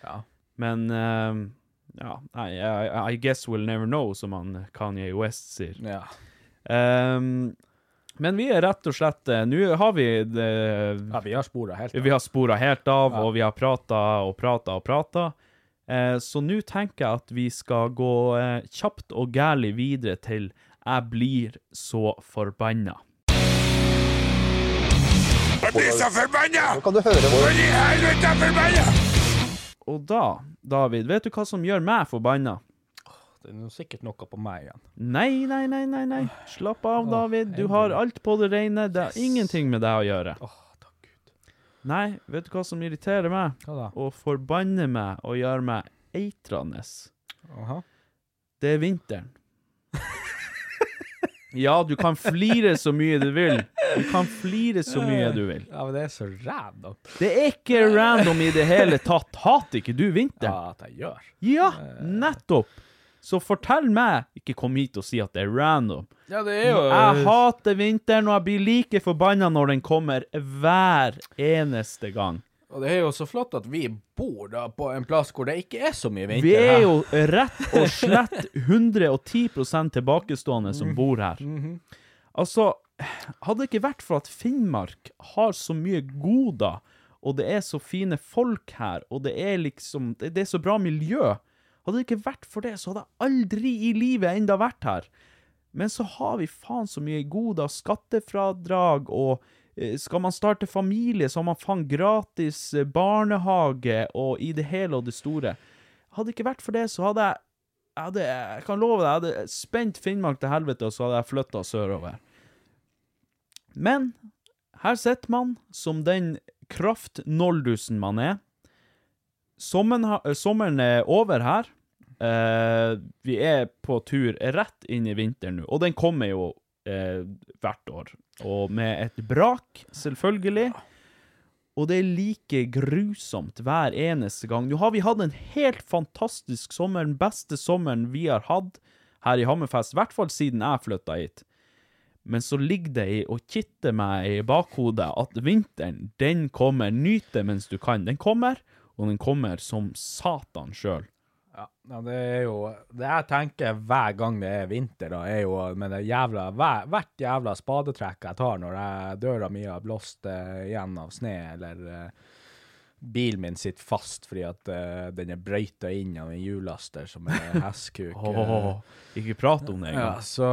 Speaker 3: Ja.
Speaker 2: Men eh, ja, I, I, I guess we'll never know, som han Kanye West sier.
Speaker 3: Ja.
Speaker 2: Ehm, men vi er rett og slett eh, Nå har vi det,
Speaker 3: ja, vi har spora helt.
Speaker 2: Vi har spora helt av, og vi har prata og prata og prata. Eh, så nå tenker jeg at vi skal gå eh, kjapt og gærlig videre til Jeg blir så forbanna. Og da, David, vet du hva som gjør meg forbanna?
Speaker 3: Det er jo sikkert noe på meg igjen.
Speaker 2: Nei, nei, nei, nei, nei. Slapp av, David. Du har alt på det rene. Det har ingenting med deg å gjøre. Nei, vet du hva som irriterer meg?
Speaker 3: Hva da?
Speaker 2: Å forbanne meg og gjøre meg eitrende.
Speaker 3: Aha.
Speaker 2: Det er
Speaker 3: <laughs>
Speaker 2: vinteren. ja, du kan flire så mye du vil. Du kan flire så mye du vil.
Speaker 3: Ja, men det er så random.
Speaker 2: Det er ikke random i det hele tatt. Hater ikke du
Speaker 3: Ja,
Speaker 2: vinteren?
Speaker 3: at jeg gjør.
Speaker 2: Ja, nettopp. Så fortell meg Ikke kom hit og si at det er random.
Speaker 3: Ja, det er jo
Speaker 2: Jeg hater vinteren, og jeg blir like forbanna når den kommer hver eneste gang.
Speaker 3: Og det er jo så flott at vi bor da på en plass hvor det ikke er så mye vinter.
Speaker 2: Vi er
Speaker 3: her.
Speaker 2: jo rett og slett 110 tilbakestående som
Speaker 3: Mhm.
Speaker 2: bor her. Altså, hadde det ikke vært for at Finnmark har så mye goder, og det er så fine folk her, og det er liksom Det, det er så bra miljø. Hadde det ikke vært for det, så hadde jeg aldri i livet enda vært her. Men så har vi faen så mye goder, skattefradrag og eh, skal man starte familie, så har man faen gratis eh, barnehage og i det hele og det store. Hadde det ikke vært for det, så hadde jeg jeg, hadde, jeg kan love deg, jeg hadde spent Finnmark til helvete, og så hadde jeg flytta sørover. Men her sitter man som den kraftnoldusen man er. Sommeren, ha- sommeren er over her. Eh, vi er på tur rett inn i vinteren nå, og den kommer jo eh, hvert år. Og med et brak, selvfølgelig. Og det er like grusomt hver eneste gang. Nå har vi hatt en helt fantastisk sommer, den beste sommeren vi har hatt her i Hammerfest, i hvert fall siden jeg flytta hit. Men så ligger det i og kitter meg i bakhodet at vinteren, den kommer. Nyt det mens du kan. Den kommer, og den kommer som satan sjøl.
Speaker 3: Ja, ja, det er jo Det jeg tenker hver gang det er vinter, da, er jo med det jævla hver, Hvert jævla spadetrekk jeg tar når jeg, døra mi har blåst eh, igjen av snø, eller eh, bilen min sitter fast fordi at eh, den er brøyta inn av en hjullaster som er <laughs> hestkuk. eh,
Speaker 2: ikke prat om det
Speaker 3: Ja,
Speaker 2: engang.
Speaker 3: så,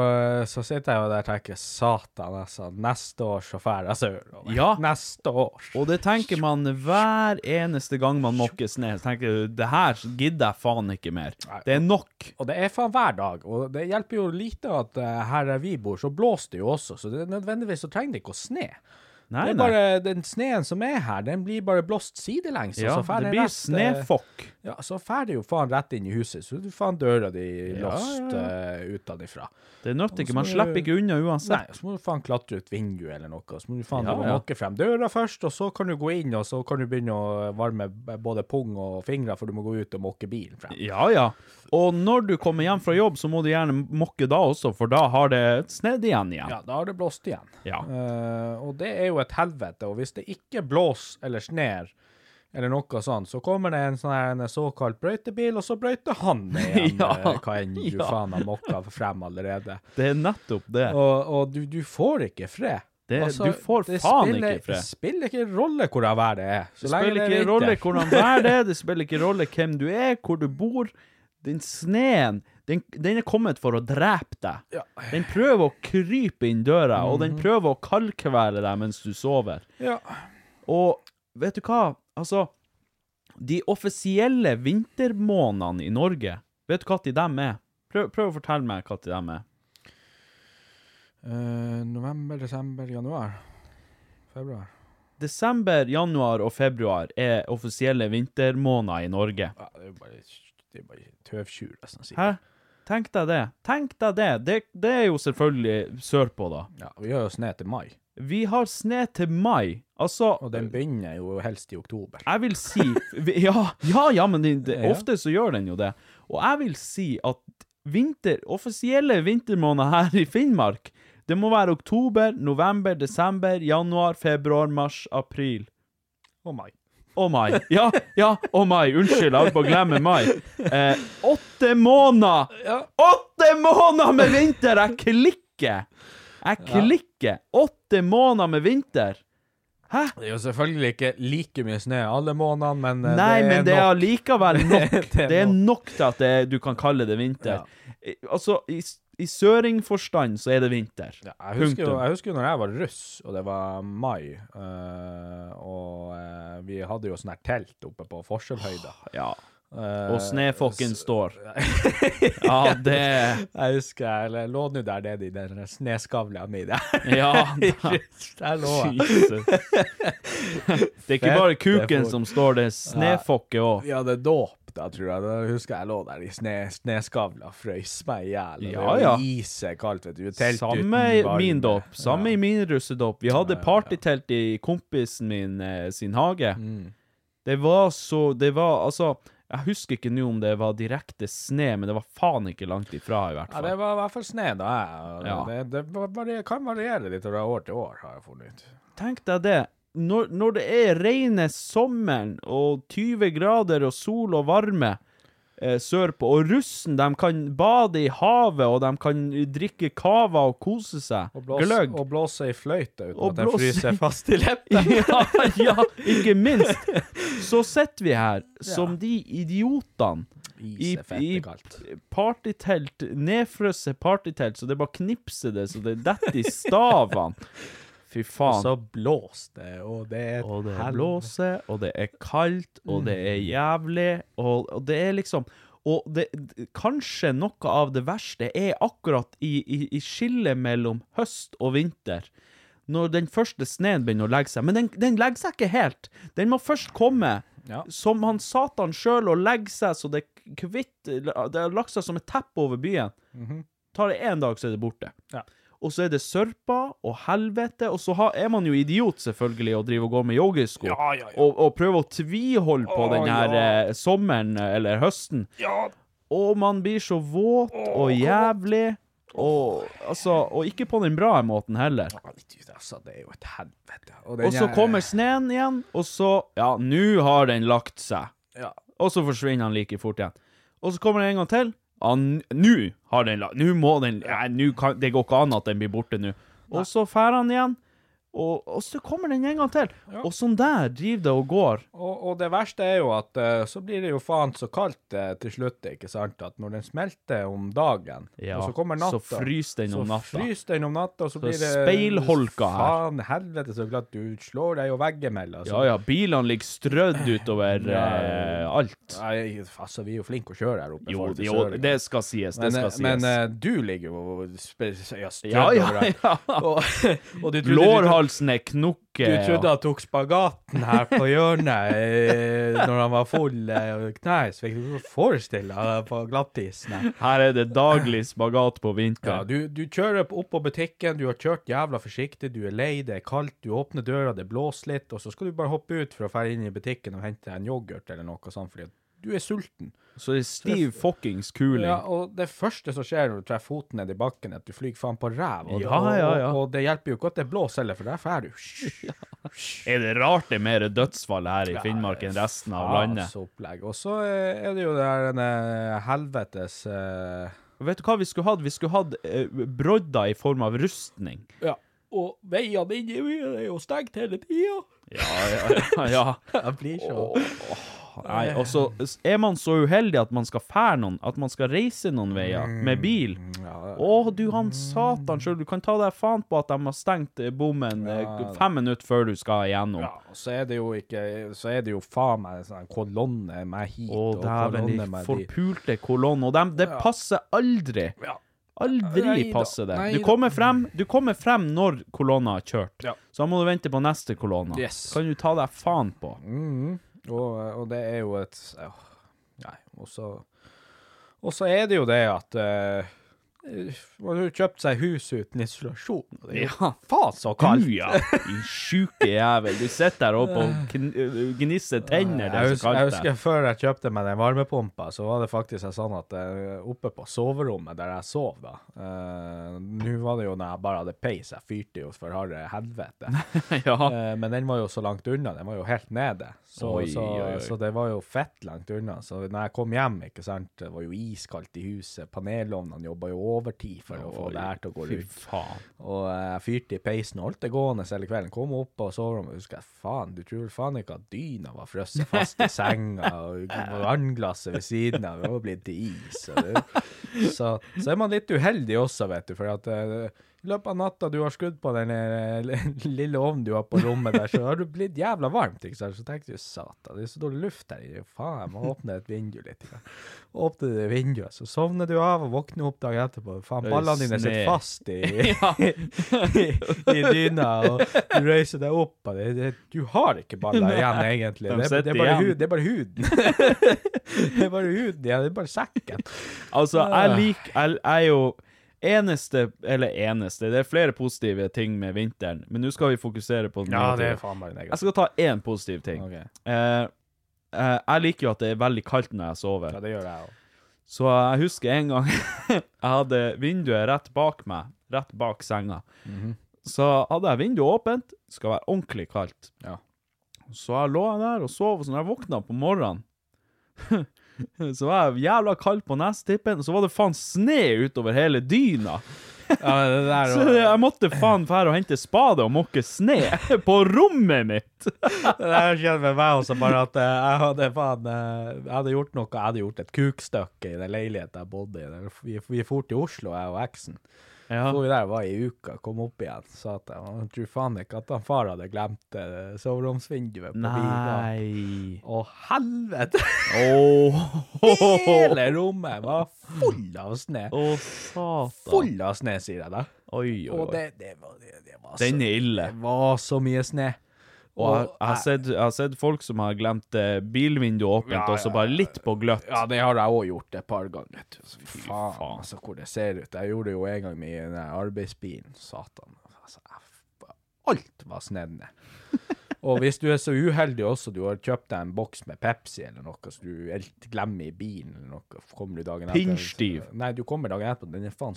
Speaker 3: så sitter jeg jo der og tenker Satan, altså. Neste år så drar jeg sørover.
Speaker 2: Ja.
Speaker 3: Neste år.
Speaker 2: Og det tenker man hver eneste gang man mokkes ned. Så tenker du det her gidder jeg faen ikke mer. Det er nok.
Speaker 3: Og det er faen hver dag. Og det hjelper jo lite at eh, her vi bor, så blåser det jo også. Så det, nødvendigvis så trenger det ikke å sne.
Speaker 2: Nei,
Speaker 3: det er
Speaker 2: nei.
Speaker 3: bare Den sneen som er her, den blir bare blåst sidelengs. og
Speaker 2: Ja,
Speaker 3: så fer
Speaker 2: det
Speaker 3: den
Speaker 2: blir
Speaker 3: rett, eh,
Speaker 2: snefokk.
Speaker 3: Ja, så fer det jo faen rett inn i huset. Så du faen døra di
Speaker 2: Ja,
Speaker 3: lost
Speaker 2: ja, ja.
Speaker 3: eh, utenifra.
Speaker 2: Det nytter ikke.
Speaker 3: Og
Speaker 2: Man
Speaker 3: så-
Speaker 2: slipper ikke unna
Speaker 3: Nei,
Speaker 2: uansett.
Speaker 3: så må du faen klatre ut vinduet eller noe, så må du faen
Speaker 2: Ja,
Speaker 3: ja,
Speaker 2: ja.
Speaker 3: måke frem døra først, og så kan du gå inn, og så kan du begynne å varme b- både pung og fingre, for du må gå ut og måke bilen frem.
Speaker 2: Ja, ja. Og når du kommer hjem fra jobb, så må du gjerne mokke da også, for da har det snedd igjen igjen.
Speaker 3: Ja, da har det blåst igjen.
Speaker 2: Ja.
Speaker 3: Eh, og det er jo et helvete, og hvis det ikke blåser eller sner, eller noe sånt, så kommer det en sånn her en såkalt brøytebil, og så brøyter han
Speaker 2: <laughs>
Speaker 3: ned igjen,
Speaker 2: Ja,
Speaker 3: eh, hva enn du
Speaker 2: ja.
Speaker 3: faen har mokka frem allerede.
Speaker 2: Det er nettopp det.
Speaker 3: <laughs> Og, og du, du får ikke fred. Altså,
Speaker 2: Det- du får faen ikke fred.
Speaker 3: Det spiller ikke rolle hvor jeg vær det er. så
Speaker 2: Det
Speaker 3: lenge
Speaker 2: spiller
Speaker 3: det er
Speaker 2: ikke rolle
Speaker 3: vinter.
Speaker 2: hvordan vær det er, det spiller ikke rolle hvem du er, hvor du bor. Den sneen, den, den er kommet for å drepe deg. Den prøver å krype inn døra, og
Speaker 3: Mhm.
Speaker 2: den prøver å kaldkvele deg mens du sover.
Speaker 3: <laughs> Ja.
Speaker 2: Og vet du hva? Altså, de offisielle vintermånedene i Norge, vet du hva til dem er? Prøv, prøv å fortelle meg hva til dem er.
Speaker 3: Eh, november, desember, januar. Februar.
Speaker 2: Desember, januar og februar er offisielle vintermåneder i Norge.
Speaker 3: Ja, det er jo bare, det er bare tøvtjur, nesten. å si.
Speaker 2: Hæ? Tenk deg det. Tenk deg det. det. Det er jo selvfølgelig sørpå, da.
Speaker 3: Ja, vi har jo snø til mai,
Speaker 2: Vi har snø til mai. Altså
Speaker 3: og den begynner jo helst i oktober.
Speaker 2: Jeg vil si vi- Ja, ja, ja men det, det,
Speaker 3: Ja.
Speaker 2: ofte så gjør den jo det. Og jeg vil si at vinter, offisielle vintermåneder her i Finnmark, det må være oktober, november, desember, januar, februar, mars, april.
Speaker 3: Og mai.
Speaker 2: Og mai. Ja, ja, og mai. Unnskyld, jeg holdt på å glemme mai. Eh, åtte måneder! Åtte måneder med vinter! Jeg klikker! Jeg klikker! Åtte måneder med vinter! Hæ?
Speaker 3: Det er jo selvfølgelig ikke like mye snø alle månedene, men eh,
Speaker 2: Nei, men det er
Speaker 3: nok. <laughs>
Speaker 2: allikevel nok.
Speaker 3: Det er
Speaker 2: Det er
Speaker 3: nok.
Speaker 2: nok til at det, du kan kalle det vinter. I- Altså, i, s- i søringforstand så er det vinter.
Speaker 3: Ja, jeg, husker jo,
Speaker 2: Punktum.
Speaker 3: jeg husker jo når jeg var russ, og det var mai, eh, og eh, vi hadde jo sånn her telt oppe på forskjellhøyda.
Speaker 2: Ah, Ja.
Speaker 3: Eh,
Speaker 2: Og snefokken
Speaker 3: <laughs>
Speaker 2: står. Ja, det
Speaker 3: Jeg husker jeg eller, lå nå der nede i den der sneskavla mi der.
Speaker 2: Ja. Da.
Speaker 3: <laughs> Der lå jeg.
Speaker 2: Jesus. Det er ikke bare kuken
Speaker 3: fort.
Speaker 2: som står, det er snefokket òg.
Speaker 3: Vi hadde dåp da, tror jeg. Da husker jeg jeg lå der i sne, sneskavla og frøys meg i hjel. og
Speaker 2: Ja,
Speaker 3: det
Speaker 2: ja.
Speaker 3: var Isekaldt, vet du. Telt
Speaker 2: Samme i
Speaker 3: uten varme.
Speaker 2: min dåp, samme i min russedåp. Vi hadde partytelt i kompisen min eh, sin hage.
Speaker 3: Mm.
Speaker 2: Det var så Det var altså Jeg husker ikke nå om det var direkte sne, men det var faen ikke langt ifra, i hvert
Speaker 3: Ja, det
Speaker 2: fall.
Speaker 3: var i hvert fall sne da. jeg-
Speaker 2: Ja.
Speaker 3: Det, det var- varie- kan variere litt fra år til år, har jeg funnet ut.
Speaker 2: Tenk deg det. Når, når det er reine sommeren og 20 grader og sol og varme eh, sørpå, og russen de kan bade i havet, og de kan drikke cava og kose seg
Speaker 3: Og blåse,
Speaker 2: Gløgg.
Speaker 3: og blåse i fløyte uten
Speaker 2: Og
Speaker 3: at den
Speaker 2: blåse i-
Speaker 3: fryser fast
Speaker 2: <laughs>
Speaker 3: i leppen.
Speaker 2: ja,
Speaker 3: <laughs>
Speaker 2: ja, ikke minst. Så sitter vi her som de idiotene
Speaker 3: Is er fett
Speaker 2: i
Speaker 3: og kaldt.
Speaker 2: partytelt, nedfrosset partytelt, så det bare knipser det, så det detter i stavene. Fy faen.
Speaker 3: Så blås det, og det er et
Speaker 2: Og det
Speaker 3: helvete.
Speaker 2: blåser, og det er kaldt, og det er jævlig, og, og det er liksom Og det, d- kanskje noe av det verste er akkurat i, i, i skillet mellom høst og vinter. Når den første sneen begynner å legge seg. Men den, den legger seg ikke helt. Den må først komme,
Speaker 3: Ja.
Speaker 2: som han satan sjøl, og legge seg så det er kvitt Det har lagt seg som et teppe over byen. Tar det én dag, så er det borte.
Speaker 3: Ja.
Speaker 2: Og så er det sørpa og helvete, og så har, er man jo idiot, selvfølgelig, og driver og går med joggesko.
Speaker 3: Ja, ja, ja.
Speaker 2: Og, og prøver å tviholde på
Speaker 3: Å,
Speaker 2: den her
Speaker 3: ja.
Speaker 2: eh, sommeren eh, eller høsten.
Speaker 3: Ja,
Speaker 2: Og man blir så våt og jævlig. Og, altså, og ikke på den bra måten heller.
Speaker 3: herregud, altså, det er jo et helvete. den
Speaker 2: Og så
Speaker 3: er-
Speaker 2: kommer sneen igjen, og så Ja, nå har den lagt seg.
Speaker 3: Ja.
Speaker 2: Og så forsvinner han like fort igjen. Og så kommer det en gang til. Ja, n- nå har den la- Nå må den Nei, nå kan Det går ikke an at den blir borte nå. Og så drar han igjen. Og, og så kommer den en gang til. Og sånn der driver det og går.
Speaker 3: Og, og det verste er jo at eh, så blir det jo faen så kaldt eh, til slutt, ikke sant, at når den smelter om dagen,
Speaker 2: Ja,
Speaker 3: og så kommer
Speaker 2: så
Speaker 3: natta
Speaker 2: fryser den om natta.
Speaker 3: Så fryser den om natta, og så,
Speaker 2: Så
Speaker 3: blir det
Speaker 2: speilholka her.
Speaker 3: Faen helvete så glatt, du slår deg jo veggimellom.
Speaker 2: Ja ja, bilene ligger strødd utover eh, alt.
Speaker 3: Nei, altså, vi er jo flinke å kjøre her oppe.
Speaker 2: Jo,
Speaker 3: folk til
Speaker 2: jo,
Speaker 3: søring.
Speaker 2: det skal sies, det
Speaker 3: men, eh,
Speaker 2: skal sies.
Speaker 3: men eh, du ligger jo spe- ja, strødd
Speaker 2: Ja, ja, <laughs>
Speaker 3: overalt.
Speaker 2: ja.
Speaker 3: Og, og du trodde
Speaker 2: Lårhalsen er
Speaker 3: Du
Speaker 2: knokket.
Speaker 3: trodde han tok spagaten her på hjørnet eh, når han var full eh, og kneis. Fikk du ikke forestille deg på glattisen her.
Speaker 2: Her er det daglig spagat på
Speaker 3: Ja,
Speaker 2: vinteren.
Speaker 3: du, du kjører opp på butikken, du har kjørt jævla forsiktig, du er lei, det er kaldt, du åpner døra, det blåser litt, og så skal du bare hoppe ut for å dra inn i butikken og hente en yoghurt eller noe sånt, fordi at du er sulten.
Speaker 2: Så det er stiv fuckings kuling.
Speaker 3: Ja, og det første som skjer når du treffer foten ned i bakken, er at du flyr faen på ræv. Og,
Speaker 2: Ja, ja, ja.
Speaker 3: Og, og det hjelper jo ikke at det blåser heller, for der får du
Speaker 2: Er det rart det er mer dødsfall her i Finnmark enn resten av landet?
Speaker 3: så opplegg. Og så eh, er det jo det her en eh, helvetes eh,
Speaker 2: Vet du hva vi skulle hatt? Vi skulle hatt eh, brodder i form av rustning.
Speaker 3: Ja. Og veiene inn i byen er jo stengt hele tida.
Speaker 2: <laughs> Ja, ja.
Speaker 3: Jeg blir så Eh,
Speaker 2: Nei, og
Speaker 3: altså.
Speaker 2: så er man så uheldig at man skal fære noen, at man skal reise noen veier
Speaker 3: Mm,
Speaker 2: med bil. Å, du han satan sjøl, du kan ta deg faen på at de har stengt eh, bommen eh, fem minutter før du skal igjennom.
Speaker 3: Ja, og så er det jo ikke Så er det jo faen meg en sånn kolonne meg hit
Speaker 2: Å,
Speaker 3: og
Speaker 2: dæven,
Speaker 3: kolonne
Speaker 2: de
Speaker 3: meg dit.
Speaker 2: forpulte kolonner. Og dem, det passer aldri.
Speaker 3: Ja.
Speaker 2: Aldri
Speaker 3: Neida,
Speaker 2: passer det. Du
Speaker 3: neida.
Speaker 2: kommer, frem, du kommer frem når kolonna har kjørt.
Speaker 3: Ja.
Speaker 2: Så da må du vente på neste kolonna.
Speaker 3: Yes.
Speaker 2: Kan du ta deg faen på.
Speaker 3: Mm. Og, og det er jo et åh, Nei, og så Og så er det jo det at eh, man har jo kjøpt seg hus uten isolasjon. og Det er jo
Speaker 2: Ja.
Speaker 3: faen så kaldt!
Speaker 2: Du, ja. Din sjuke jævel. Du sitter der oppe og kn- øh, gnisser tenner. Det
Speaker 3: jeg,
Speaker 2: er så
Speaker 3: husker, jeg
Speaker 2: kaldt der.
Speaker 3: husker før jeg kjøpte meg den varmepumpa, så var det faktisk sånn at eh, oppe på soverommet der jeg sov, da eh, Nå var det jo når jeg bare hadde peis, jeg fyrte jo for harde helvete.
Speaker 2: <laughs> Ja.
Speaker 3: Eh, men den var jo så langt unna, den var jo helt nede. Så,
Speaker 2: Oi,
Speaker 3: så,
Speaker 2: oi, oi.
Speaker 3: så det var jo fett langt unna. Så når jeg kom hjem, ikke sant, det var jo iskaldt i huset, panelovnene jobba jo overtid for å få det her til å gå
Speaker 2: Fy
Speaker 3: rundt. <laughs>
Speaker 2: faen.
Speaker 3: Og jeg fyrte i peisen og holdt det gående hele kvelden. Kom opp på soverommet og husker jeg, faen, du tror vel faen ikke at dyna var frosset fast i senga, og vannglasset ved siden av det var blitt til is. Og det. Så, så er man litt uheldig også, vet du, for at eh, i løpet av natta du har skrudd på den eh, lille ovnen du har på rommet der, så har du blitt jævla varmt, ikke sant? Så tenkte du, satan, det er så dårlig luft her inne, faen, jeg må åpne et vindu litt. Ja. Åpne det vinduet, så sovner du av og våkner opp dagen etterpå, faen,
Speaker 2: Det er
Speaker 3: ballene dine
Speaker 2: sne.
Speaker 3: sitter fast i i, i dyna, og du røyser deg opp, og det, det, du har ikke baller igjen, egentlig.
Speaker 2: de
Speaker 3: Det, er- det,
Speaker 2: sitter
Speaker 3: er bare
Speaker 2: igjen.
Speaker 3: hud, det er bare huden. det er bare huden, <laughs> ja, det er bare sekken.
Speaker 2: <laughs> Altså, jeg liker jeg, jeg er jo eneste Eller eneste, det er flere positive ting med vinteren, men nå skal vi fokusere på den negative.
Speaker 3: faen bare
Speaker 2: Jeg skal ta én positiv ting.
Speaker 3: Ok.
Speaker 2: Eh, eh, jeg liker jo at det er veldig kaldt når jeg sover.
Speaker 3: Ja, det gjør jeg òg.
Speaker 2: Så jeg husker en gang <laughs> jeg hadde vinduet rett bak meg, rett bak senga.
Speaker 3: Mhm.
Speaker 2: Så hadde jeg vinduet åpent, skal være ordentlig kaldt.
Speaker 3: Ja.
Speaker 2: Så jeg lå der og sov, og så når jeg våkna på morgenen, <laughs> så var jeg jævla kald på nestippen, og så var det faen sne utover hele dyna.
Speaker 3: Ja, det der
Speaker 2: Så
Speaker 3: var,
Speaker 2: jeg måtte faen fære og hente spade og måke sne <laughs> på rommet mitt.
Speaker 3: det der skjedde med meg også, bare at eh, jeg hadde faen eh, Jeg hadde gjort noe, jeg hadde gjort et kukstykke i den leiligheten jeg bodde i. Der- Vi, vi for til Oslo, jeg og eksen.
Speaker 2: Ja.
Speaker 3: Så vi der var i uka, kom opp igjen, sa at jeg «Å, tror faen ikke at han far hadde glemt eh, soveromsvinduet på bilen.
Speaker 2: Nei.
Speaker 3: Å, helvete! <laughs>
Speaker 2: Åh.
Speaker 3: Hele rommet var full av snø.
Speaker 2: Å, satan.
Speaker 3: Full av snø, sier jeg da.
Speaker 2: Oi, oi,
Speaker 3: Og
Speaker 2: oi.
Speaker 3: det, det, var, det, det var så
Speaker 2: Den er ille.
Speaker 3: Det var så mye snø.
Speaker 2: Og jeg, jeg, har sett, jeg har sett folk som har glemt eh, bilvinduet åpent, og så bare litt på gløtt. <laughs>
Speaker 3: Ja, det har jeg òg gjort et par ganger. vet du. Så Fy faen,
Speaker 2: faen.
Speaker 3: altså, hvor det ser ut. Jeg gjorde det jo en gang med den der arbeidsbilen. Satan. Altså, jeg, f- alt var snedd
Speaker 2: <laughs>
Speaker 3: ned. Og hvis du er så uheldig også, du har kjøpt deg en boks med Pepsi eller noe, så du helt glemmer i bilen eller noe, så kommer du dagen etter
Speaker 2: Pinnstiv.
Speaker 3: Nei, du kommer dagen etterpå, den er faen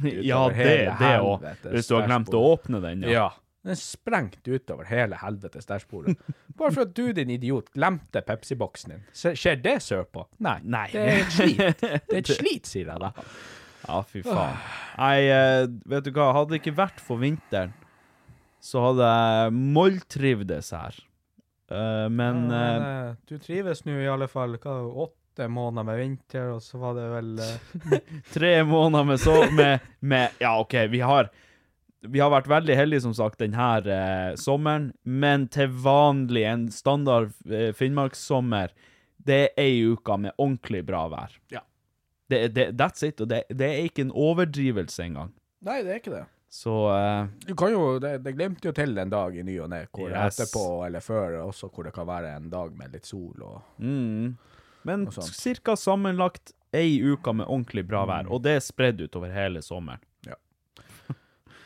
Speaker 2: <laughs>
Speaker 3: utover
Speaker 2: Ja, det
Speaker 3: hele
Speaker 2: det òg.
Speaker 3: helvetes
Speaker 2: Hvis du har glemt å
Speaker 3: dashbordet.
Speaker 2: åpne den. Ja.
Speaker 3: Ja. Den sprengte utover hele helvetes dashbordet. Bare for at du, din idiot, glemte Pepsi-boksen din. Se- Skjer det sørpå? Nei.
Speaker 2: Nei.
Speaker 3: Det er et slit. Det er et slit, sier jeg da.
Speaker 2: <laughs> Ja, fy faen. Nei, eh, vet du hva, hadde det ikke vært for vinteren, så hadde jeg molltrivdes her. Eh, men
Speaker 3: Ah,
Speaker 2: eh,
Speaker 3: du trives nå i alle fall. Hva, åtte måneder med vinter, og så var det vel
Speaker 2: tre måneder med så med, med Ja, OK, vi har vi har vært veldig heldige, som sagt, denne eh, sommeren, men til vanlig, en standard eh, finnmarkssommer, det er ei uke med ordentlig bra vær.
Speaker 3: Ja.
Speaker 2: Det, det, that's it, og det, det er ikke en overdrivelse engang.
Speaker 3: Nei, det er ikke det.
Speaker 2: Så eh,
Speaker 3: Du kan jo, det, det glemte jo til en dag i ny og ne, hvor
Speaker 2: Yes.
Speaker 3: etterpå eller før også, hvor det kan være en dag med litt sol og
Speaker 2: Mm. Men
Speaker 3: Og sånn. sånt.
Speaker 2: ca. sammenlagt ei uke med ordentlig bra vær, og det er spredd utover hele sommeren.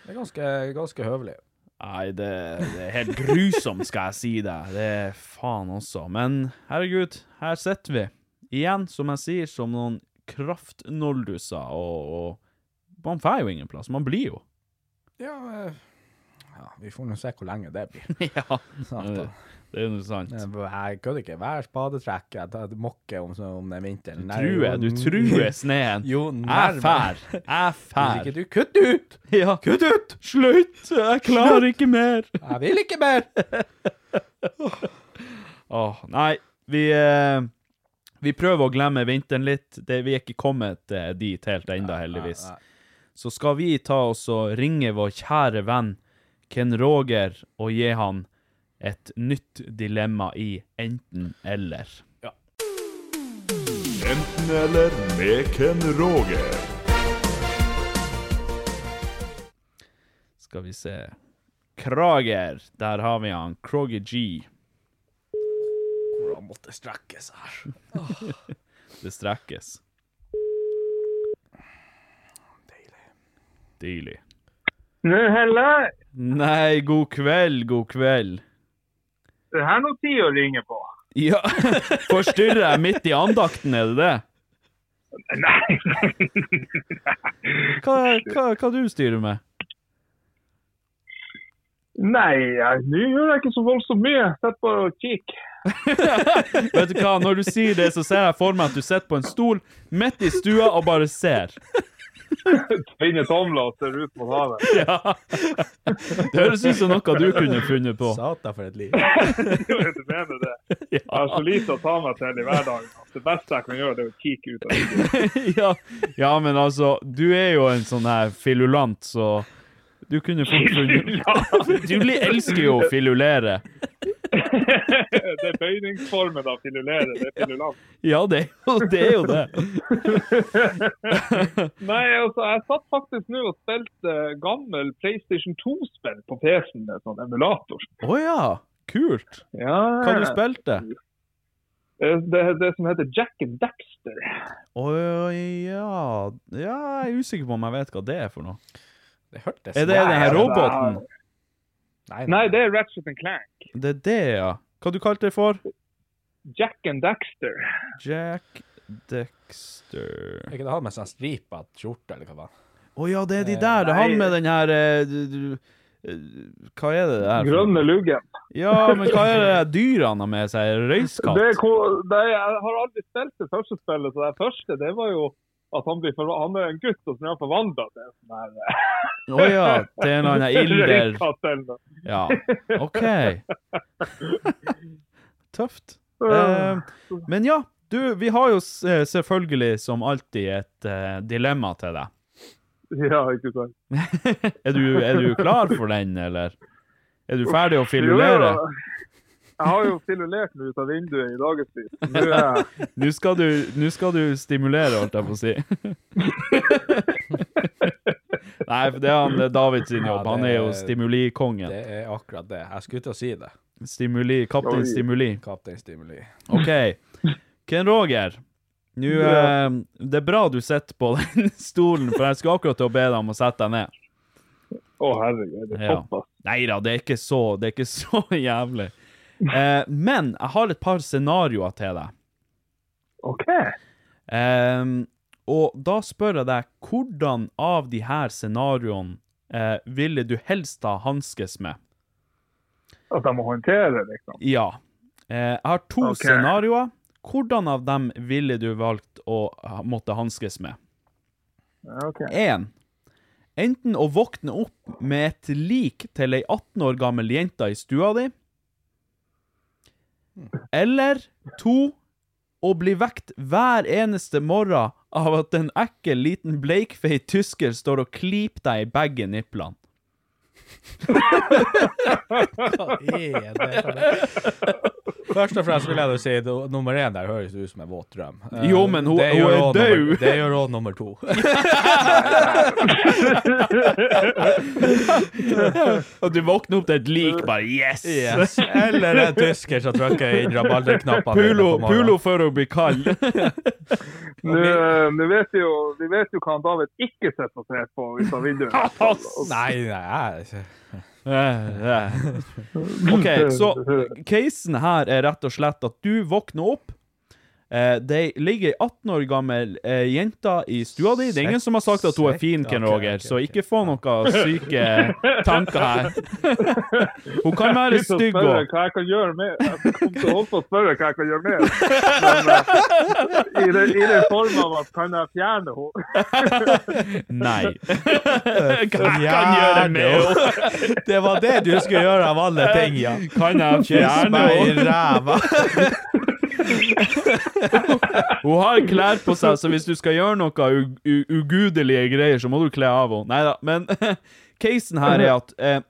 Speaker 3: Det er ganske, ganske høvelig.
Speaker 2: Nei, det, det er helt grusomt, skal jeg si deg. Det er faen også. Men herregud, her sitter vi. Igjen, som jeg sier, som noen kraftnolduser, og, og man får jo ingen plass. Man blir jo.
Speaker 3: Ja, eh, ja, vi får nå se hvor lenge det blir.
Speaker 2: ja,
Speaker 3: Satan.
Speaker 2: det er jo noe sant.
Speaker 3: Jeg jeg kødder ikke. Hver spadetrekk jeg tar jeg mokker om, om den vinteren
Speaker 2: Truer, du truer sneen.
Speaker 3: <laughs> Jo,
Speaker 2: Jeg fær. Jeg
Speaker 3: Hvis
Speaker 2: fær.
Speaker 3: ikke du Kutt ut!
Speaker 2: Ja. Kutt ut! Slutt! Jeg klarer ikke mer!
Speaker 3: Jeg vil ikke mer!
Speaker 2: Åh, nei, vi, eh, vi prøver å glemme vinteren litt. Det, vi er ikke kommet eh, dit helt enda, heldigvis. Så skal vi ta oss og ringe vår kjære venn Ken Roger og gi han et nytt dilemma i enten-eller.
Speaker 6: Enten eller med Ken Roger.
Speaker 2: Skal vi se Krager, der har vi han. Kroger G.
Speaker 3: Hvordan måtte strekke seg her?
Speaker 2: Det strekkes. Deilig.
Speaker 7: <laughs> Nå, Helle,
Speaker 2: Nei, god kveld, god kveld.
Speaker 7: det her er noe tid å ringe på.
Speaker 2: Ja, <laughs> forstyrrer jeg midt i andakten, er det det?
Speaker 7: Nei,
Speaker 2: Hva, hva, hva du styrer med?
Speaker 7: nei, jeg- nå gjør jeg ikke så voldsomt mye. Sett bare og kikk.
Speaker 2: Vet du hva, når du sier det, så ser jeg for meg at du sitter på en stol midt i stua og bare ser.
Speaker 7: Finne tomler og ser ut mot havet.
Speaker 2: Ja. Det høres ut som noe du kunne funnet på.
Speaker 3: <laughs> Satan, for et
Speaker 7: <laughs>
Speaker 3: liv.
Speaker 7: Du mener
Speaker 3: <laughs>
Speaker 7: det? Jeg har så lite å ta meg til i hverdagen. <laughs> at Det beste jeg kan gjøre, det er å kikke ut av vinduet.
Speaker 2: Ja, ja men altså, du er jo en sånn her filulant, så du kunne fort funnet Du li- elsker jo å filulere.
Speaker 7: Det er bøyningsformen av filulere, det er filulant.
Speaker 2: Ja, det er jo det. Er jo det.
Speaker 7: Nei, altså, jeg satt faktisk nå og spilte gammel PlayStation 2-spill på PC-en med sånn emulator.
Speaker 2: Å ja, kult.
Speaker 7: Ja,
Speaker 2: Hva du spilte du?
Speaker 7: Det, det, det som heter Jack and Daxter.
Speaker 2: Å ja Ja, jeg er usikker på om jeg vet hva det er for noe.
Speaker 3: Det hørtes
Speaker 2: Er det den her
Speaker 7: altså-
Speaker 2: roboten?
Speaker 7: Nei, det er Ratchet and Clank.
Speaker 2: Det er det, ja. Hva du kalte det for?
Speaker 7: Jack and Daxter.
Speaker 2: Jack Dexter
Speaker 3: Er ikke det han med sånn stripet skjorte, eller hva faen?
Speaker 2: Å ja, det er de der. Det er han med den her eh, du- du- eh, Hva er det der? for
Speaker 7: Grønne
Speaker 2: noe?
Speaker 7: luggen.
Speaker 2: Ja, men hva er det der dyret han har med seg?
Speaker 7: Det er,
Speaker 2: Røyskatt?
Speaker 7: ko- det er, jeg har aldri spilt det første spillet, så det første det var jo At han, blir forva- han er en gutt som er forvandla til en sånn her
Speaker 2: Å ja, til en
Speaker 7: <laughs>
Speaker 2: eller
Speaker 3: <laughs>
Speaker 2: annen ilder.
Speaker 7: Røykatt eller noe.
Speaker 2: Ja, OK. <laughs> Tøft.
Speaker 7: Ja.
Speaker 2: Eh, men ja, du, vi har jo s- eh, selvfølgelig som alltid et eh, dilemma til deg.
Speaker 7: Ja, ikke sant.
Speaker 2: Er du, er du klar for den, eller? Er du ferdig å
Speaker 7: Jo,
Speaker 2: filulere?
Speaker 7: jo. Jeg har jo filulert meg ut av vinduet i dagevis. Nå er jeg-
Speaker 2: Nå skal du, nå skal du stimulere, holdt jeg på å si. <laughs> Nei, for det er han det er David sin jobb. Han er jo stimulikongen.
Speaker 3: <laughs> Det er akkurat det. Jeg skulle til å si det.
Speaker 2: Stimuli, Kaptein Stimuli.
Speaker 3: Kaptein Stimuli.
Speaker 2: OK. Ken Roger, nå
Speaker 3: Ja.
Speaker 2: eh, Det er bra du sitter på <laughs> den stolen, for jeg skulle akkurat til å be deg om å sette deg ned.
Speaker 7: Å, herregud. Det er
Speaker 2: Ja.
Speaker 7: såpass.
Speaker 2: Nei da, det er ikke så, det er ikke <laughs> så jævlig. Eh, men jeg har et par scenarioer til deg.
Speaker 7: OK.
Speaker 2: Ehm, og da spør jeg deg, hvordan av de her scenarioene eh, ville du helst ha hanskes med?
Speaker 7: At jeg må håndtere, liksom.
Speaker 2: Ja. Eh, jeg har to
Speaker 7: Ok.
Speaker 2: scenarioer. Hvordan av dem ville du valgt å ha- måtte hanskes med?
Speaker 7: Ja, OK.
Speaker 2: Én. Enten å våkne opp med et lik til ei 18 år gammel jente i stua di. Eller to. Å bli vekt hver eneste morgen av at en ekkel, liten bleikfeit tysker står og klyper deg i begge nipplene.
Speaker 3: <laughs> Hva er det for noe? Først og fremst vil jeg jo si at nummer én der høres ut som en våt drøm. Eh,
Speaker 2: Jo, men hun-
Speaker 3: det
Speaker 2: hun
Speaker 3: gjør
Speaker 2: er
Speaker 3: også nummer-
Speaker 2: død.
Speaker 3: Det gjør òg nummer to.
Speaker 2: Og du våkner opp til et lik, bare yes!
Speaker 3: <laughs> Yes. Eller en tysker som trykker inn rabalderknappene. mine
Speaker 2: Pulo,
Speaker 3: på morgenen.
Speaker 2: pulo før hun blir kald.
Speaker 7: Nå, eh, nå vet vi jo, vi vet jo hva han David ikke sitter og ser på ut av vinduet.
Speaker 3: Nei, nei, jeg
Speaker 2: Eh, eh.
Speaker 7: <laughs>
Speaker 2: OK, så casen her er rett og slett at du våkner opp. Eh, det ligger ei 18 år gammel eh, jente i stua di. Det er ingen som har sagt at hun er fin, Ken
Speaker 3: Ok, ok,
Speaker 2: Roger, så
Speaker 3: ok.
Speaker 2: ikke få <laughs> noen syke tanker her. hun kan være
Speaker 7: Jeg
Speaker 2: stygg
Speaker 7: spør
Speaker 2: òg.
Speaker 7: hva jeg kan gjøre med Jeg kom til å holde på å spørre hva jeg kan gjøre med Men, eh, i, den, I den form av at kan jeg fjerne henne? <laughs>
Speaker 2: Nei. Hva jeg kan gjøre med henne? <laughs>
Speaker 3: Det var det du skulle gjøre av alle ting, ja.
Speaker 2: Kan jeg
Speaker 3: Kyss
Speaker 2: fjerne
Speaker 3: meg i
Speaker 2: henne?
Speaker 3: ræva.
Speaker 2: Hun har klær på seg, så hvis du skal gjøre noe u u ugudelige greier, så må du kle av henne. Nei da, men <laughs> casen her er at eh,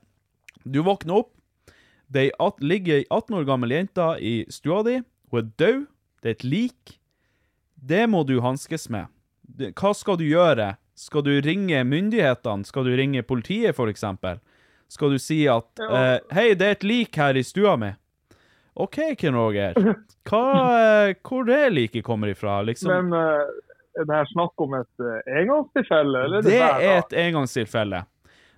Speaker 2: du våkner opp, det er at, ligger ei 18 år gammel jente i stua di, hun er død, det er et lik. Det må du hanskes med. Det- Hva skal du gjøre? Skal du ringe myndighetene? Skal du ringe politiet, for eksempel? Skal du si at eh, Hei, det er et lik her i stua mi. OK, Ken Roger. Hva, eh, hvor det liket kommer ifra? Liksom,
Speaker 7: Men eh, er det her snakk om et eh, engangstilfelle, eller er det,
Speaker 2: det
Speaker 7: hver
Speaker 2: er
Speaker 7: dag?
Speaker 2: et engangstilfelle.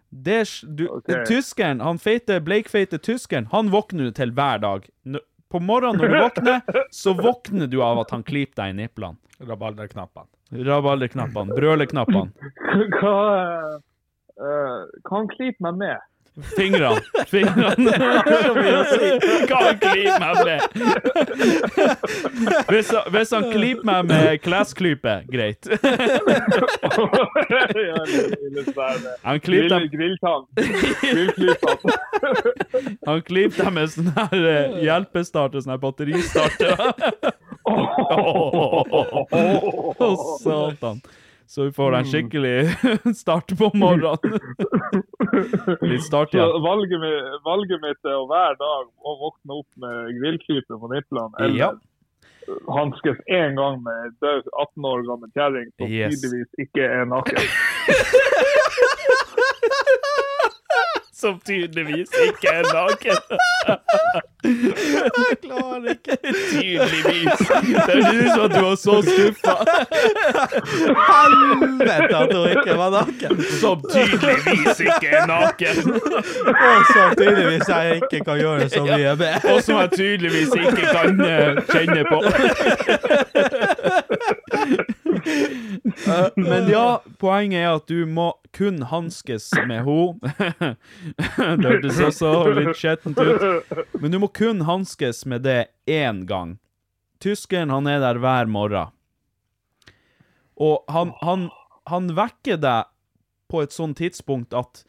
Speaker 2: Det er, s- du,
Speaker 7: Ok.
Speaker 2: Tyskeren, han feite, bleikfeite tyskeren, han våkner du til hver dag. N- På morgenen når du våkner, så våkner du av at han klyper deg i nipplene.
Speaker 3: Rabalderknappene.
Speaker 2: Rabalderknappene, brøleknappene,
Speaker 7: <laughs> Hva eh, eh, Hva han klyper meg med? <laughs>
Speaker 2: fingrene, fingrene. Hva han klyper meg med? Hvis, han- hvis han klyper meg med klesklype, greit.
Speaker 7: Ja, eller- eller så er det
Speaker 2: Han klyper
Speaker 7: Grill,
Speaker 2: deg
Speaker 7: grilltang. Grillklypa.
Speaker 2: Han klipte deg med sånn her eh, <laughs> hjelpestarter, sånn her batteristarter. <laughs> Å, satan. Så vi får en skikkelig <laughs> start på <laughs> morgenen. Litt start
Speaker 7: Så
Speaker 2: igjen.
Speaker 7: valget, mi- valget mitt er å hver dag å våkne opp med grillklype på nipplene, eller
Speaker 2: Ja.
Speaker 7: hanskes én gang med en død 18 år gammel kjerring som
Speaker 2: Yes.
Speaker 7: tydeligvis ikke er naken.
Speaker 2: Som tydeligvis ikke er naken. Jeg klarer ikke. Tydeligvis. <laughs> Det er du som at du var så skuffa.
Speaker 3: Helvete at hun ikke var naken!
Speaker 2: Som tydeligvis ikke er <laughs> naken.
Speaker 3: Og samtidigvis jeg ikke kan gjøre så mye med.
Speaker 2: Og som jeg tydeligvis ikke kan eh, kjenne på. Eh, Men ja, poenget er at du må kun hanskes med henne. <laughs> Det hørtes også litt skjettent ut. Men du må kun hanskes med det én gang. Tyskeren han er der hver morgen. Og han, han, han vekker deg på et sånn tidspunkt at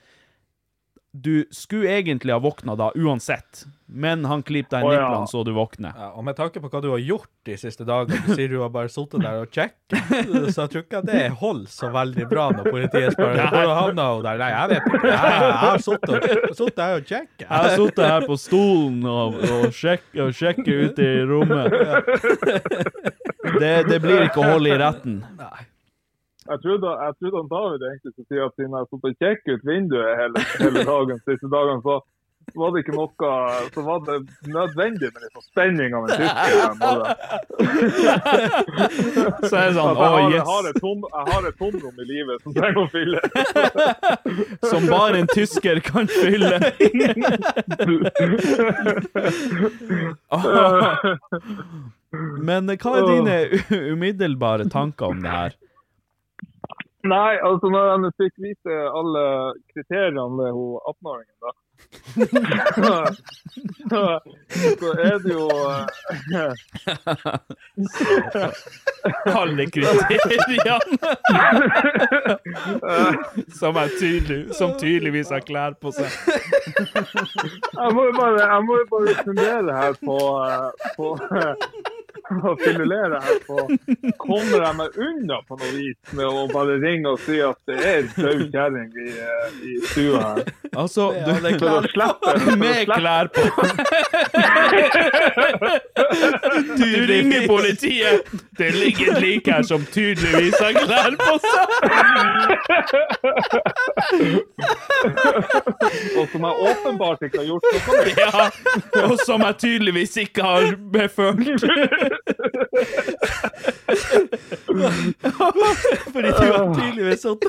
Speaker 2: du skulle egentlig ha våkna da, uansett. Men han klipper deg i
Speaker 8: Å, ja.
Speaker 2: niplene så du våkner.
Speaker 8: Ja, og med tanke på hva du har gjort de siste dagene, du sier du har bare sittet der og sjekket, så jeg tror ikke at det holder så veldig bra når politiet spør
Speaker 2: Nei.
Speaker 8: hvor havna hun der. Nei, jeg vet ikke. Jeg, jeg har sittet og- sittet her og sjekket.
Speaker 2: Jeg har sittet her på stolen og, og sjekket og sjekker ut i rommet. Det, det blir ikke å holde i retten.
Speaker 3: Jeg trodde, jeg trodde han David egentlig skulle si at siden jeg har sittet og kjekket ut vinduet hele, hele dagen, siste dagen, så var det ikke noe Så var det nødvendig med litt sånn spenning av en tysker. igjen, og det-
Speaker 2: Så er det sånn,
Speaker 3: At
Speaker 2: «Å,
Speaker 3: Altså, jeg, har,
Speaker 2: yes».
Speaker 3: jeg, har et tom, jeg har et tomrom i livet som trenger å fylle.
Speaker 8: <laughs>
Speaker 2: Som bare en tysker kan fylle. Åh. <laughs> Men hva er dine u- umiddelbare tanker om det her?
Speaker 3: Nei, altså når jeg fikk vite alle kriteriene med hun 18-åringen, da <laughs> så, så er det jo eh,
Speaker 2: Alle kriteriene! Som, er tydelig, som tydeligvis har klær på seg.
Speaker 3: jeg må jo bare, jeg må jo bare fundere her på, eh, på <laughs> eh, å filulere her på Kommer jeg meg unna på noe vis med å bare ringe og si at det er en død kjerring i, eh, i stua her?
Speaker 2: Altså,
Speaker 3: Med
Speaker 2: du,
Speaker 3: alle klær på. Slipper-
Speaker 2: Med
Speaker 3: slipper-
Speaker 2: klær på! Du ringer politiet. Det ligger et lik her som tydeligvis har klær på seg.
Speaker 3: Og som jeg åpenbart ikke har gjort noe med.
Speaker 2: Ja, og som jeg tydeligvis ikke har befølt. Fordi du har tydeligvis sånn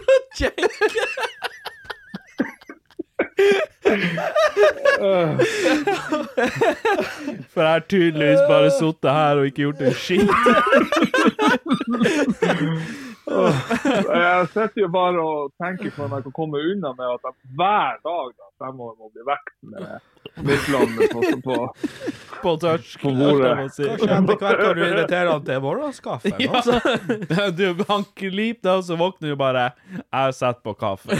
Speaker 2: For jeg har tydeligvis bare sittet her og ikke gjort en skitt.
Speaker 3: Jeg sitter jo bare og tenker på om jeg kan komme unna med at jeg hver dag da, fremover må bli vekt med midlene på, på,
Speaker 2: På tørsk.
Speaker 3: på bordet.
Speaker 8: Kanskje etter hvert kan du invitere han til morgenskaffe.
Speaker 2: <laughs> Ja.
Speaker 8: Ja.
Speaker 2: Du, han kliper deg, og så våkner du bare 'Jeg har sett på
Speaker 8: <laughs>
Speaker 2: kaffen'.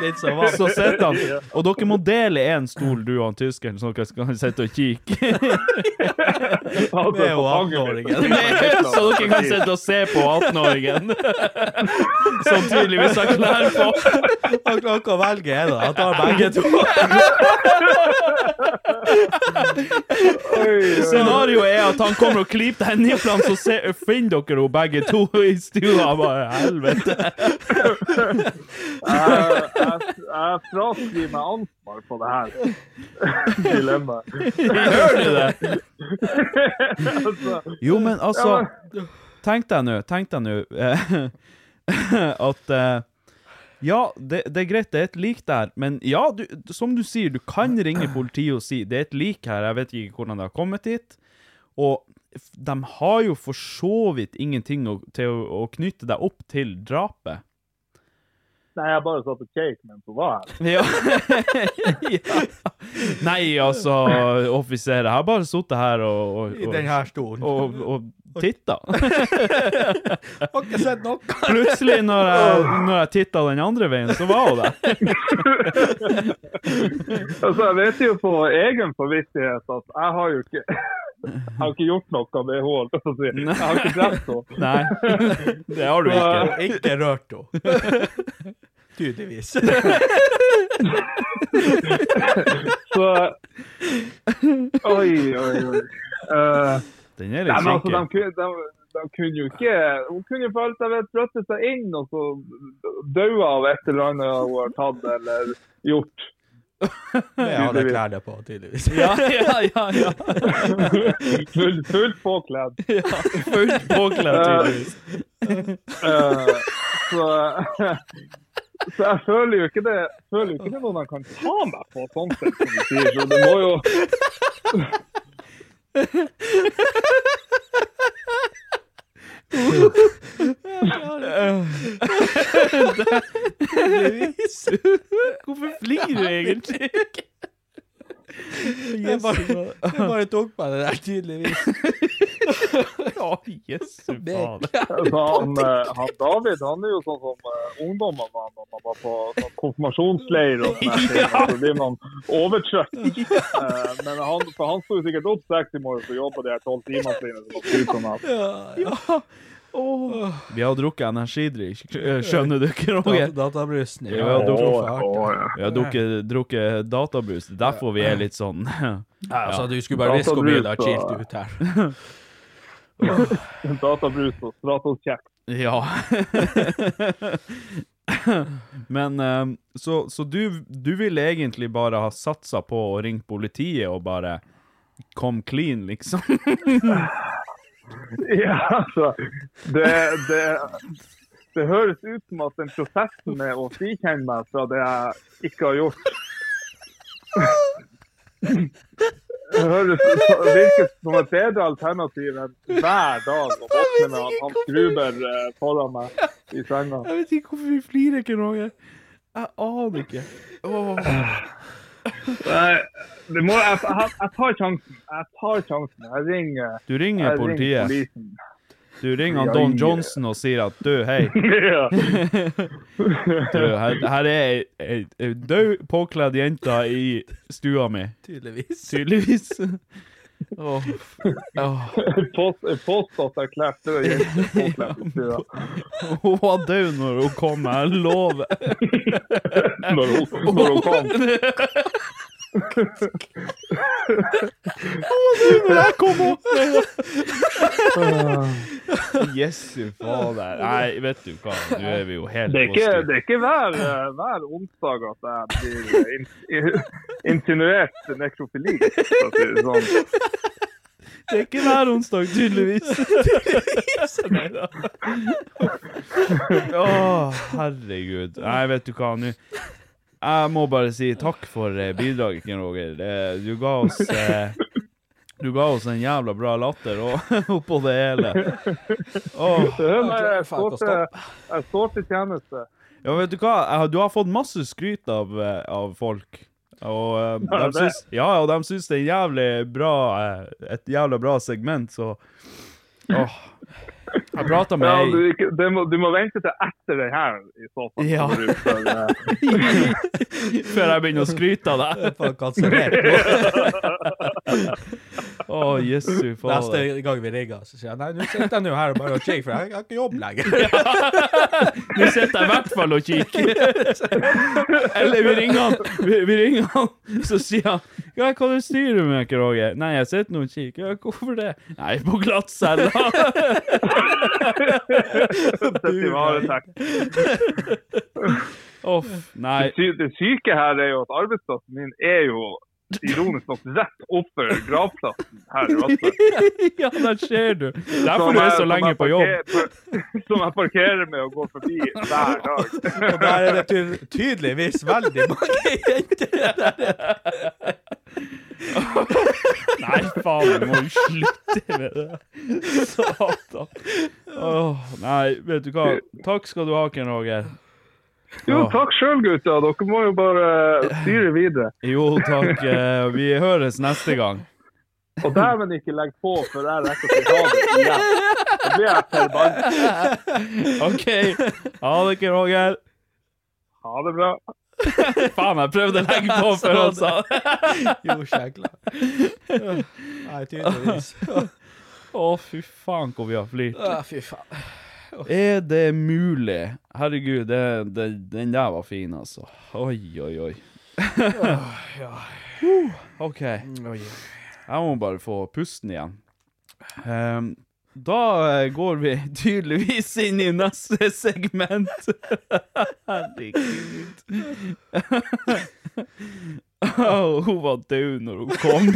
Speaker 8: Litt som vanlig.
Speaker 2: Så sitter han Og dere må dele én stol, du og han tyskeren, så dere skal sitte og kikke.
Speaker 3: Altså,
Speaker 8: Det er jo
Speaker 3: på fanget
Speaker 8: 18-åringen.
Speaker 2: <laughs>
Speaker 3: mitt.
Speaker 2: Så dere kan sitte og se på 18-åringen.
Speaker 8: <laughs>
Speaker 2: Som tydeligvis har klær på.
Speaker 8: Han klarer ikke å velge en, da. Han tar begge to.
Speaker 3: Oi, oi.
Speaker 2: Scenarioet er at han kommer og klyper deg niplene, så se, finner dere henne begge to i stua. Bare helvete.
Speaker 3: Jeg, jeg, jeg fraskriver meg ansvar på det her <laughs> dilemmaet.
Speaker 2: Gjør du det?
Speaker 3: Altså,
Speaker 2: Jo, men altså Tenk deg nå, tenk deg nå eh, <laughs> at eh, Ja, det, det er greit, det er et lik der, men ja, du, som du sier, du kan ringe politiet og si det er et lik her, jeg vet ikke hvordan det har kommet hit. Og f- de har jo for så vidt ingenting å, til å, å knytte deg opp til drapet.
Speaker 3: nei, jeg bare satt og kjekk mens hun var her.
Speaker 2: Ja. ja. <laughs> Nei, altså, offiser, jeg har bare sittet her og, og,
Speaker 8: I
Speaker 2: og,
Speaker 8: den her stolen.
Speaker 2: og, og titta.
Speaker 8: Har ikke sett noe.
Speaker 2: Plutselig, når jeg, når jeg titta den andre veien, så var hun
Speaker 3: <laughs>
Speaker 2: der.
Speaker 3: Altså, jeg vet jo på egen forvittighet at jeg har jo ikke jeg har ikke gjort noe med henne, holdt jeg på å si.
Speaker 8: <laughs>
Speaker 3: Jeg har ikke drept henne.
Speaker 2: Nei, det har du ikke.
Speaker 3: <laughs>
Speaker 8: Ikke rørt henne. <laughs> Tydeligvis.
Speaker 3: Så Oi, oi, oi. Eh,
Speaker 2: Den er litt
Speaker 3: Nei, men altså, de,
Speaker 2: kinkig.
Speaker 3: kunne- de, de kunne jo ikke Hun kunne jo for alt jeg vet brøtte seg inn og så daua av et eller annet hun har tatt eller gjort.
Speaker 8: Det hadde klærne på, tydeligvis.
Speaker 2: Ja, ja, ja. ja.
Speaker 3: Fullt <laughs> full påkledd.
Speaker 2: Fullt påkledd, tydeligvis.
Speaker 3: Eh, så, <laughs> så jeg føler jo ikke det føler jo ikke det noen jeg kan ta meg på, sånn sett, som du sier. Så det må jo
Speaker 2: Hvorfor flirer du egentlig?
Speaker 8: Jeg bare, jeg bare tok meg det der, tydeligvis.
Speaker 2: Å, Jesu faen.
Speaker 3: Så han, eh, han David han er jo sånn som eh, ungdommene var når man var på sånn konfirmasjonsleir og sånne ting. og Så blir man overtrøtt. Eh, Men han, for han sto jo sikkert opp seks i morges og jobba de her tolv timene sine. som han skulle komme.
Speaker 2: Ja. Åh. Vi har drukket energidrikk, skjønner du ikke, Roger?
Speaker 9: Dat- Databrus.
Speaker 2: Vi har
Speaker 9: Å,
Speaker 2: drukket,
Speaker 9: å, ja.
Speaker 2: vi har drukket, drukket databrus, derfor vi er litt sånn
Speaker 9: Ja, altså,
Speaker 2: Ja.
Speaker 9: du skulle bare visst hvor mye det har
Speaker 3: Databrus,
Speaker 9: chillt
Speaker 3: da.
Speaker 9: ut her.
Speaker 3: <laughs> Databrus og Stratos-kjekk.
Speaker 2: Ja. <laughs> Men ehm, så, så du, du ville egentlig bare ha satsa på å ringe politiet og bare Come clean, liksom?
Speaker 3: <laughs> Ja, altså. Det, det, det høres ut som at den prosessen med å frikjenne meg fra det jeg ikke har gjort Det høres, virker som et bedre alternativ enn hver dag å våkne med at Hans Gruber eh, foran meg i senga.
Speaker 2: Jeg vet ikke hvorfor vi flirer ikke, Roger. Jeg aner ikke.
Speaker 3: Nei, det må, jeg, jeg, jeg tar sjansen. Jeg tar sjansen. Jeg ringer,
Speaker 2: Du ringer
Speaker 3: jeg
Speaker 2: politiet.
Speaker 3: <laughs> polisen.
Speaker 2: Du ringer han
Speaker 3: Ja,
Speaker 2: Don
Speaker 3: ja.
Speaker 2: Johnson og sier at du, hei,
Speaker 3: Ja.
Speaker 2: du, her, her er ei- ei ei død påkledd jente i stua mi.
Speaker 9: Tydeligvis.
Speaker 2: Tydeligvis. Åh. Åh.
Speaker 3: Påst- Påstått erklært død jente. Påkledd i stua.
Speaker 2: <laughs> Hun var død når hun kom, jeg lover.
Speaker 3: Når hun, når hun kom.
Speaker 2: Når jeg kom opp
Speaker 3: Ah.
Speaker 2: Jesu fader. Nei, vet du hva, nå er vi jo helt
Speaker 3: Det er ikke,
Speaker 2: på
Speaker 3: det er ikke hver, eh, hver onsdag at jeg blir eh, in, i- insinuert nekrofili. for å si det sånn.
Speaker 2: styr. Det er ikke hver onsdag, tydeligvis. Nei da. Å, herregud. Nei, vet du hva, nå Jeg må bare si takk for eh, bidraget, Ken Roger. Eh, Du ga oss eh, Du ga oss en jævla bra latter og <laughs> oppå det hele. Åh.
Speaker 3: Så hør meg,
Speaker 9: klarer
Speaker 3: jeg
Speaker 9: faen ikke
Speaker 3: står
Speaker 9: å
Speaker 3: til, jeg står til tjeneste.
Speaker 2: Ja, vet du hva? Jeg har- Du har fått masse skryt av, eh, av folk. Og eh,
Speaker 3: Har
Speaker 2: de
Speaker 3: du det?
Speaker 2: syns, ja, og de syns det er jævlig bra, eh, et jævlig bra segment, så Åh. Jeg prata med
Speaker 3: Ja, du,
Speaker 2: ei
Speaker 3: ikke- det må, du må vente til etter den her, i så fall.
Speaker 2: Ja.
Speaker 3: For, eh,
Speaker 9: <laughs>
Speaker 2: før jeg begynner å skryte av deg.
Speaker 9: Faen,
Speaker 3: <laughs>
Speaker 9: kansellert nå.
Speaker 2: Å, jesu fader.
Speaker 9: Neste gang vi ringer, så sier jeg nei, nå sitter jeg nå her og bare og kikker, for jeg har ikke jobb lenger.
Speaker 2: Nå sitter jeg i hvert fall og kikker. Eller vi ringer han, vi, vi ringer han, så sier han ja, 'Hva du styrer du med, Roger?' 'Nei, jeg sitter nå og kikker.' Ja, 'Hvorfor det?' 'Nei, på glattcella.'
Speaker 3: Sett i varetekt.
Speaker 2: Uff, nei.
Speaker 3: <laughs> Sy- <laughs> Det syke her er jo at arbeidsplassen min er jo ironisk nok rett oppe gravplassen
Speaker 9: <laughs>
Speaker 3: her i Vadsø.
Speaker 2: Ja, der ser du. Derfor
Speaker 3: Som
Speaker 2: du er
Speaker 3: jeg-
Speaker 2: så
Speaker 3: som
Speaker 2: lenge
Speaker 3: jeg
Speaker 2: på jobb.
Speaker 3: parkerer- Som jeg parkerer med og går forbi hver dag.
Speaker 9: Og der er det ty- tydeligvis veldig mange jenter.
Speaker 2: Nei, faen, du må jo slutte med det. Satan. Åh, nei, vet du hva. Takk skal du ha, Ken Roger.
Speaker 3: Jo, takk sjøl, gutter. Dere må jo bare styre videre.
Speaker 2: Jo, takk. eh, Vi høres neste gang.
Speaker 3: Og dæven ikke legg på før jeg rekker å si ha det igjen. Da blir jeg forbanna.
Speaker 2: OK. Ha det, Ken Roger.
Speaker 3: Ha det bra.
Speaker 2: Faen, jeg prøvde å legge på før han sa det.
Speaker 9: <laughs> Jo, kjegla. Nei, tydeligvis.
Speaker 3: <laughs>
Speaker 2: Å, fy faen, hvor vi har flirt.
Speaker 9: Å, fy faen.
Speaker 2: Er det mulig? Herregud, det, det, den der var fin, altså. Oi, oi, oi. Uh, OK. Jeg må bare få pusten igjen. Ehm, da eh, går vi <laughs> tydeligvis inn i neste <laughs> segment. Herregud. <laughs> Åh, hun var død når hun kom.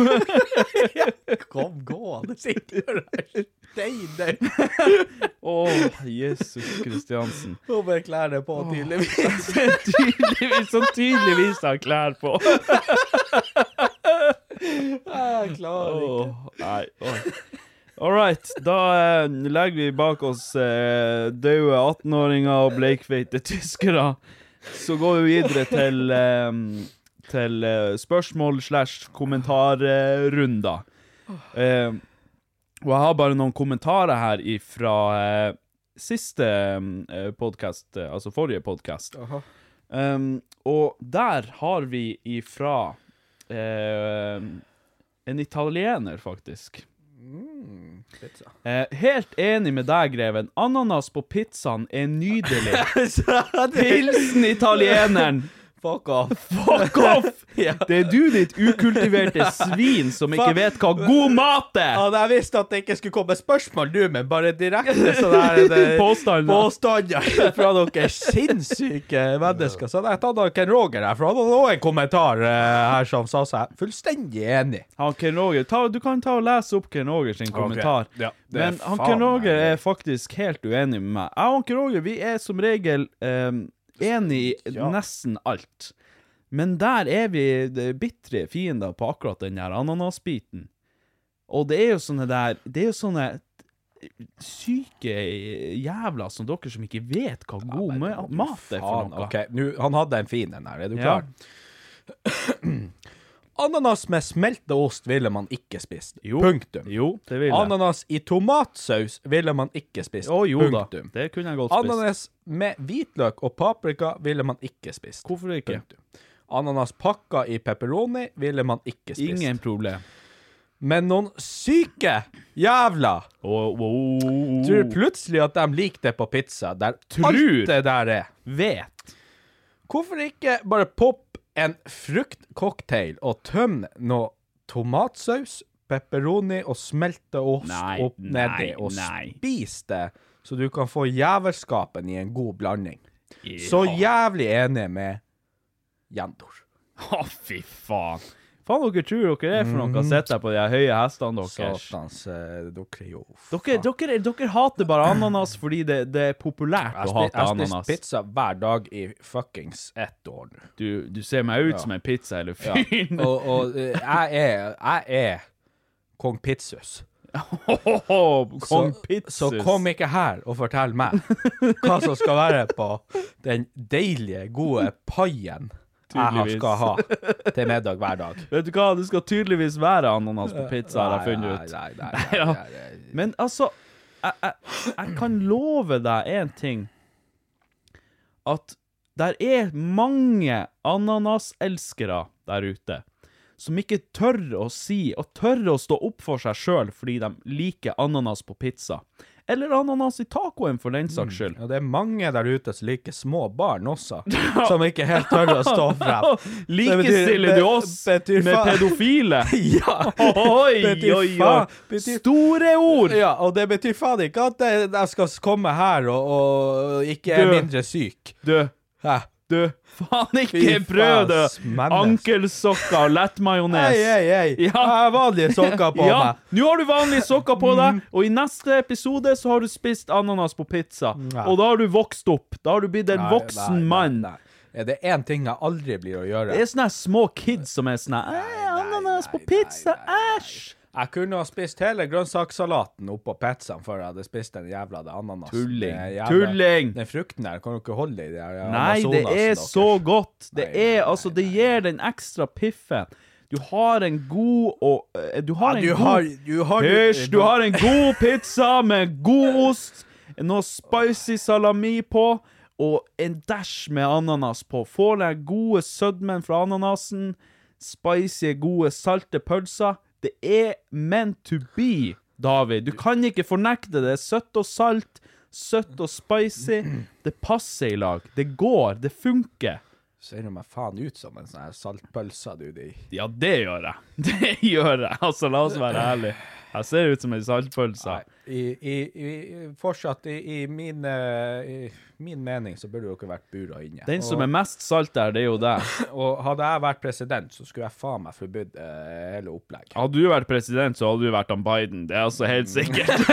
Speaker 2: <laughs>
Speaker 9: Kom gående, sitter du der? Steiner.
Speaker 2: Å, Jesus Kristiansen.
Speaker 9: Hun bare klær det
Speaker 2: <laughs>
Speaker 9: på, tydeligvis.
Speaker 2: tydeligvis, som tydeligvis har klær på.
Speaker 9: Jeg klarer ikke.
Speaker 2: Åh, nei, åh. All right, da eh, legger vi bak oss eh, døde 18-åringer og bleikfeite tyskere. Så går vi videre til, eh, til eh, spørsmål slash kommentarrunder. Eh, Og jeg har bare noen kommentarer her ifra eh, siste eh, podkast, eh, altså forrige podkast.
Speaker 3: Aha.
Speaker 2: Um, og der har vi ifra eh, en italiener, faktisk.
Speaker 10: Mm,
Speaker 3: Pizza.
Speaker 2: Eh, helt enig med deg, Greven. Ananas på pizzaen er
Speaker 10: <laughs>
Speaker 2: nydelig. Hilsen italieneren.
Speaker 10: Fuck off.
Speaker 2: Fuck
Speaker 10: <laughs>
Speaker 2: off! Det er du, ditt ukultiverte svin, som ikke vet hva god mat er!
Speaker 10: Hadde jeg visst at det ikke skulle komme spørsmål nå, men bare direkte sånn her
Speaker 2: <laughs>
Speaker 10: det-
Speaker 2: Påstander.
Speaker 10: Påstander fra dere sinnssyke mennesker. Så hadde jeg tatt av Ken Roger her, for han hadde også en kommentar eh, her som sa seg fullstendig enig.
Speaker 2: Han Ken Roger, ta, Du kan ta og lese opp Ken Roger sin kommentar.
Speaker 3: Ja, det er
Speaker 2: Men han
Speaker 3: faen
Speaker 2: Ken Roger
Speaker 3: meg-
Speaker 2: er faktisk helt uenig med meg. Jeg og han Ken Roger vi er som regel um, enig i nesten alt. Men der er vi eh, bitre fiender på akkurat den der ananasbiten. Og det er jo sånne der Det er jo sånne syke jævler som dere som ikke vet hva god ma- mat er
Speaker 10: Ah,
Speaker 2: for
Speaker 3: Faen,
Speaker 2: noe.
Speaker 3: ok. Nu, han hadde en fin en her, er du
Speaker 2: Ja.
Speaker 10: <clears throat>
Speaker 3: klar? Ananas med smelta ost ville man ikke spist.
Speaker 2: Jo.
Speaker 3: Punktum.
Speaker 2: Jo, det vil jeg.
Speaker 3: Ananas i tomatsaus ville man ikke spist.
Speaker 2: Å jo da,
Speaker 3: Punktum.
Speaker 2: det kunne jeg godt spist.
Speaker 3: Ananas med hvitløk og paprika ville man ikke spist.
Speaker 2: Hvorfor ikke?
Speaker 3: Punktum. Ananas pakka i pepperoni ville man ikke spist.
Speaker 2: Ingen problem.
Speaker 3: Men noen syke jævla
Speaker 2: Oh, oh, oh,
Speaker 3: tror plutselig at de liker det på pizza, der
Speaker 2: Tror.
Speaker 3: alt det der er.
Speaker 2: Vet.
Speaker 3: Hvorfor ikke bare poppe en fruktcocktail og tømme noe tomatsaus, pepperoni og smelta ost
Speaker 2: Nei,
Speaker 3: opp
Speaker 2: nei,
Speaker 3: nedi, og
Speaker 2: nei.
Speaker 3: spis det, så du kan få jævelskapen i en god blanding? Så jævlig enig med Jendor.
Speaker 2: Å, fy faen. Faen dere tror dere er for
Speaker 3: Mm.
Speaker 2: noe å sitte på de her høye hestene deres.
Speaker 3: Satans eh, dere er jo
Speaker 2: Dere, dere, dere hater bare ananas fordi det, det er populært å
Speaker 3: Jeg spi-
Speaker 2: hate
Speaker 3: jeg har spist
Speaker 2: ananas.
Speaker 3: pizza hver dag i fuckings ett år nå.
Speaker 2: Du, du ser meg ut som en pizza eller
Speaker 3: Ja.
Speaker 2: fyren.
Speaker 3: Og, og eh, jeg er Jeg er kong Pizzus.
Speaker 2: <laughs> Kong
Speaker 3: Så-
Speaker 2: Pizzas.
Speaker 3: Så kom ikke her og fortell meg hva som skal være på den deilige, gode paien jeg har- skal ha til middag hver dag.
Speaker 2: Vet du hva, det skal tydeligvis være ananas på pizza, har jeg funnet ut.
Speaker 3: Nei, nei, nei, nei,
Speaker 2: Ja.
Speaker 3: nei, nei.
Speaker 2: Men altså, jeg, jeg, jeg kan love deg én ting. At der er mange ananaselskere der ute som ikke tør å si og tør å stå opp for seg sjøl fordi de liker ananas på pizza. Eller ananas i tacoen, for den saks skyld.
Speaker 3: Ja, det er mange der ute som liker små barn
Speaker 2: <laughs>
Speaker 3: også, som ikke helt tør å stå frem. Det betyr-
Speaker 2: Likestiller du
Speaker 3: be-
Speaker 2: oss
Speaker 3: betyr
Speaker 2: med
Speaker 3: faen-
Speaker 2: pedofile? <laughs>
Speaker 3: <laughs> Ja.
Speaker 2: Oi,
Speaker 3: Betyr
Speaker 2: oi, oi.
Speaker 3: faen- betyr-
Speaker 2: Store ord!
Speaker 3: Ja, og det betyr faen ikke at jeg jeg skal komme her og, og ikke er
Speaker 2: Du.
Speaker 3: mindre syk.
Speaker 2: Du,
Speaker 3: Hæ?
Speaker 2: Du, faen ikke
Speaker 3: Fy
Speaker 2: prøv
Speaker 3: faen,
Speaker 2: det!
Speaker 3: smennes.
Speaker 2: Ankelsokker og lettmajones.
Speaker 3: Hei, hei, hei.
Speaker 2: Ja.
Speaker 3: Jeg har vanlige sokker <laughs> på
Speaker 2: ja,
Speaker 3: meg.
Speaker 2: Nå har du vanlige sokker på
Speaker 3: Mm.
Speaker 2: deg, og i neste episode så har du spist ananas på pizza. Og da har du vokst opp. Da har du blitt en
Speaker 3: Nei,
Speaker 2: voksen
Speaker 3: nei,
Speaker 2: mann.
Speaker 3: nei, nei. Er det én ting jeg aldri blir å gjøre?
Speaker 2: Det er sånne her små kids som er sånn her, «Æ, Ananas på pizza, æsj!
Speaker 3: Jeg kunne ha spist hele grønnsakssalaten oppå pizzaen før jeg hadde spist den jævla det ananasen.
Speaker 2: Tulling.
Speaker 3: Det jævla-
Speaker 2: Tulling.
Speaker 3: Den frukten der kan du ikke holde i. Det her
Speaker 2: Nei, det
Speaker 3: Amazonasen
Speaker 2: er
Speaker 3: deres.
Speaker 2: så godt. Det
Speaker 3: Nei,
Speaker 2: er
Speaker 3: nei,
Speaker 2: altså Det gir den ekstra piffen. Du har en god og eh, Du har
Speaker 3: Ja,
Speaker 2: en
Speaker 3: du
Speaker 2: god
Speaker 3: har- du har-
Speaker 2: Hysj! Du har en god pizza med god ost, noe spicy salami på og en dæsj med ananas på. Får den gode sødmen fra ananasen, spicy, gode, salte pølser. Det er meant to be, David. Du kan ikke fornekte det. Søtt og salt, søtt og spicy. Det passer i lag. Det går. Det funker.
Speaker 3: Ser du meg faen ut som en sånn her saltpølse, du, de
Speaker 2: Ja, det gjør jeg. <laughs> Det gjør jeg. Altså, la oss være ærlige. Jeg ser ut som en saltpølse.
Speaker 3: Nei, i, i, i, fortsatt i, i, min, eh, i min mening så burde dere vært bura inne.
Speaker 2: Den som
Speaker 3: og,
Speaker 2: er mest salt der, det er jo deg.
Speaker 3: og hadde jeg vært president, så skulle jeg faen meg forbudt eh, hele opplegget.
Speaker 2: Hadde du vært president, så hadde du vært han Biden. Det er altså helt
Speaker 3: <laughs>
Speaker 2: sikkert.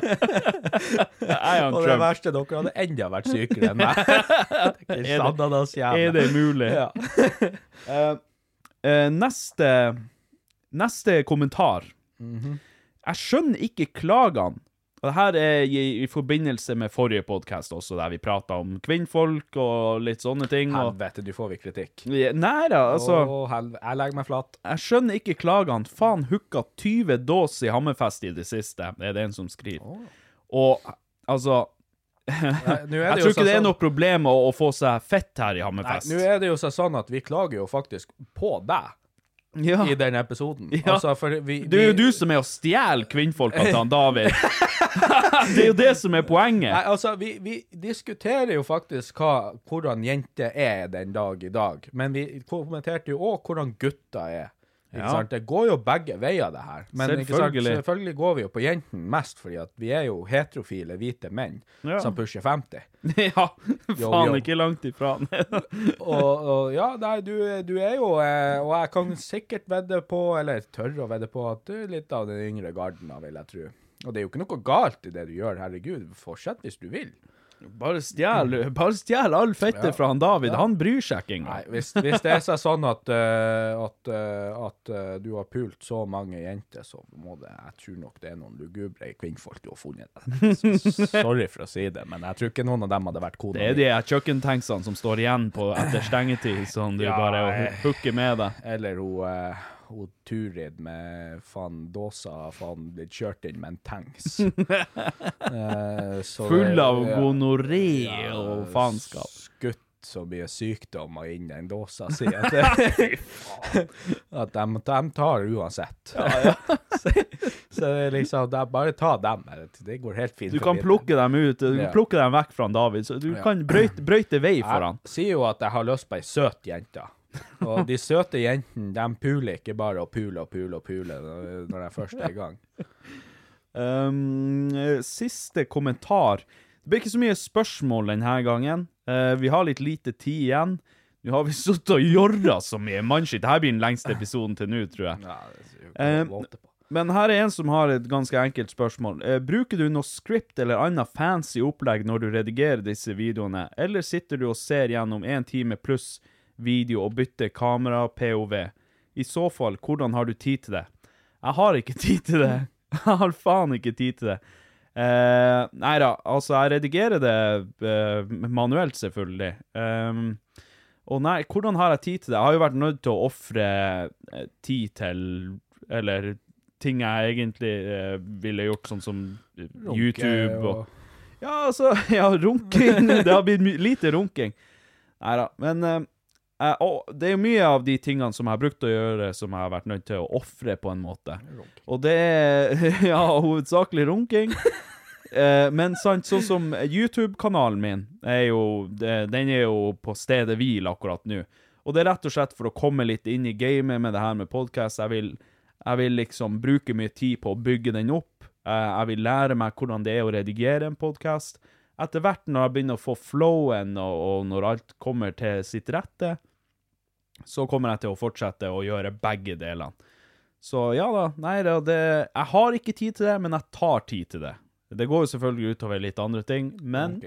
Speaker 2: Jeg er han
Speaker 3: Og det
Speaker 2: Trump.
Speaker 3: verste, dere hadde enda vært sykere <laughs> enn meg. Det er ikke sant, anas jævla.
Speaker 2: Er det mulig?
Speaker 3: Ja.
Speaker 2: Eh, neste
Speaker 3: Mhm.
Speaker 2: Neste kommentar. Jeg skjønner ikke klagene Og det her er i, i forbindelse med forrige podkast også, der vi prata om kvinnfolk og litt sånne ting. Og...
Speaker 3: <laughs> Helvete, du får vi kritikk.
Speaker 2: Ja, Nei da, altså.
Speaker 3: Å, helv- Jeg legger meg flat.
Speaker 2: Jeg skjønner ikke klagene. Faen hooka 20 dås i Hammerfest i det siste, er det en som skriver. Og altså
Speaker 3: nå er
Speaker 2: Jeg
Speaker 3: det
Speaker 2: tror
Speaker 3: jo
Speaker 2: ikke det er
Speaker 3: sånn-
Speaker 2: noe problem å, å få seg fett her i
Speaker 3: Nei,
Speaker 2: Hammerfest.
Speaker 3: nå er det jo så sånn at vi klager jo faktisk på deg
Speaker 2: ja.
Speaker 3: i den episoden.
Speaker 2: Ja.
Speaker 3: Altså, for vi, vi
Speaker 2: Det er jo du som er å stjele kvinnfolka til han David. <laughs> det er jo det som er
Speaker 3: Nei,
Speaker 2: poenget.
Speaker 3: altså, vi, vi diskuterer jo faktisk hva, hvordan jenter er den dag i dag, men vi kommenterte jo òg hvordan gutter er. Ikke
Speaker 2: Ja.
Speaker 3: sant? Det går jo begge veier, det her. Men ikke sant,
Speaker 2: Selvfølgelig.
Speaker 3: selvfølgelig går vi jo på jentene mest, fordi at vi er jo heterofile, hvite menn
Speaker 2: Ja.
Speaker 3: som pusher 50.
Speaker 2: <laughs> ja,
Speaker 3: Yo,
Speaker 2: faen
Speaker 3: yo.
Speaker 2: ikke langt ifra.
Speaker 3: <laughs> og, og ja, nei, du, du er jo eh, Og jeg kan sikkert vedde på, eller tørre å vedde på, at du er litt av den yngre garden, da, vil jeg tro. Og det er jo ikke noe galt i det du gjør, herregud. Fortsett hvis du vil.
Speaker 2: Bare stjel, bare stjel all fette fra han David. Han bryr seg ikke
Speaker 3: Nei,
Speaker 2: engang.
Speaker 3: hvis, hvis det er så sånn at, eh, at, eh, at eh, du har pult så mange jenter, så må det Jeg tror nok det er noen lugubre kvinnfolk du har funnet der. Så
Speaker 2: <laughs>
Speaker 3: Sorry for å si det, men jeg tror ikke noen av dem hadde vært kona
Speaker 2: Det er
Speaker 3: mi.
Speaker 2: de her kjøkkentanksene som står igjen på etter stengetid, som du
Speaker 3: Ja,
Speaker 2: bare
Speaker 3: jeg-
Speaker 2: hu- hooker med deg.
Speaker 3: Eller hun, eh, hun Turid med faen dåsa faen blitt kjørt inn med en tanks.
Speaker 2: <laughs>
Speaker 3: Eh, så det-
Speaker 2: Full av
Speaker 3: ja.
Speaker 2: gonoré
Speaker 3: Ja,
Speaker 2: og faenskap.
Speaker 3: Skutt så mye sykdommer inn den dåsa si.
Speaker 2: <laughs>
Speaker 3: At, at de, de tar uansett. <laughs> så, så det er liksom, det er bare ta dem. Det går helt fint.
Speaker 2: Du
Speaker 3: for
Speaker 2: kan
Speaker 3: min del.
Speaker 2: plukke dem ut, du kan
Speaker 3: Ja.
Speaker 2: plukke dem vekk fra han David, så du kan brøyte, brøyte vei for han.
Speaker 3: Jeg sier jo at jeg har lyst på ei søt jente. Og de søte jentene, de puler ikke bare og puler og puler og puler når- når de først er i gang.
Speaker 2: Um, eh, siste kommentar. Det blir ikke så mye spørsmål denne gangen. Eh, vi har litt lite tid igjen. Nå har vi <laughs> sittet og jorda så mye mannskitt. Dette blir den lengste episoden til nå, tror jeg. Eh, men her er en som har et ganske enkelt spørsmål. Eh, bruker du noe script eller annet fancy opplegg når du redigerer disse videoene, eller sitter du og ser gjennom en time pluss video og bytter kamera POV? I så fall, hvordan har du tid til det? Jeg har ikke <laughs> tid til det. Jeg har faen ikke tid til det. Uh, nei da, altså, jeg redigerer det eh, manuelt, selvfølgelig. Um, og nei, hvordan har jeg tid til det? Jeg har jo vært nødt til å ofre eh, tid til Eller ting jeg egentlig eh, ville gjort, sånn som eh, YouTube og, Ja, altså <laughs> Ja, runking. det har blitt my- lite runking. Nei da. Men eh, jeg, og, det er jo mye av de tingene som jeg har brukt å gjøre, som jeg har vært nødt til å ofre, på en måte. Og det er <laughs> ja, hovedsakelig runking. Eh, men sant, sånn som YouTube-kanalen min, er jo, det- den er jo på stedet hvil akkurat nå. Og det er rett og slett for å komme litt inn i gamet med det her med podkast. Jeg, vil- jeg vil liksom bruke mye tid på å bygge den opp. Eh, jeg vil lære meg hvordan det er å redigere en podkast. Etter hvert når jeg begynner å få flowen, og, og når alt kommer til sitt rette, så kommer jeg til å fortsette å gjøre begge delene. Så ja da, nei da, det, jeg har ikke tid til det, men jeg tar tid til det. Det går jo selvfølgelig utover litt andre ting, men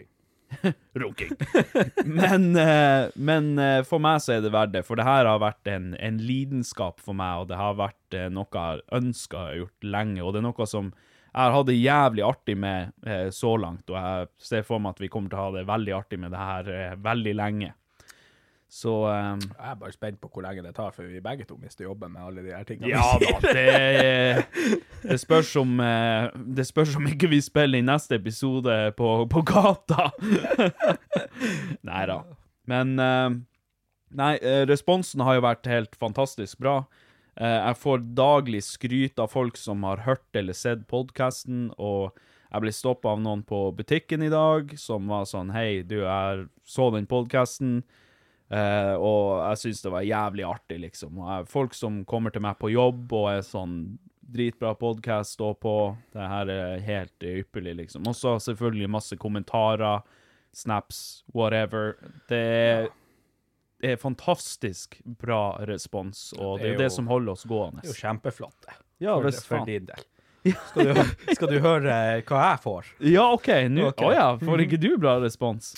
Speaker 2: Runking. <laughs> men eh, men eh, for meg så er det verdt det, for det her har vært en, en lidenskap for meg, og det har vært eh, noe jeg har ønska og gjort lenge, og det er noe som jeg har hatt det jævlig artig med eh, så langt, og jeg ser for meg at vi kommer til å ha det veldig artig med det her eh, veldig lenge. Så eh,
Speaker 3: Jeg er bare spent på hvor lenge det tar, for vi begge to mister jobben med alle de her tingene.
Speaker 2: Ja da, det, det spørs om eh, Det spørs om ikke vi spiller i neste episode på, på gata. <laughs> Nei da. Men eh, Nei, eh, responsen har jo vært helt fantastisk bra. Eh, Jeg får daglig skryt av folk som har hørt eller sett podkasten, og jeg ble stoppa av noen på butikken i dag som var sånn Hei, du, jeg så den podkasten. Eh, og jeg syns det var jævlig artig, liksom. Og jeg, folk som kommer til meg på jobb og er sånn Dritbra podkast, stå på. Det her er helt ypperlig, liksom. Og så selvfølgelig masse kommentarer, snaps, whatever. Det er, det er fantastisk bra respons, og det er jo det som holder oss gående.
Speaker 3: Det er jo kjempeflott, det.
Speaker 2: Ja,
Speaker 3: for,
Speaker 2: visst
Speaker 3: for
Speaker 2: faen.
Speaker 3: din del. Skal du, skal du høre eh, hva jeg får?
Speaker 2: Ja, OK. Nå Å
Speaker 3: Ok.
Speaker 2: ja, får ikke du bra respons?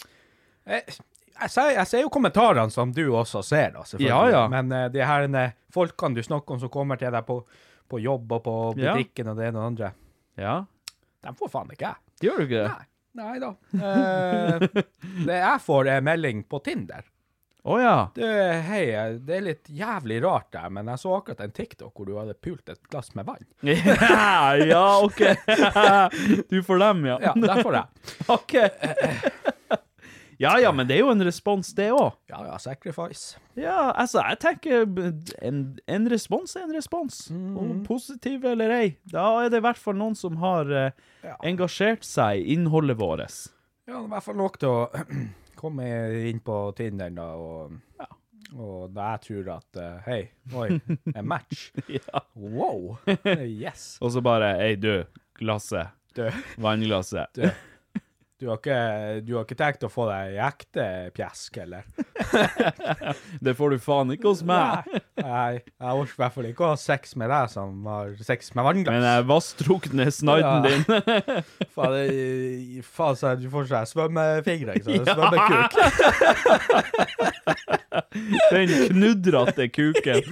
Speaker 3: Jeg, Eh, jeg, ser, jeg ser jo kommentarene som du også ser, da, selvfølgelig.
Speaker 2: Ja, ja.
Speaker 3: Men eh, de her eh, folkene du snakker om som kommer til deg på, på jobb og på
Speaker 2: Ja.
Speaker 3: butikken og det ene og det andre,
Speaker 2: Ja.
Speaker 3: De får faen ikke jeg.
Speaker 2: Gjør du ikke det?
Speaker 3: Nei da. Eh, det jeg får, er melding på Tinder.
Speaker 2: Å ja.
Speaker 3: Du, hei, eh, det er litt jævlig rart der, men jeg så akkurat en TikTok hvor du hadde pult et glass med vann.
Speaker 2: Ja, ja, OK. Du får dem, ja.
Speaker 3: Ja, der får jeg.
Speaker 2: <laughs> OK. Ja ja, men det er jo en respons, det òg.
Speaker 3: Ja ja, sacrifice.
Speaker 2: Ja, altså, jeg tenker b- en, en respons er en respons.
Speaker 3: Mhm.
Speaker 2: Om positiv eller ei. Da er det i hvert fall noen som har eh, engasjert seg i innholdet vårt.
Speaker 3: Ja, det er i hvert fall nok til å <clears throat> komme inn på Tinder da, og, og da jeg tror at eh, Hei, oi, en match. Wow! Eh, Yes!
Speaker 2: Og så bare Ei, du. Glasset.
Speaker 3: Du.
Speaker 2: Vannglasset.
Speaker 3: Du, du, har ikke, du har ikke tenkt å få deg ekte pjesk, eller?
Speaker 2: <laughs> Det får du faen ikke hos meg.
Speaker 3: Nei, jeg orker i hvert fall ikke å ha sex med deg som har sex med vannglass.
Speaker 2: Men jeg vasstrukne sniden
Speaker 3: Ja.
Speaker 2: din.
Speaker 3: <laughs>
Speaker 2: <laughs>
Speaker 3: Faen, det- faen så du får sånn svømmefingre, ikke sant? Svømmekuk.
Speaker 2: Den knudrete kuken.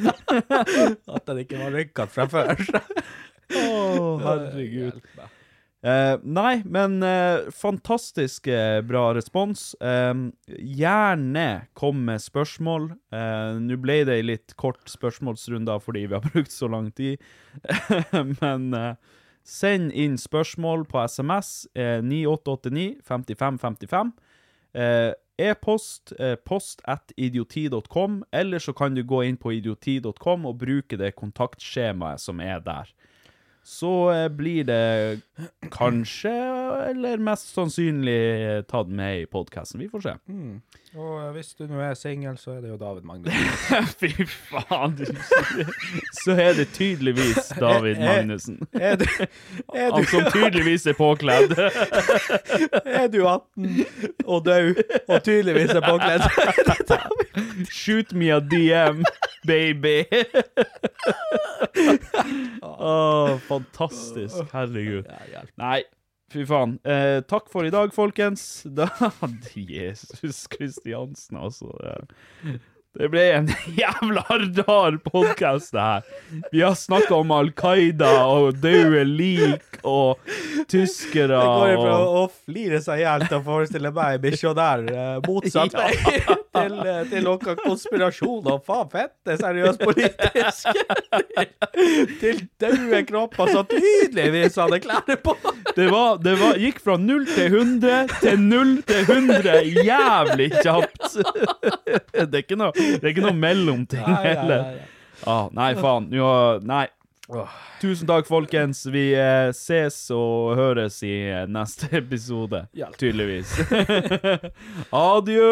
Speaker 3: At den ikke var rynket fra før.
Speaker 2: Å, herregud. Eh, nei, men eh, fantastisk eh, bra respons. Eh, gjerne kom med spørsmål. Eh, Nå ble det ei litt kort spørsmålsrunde fordi vi har <laughs> brukt så lang tid. men eh, send inn spørsmål på SMS eh, 9889 5555. Eh, E-post eh, post at idioti.com, eller så kan du gå inn på idioti.com og bruke det kontaktskjemaet som er der. Så eh, blir det kanskje, eller mest sannsynlig, eh, tatt med i podkasten. Vi får se.
Speaker 3: Og eh, hvis du nå er singel, så er det jo David Magnus.
Speaker 2: <laughs> Fy faen, du Så er det <laughs> tydeligvis David Magnussen.
Speaker 3: Er du, er
Speaker 2: Han som tydeligvis er påkledd. <laughs>
Speaker 3: er du 18 og død og tydeligvis er påkledd?
Speaker 2: Shoot me a DM,
Speaker 3: <laughs>
Speaker 2: baby. Å, fantastisk. Herregud. Nei, fy faen. Eh, takk for i dag, folkens. <laughs> Da, Jesus Kristiansen, altså. Det- Det ble en jævla rar podkast, det her. Vi har snakka om Al Qaida og døde lik og tyskere
Speaker 3: Det går ifra
Speaker 2: og
Speaker 3: å flire seg i hjel til å forestille meg misjonær eh, motsatt <laughs> vei til, eh, til noe konspirasjon og faen fette seriøst politisk. til døde kropper som tydeligvis hadde klær
Speaker 8: <laughs>
Speaker 3: på.
Speaker 2: Det, var, det var, gikk fra 0 til 100 til 0 til 100 jævlig kjapt. Det er ikke noe, det er ikke noe mellomting heller. Ah, nei, faen. Jo, nei. Tusen takk, folkens. Vi eh, ses og høres i eh, neste episode, tydeligvis. <laughs> Adjø!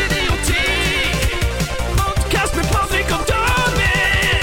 Speaker 1: Idioti. Podcast med Patrick og David.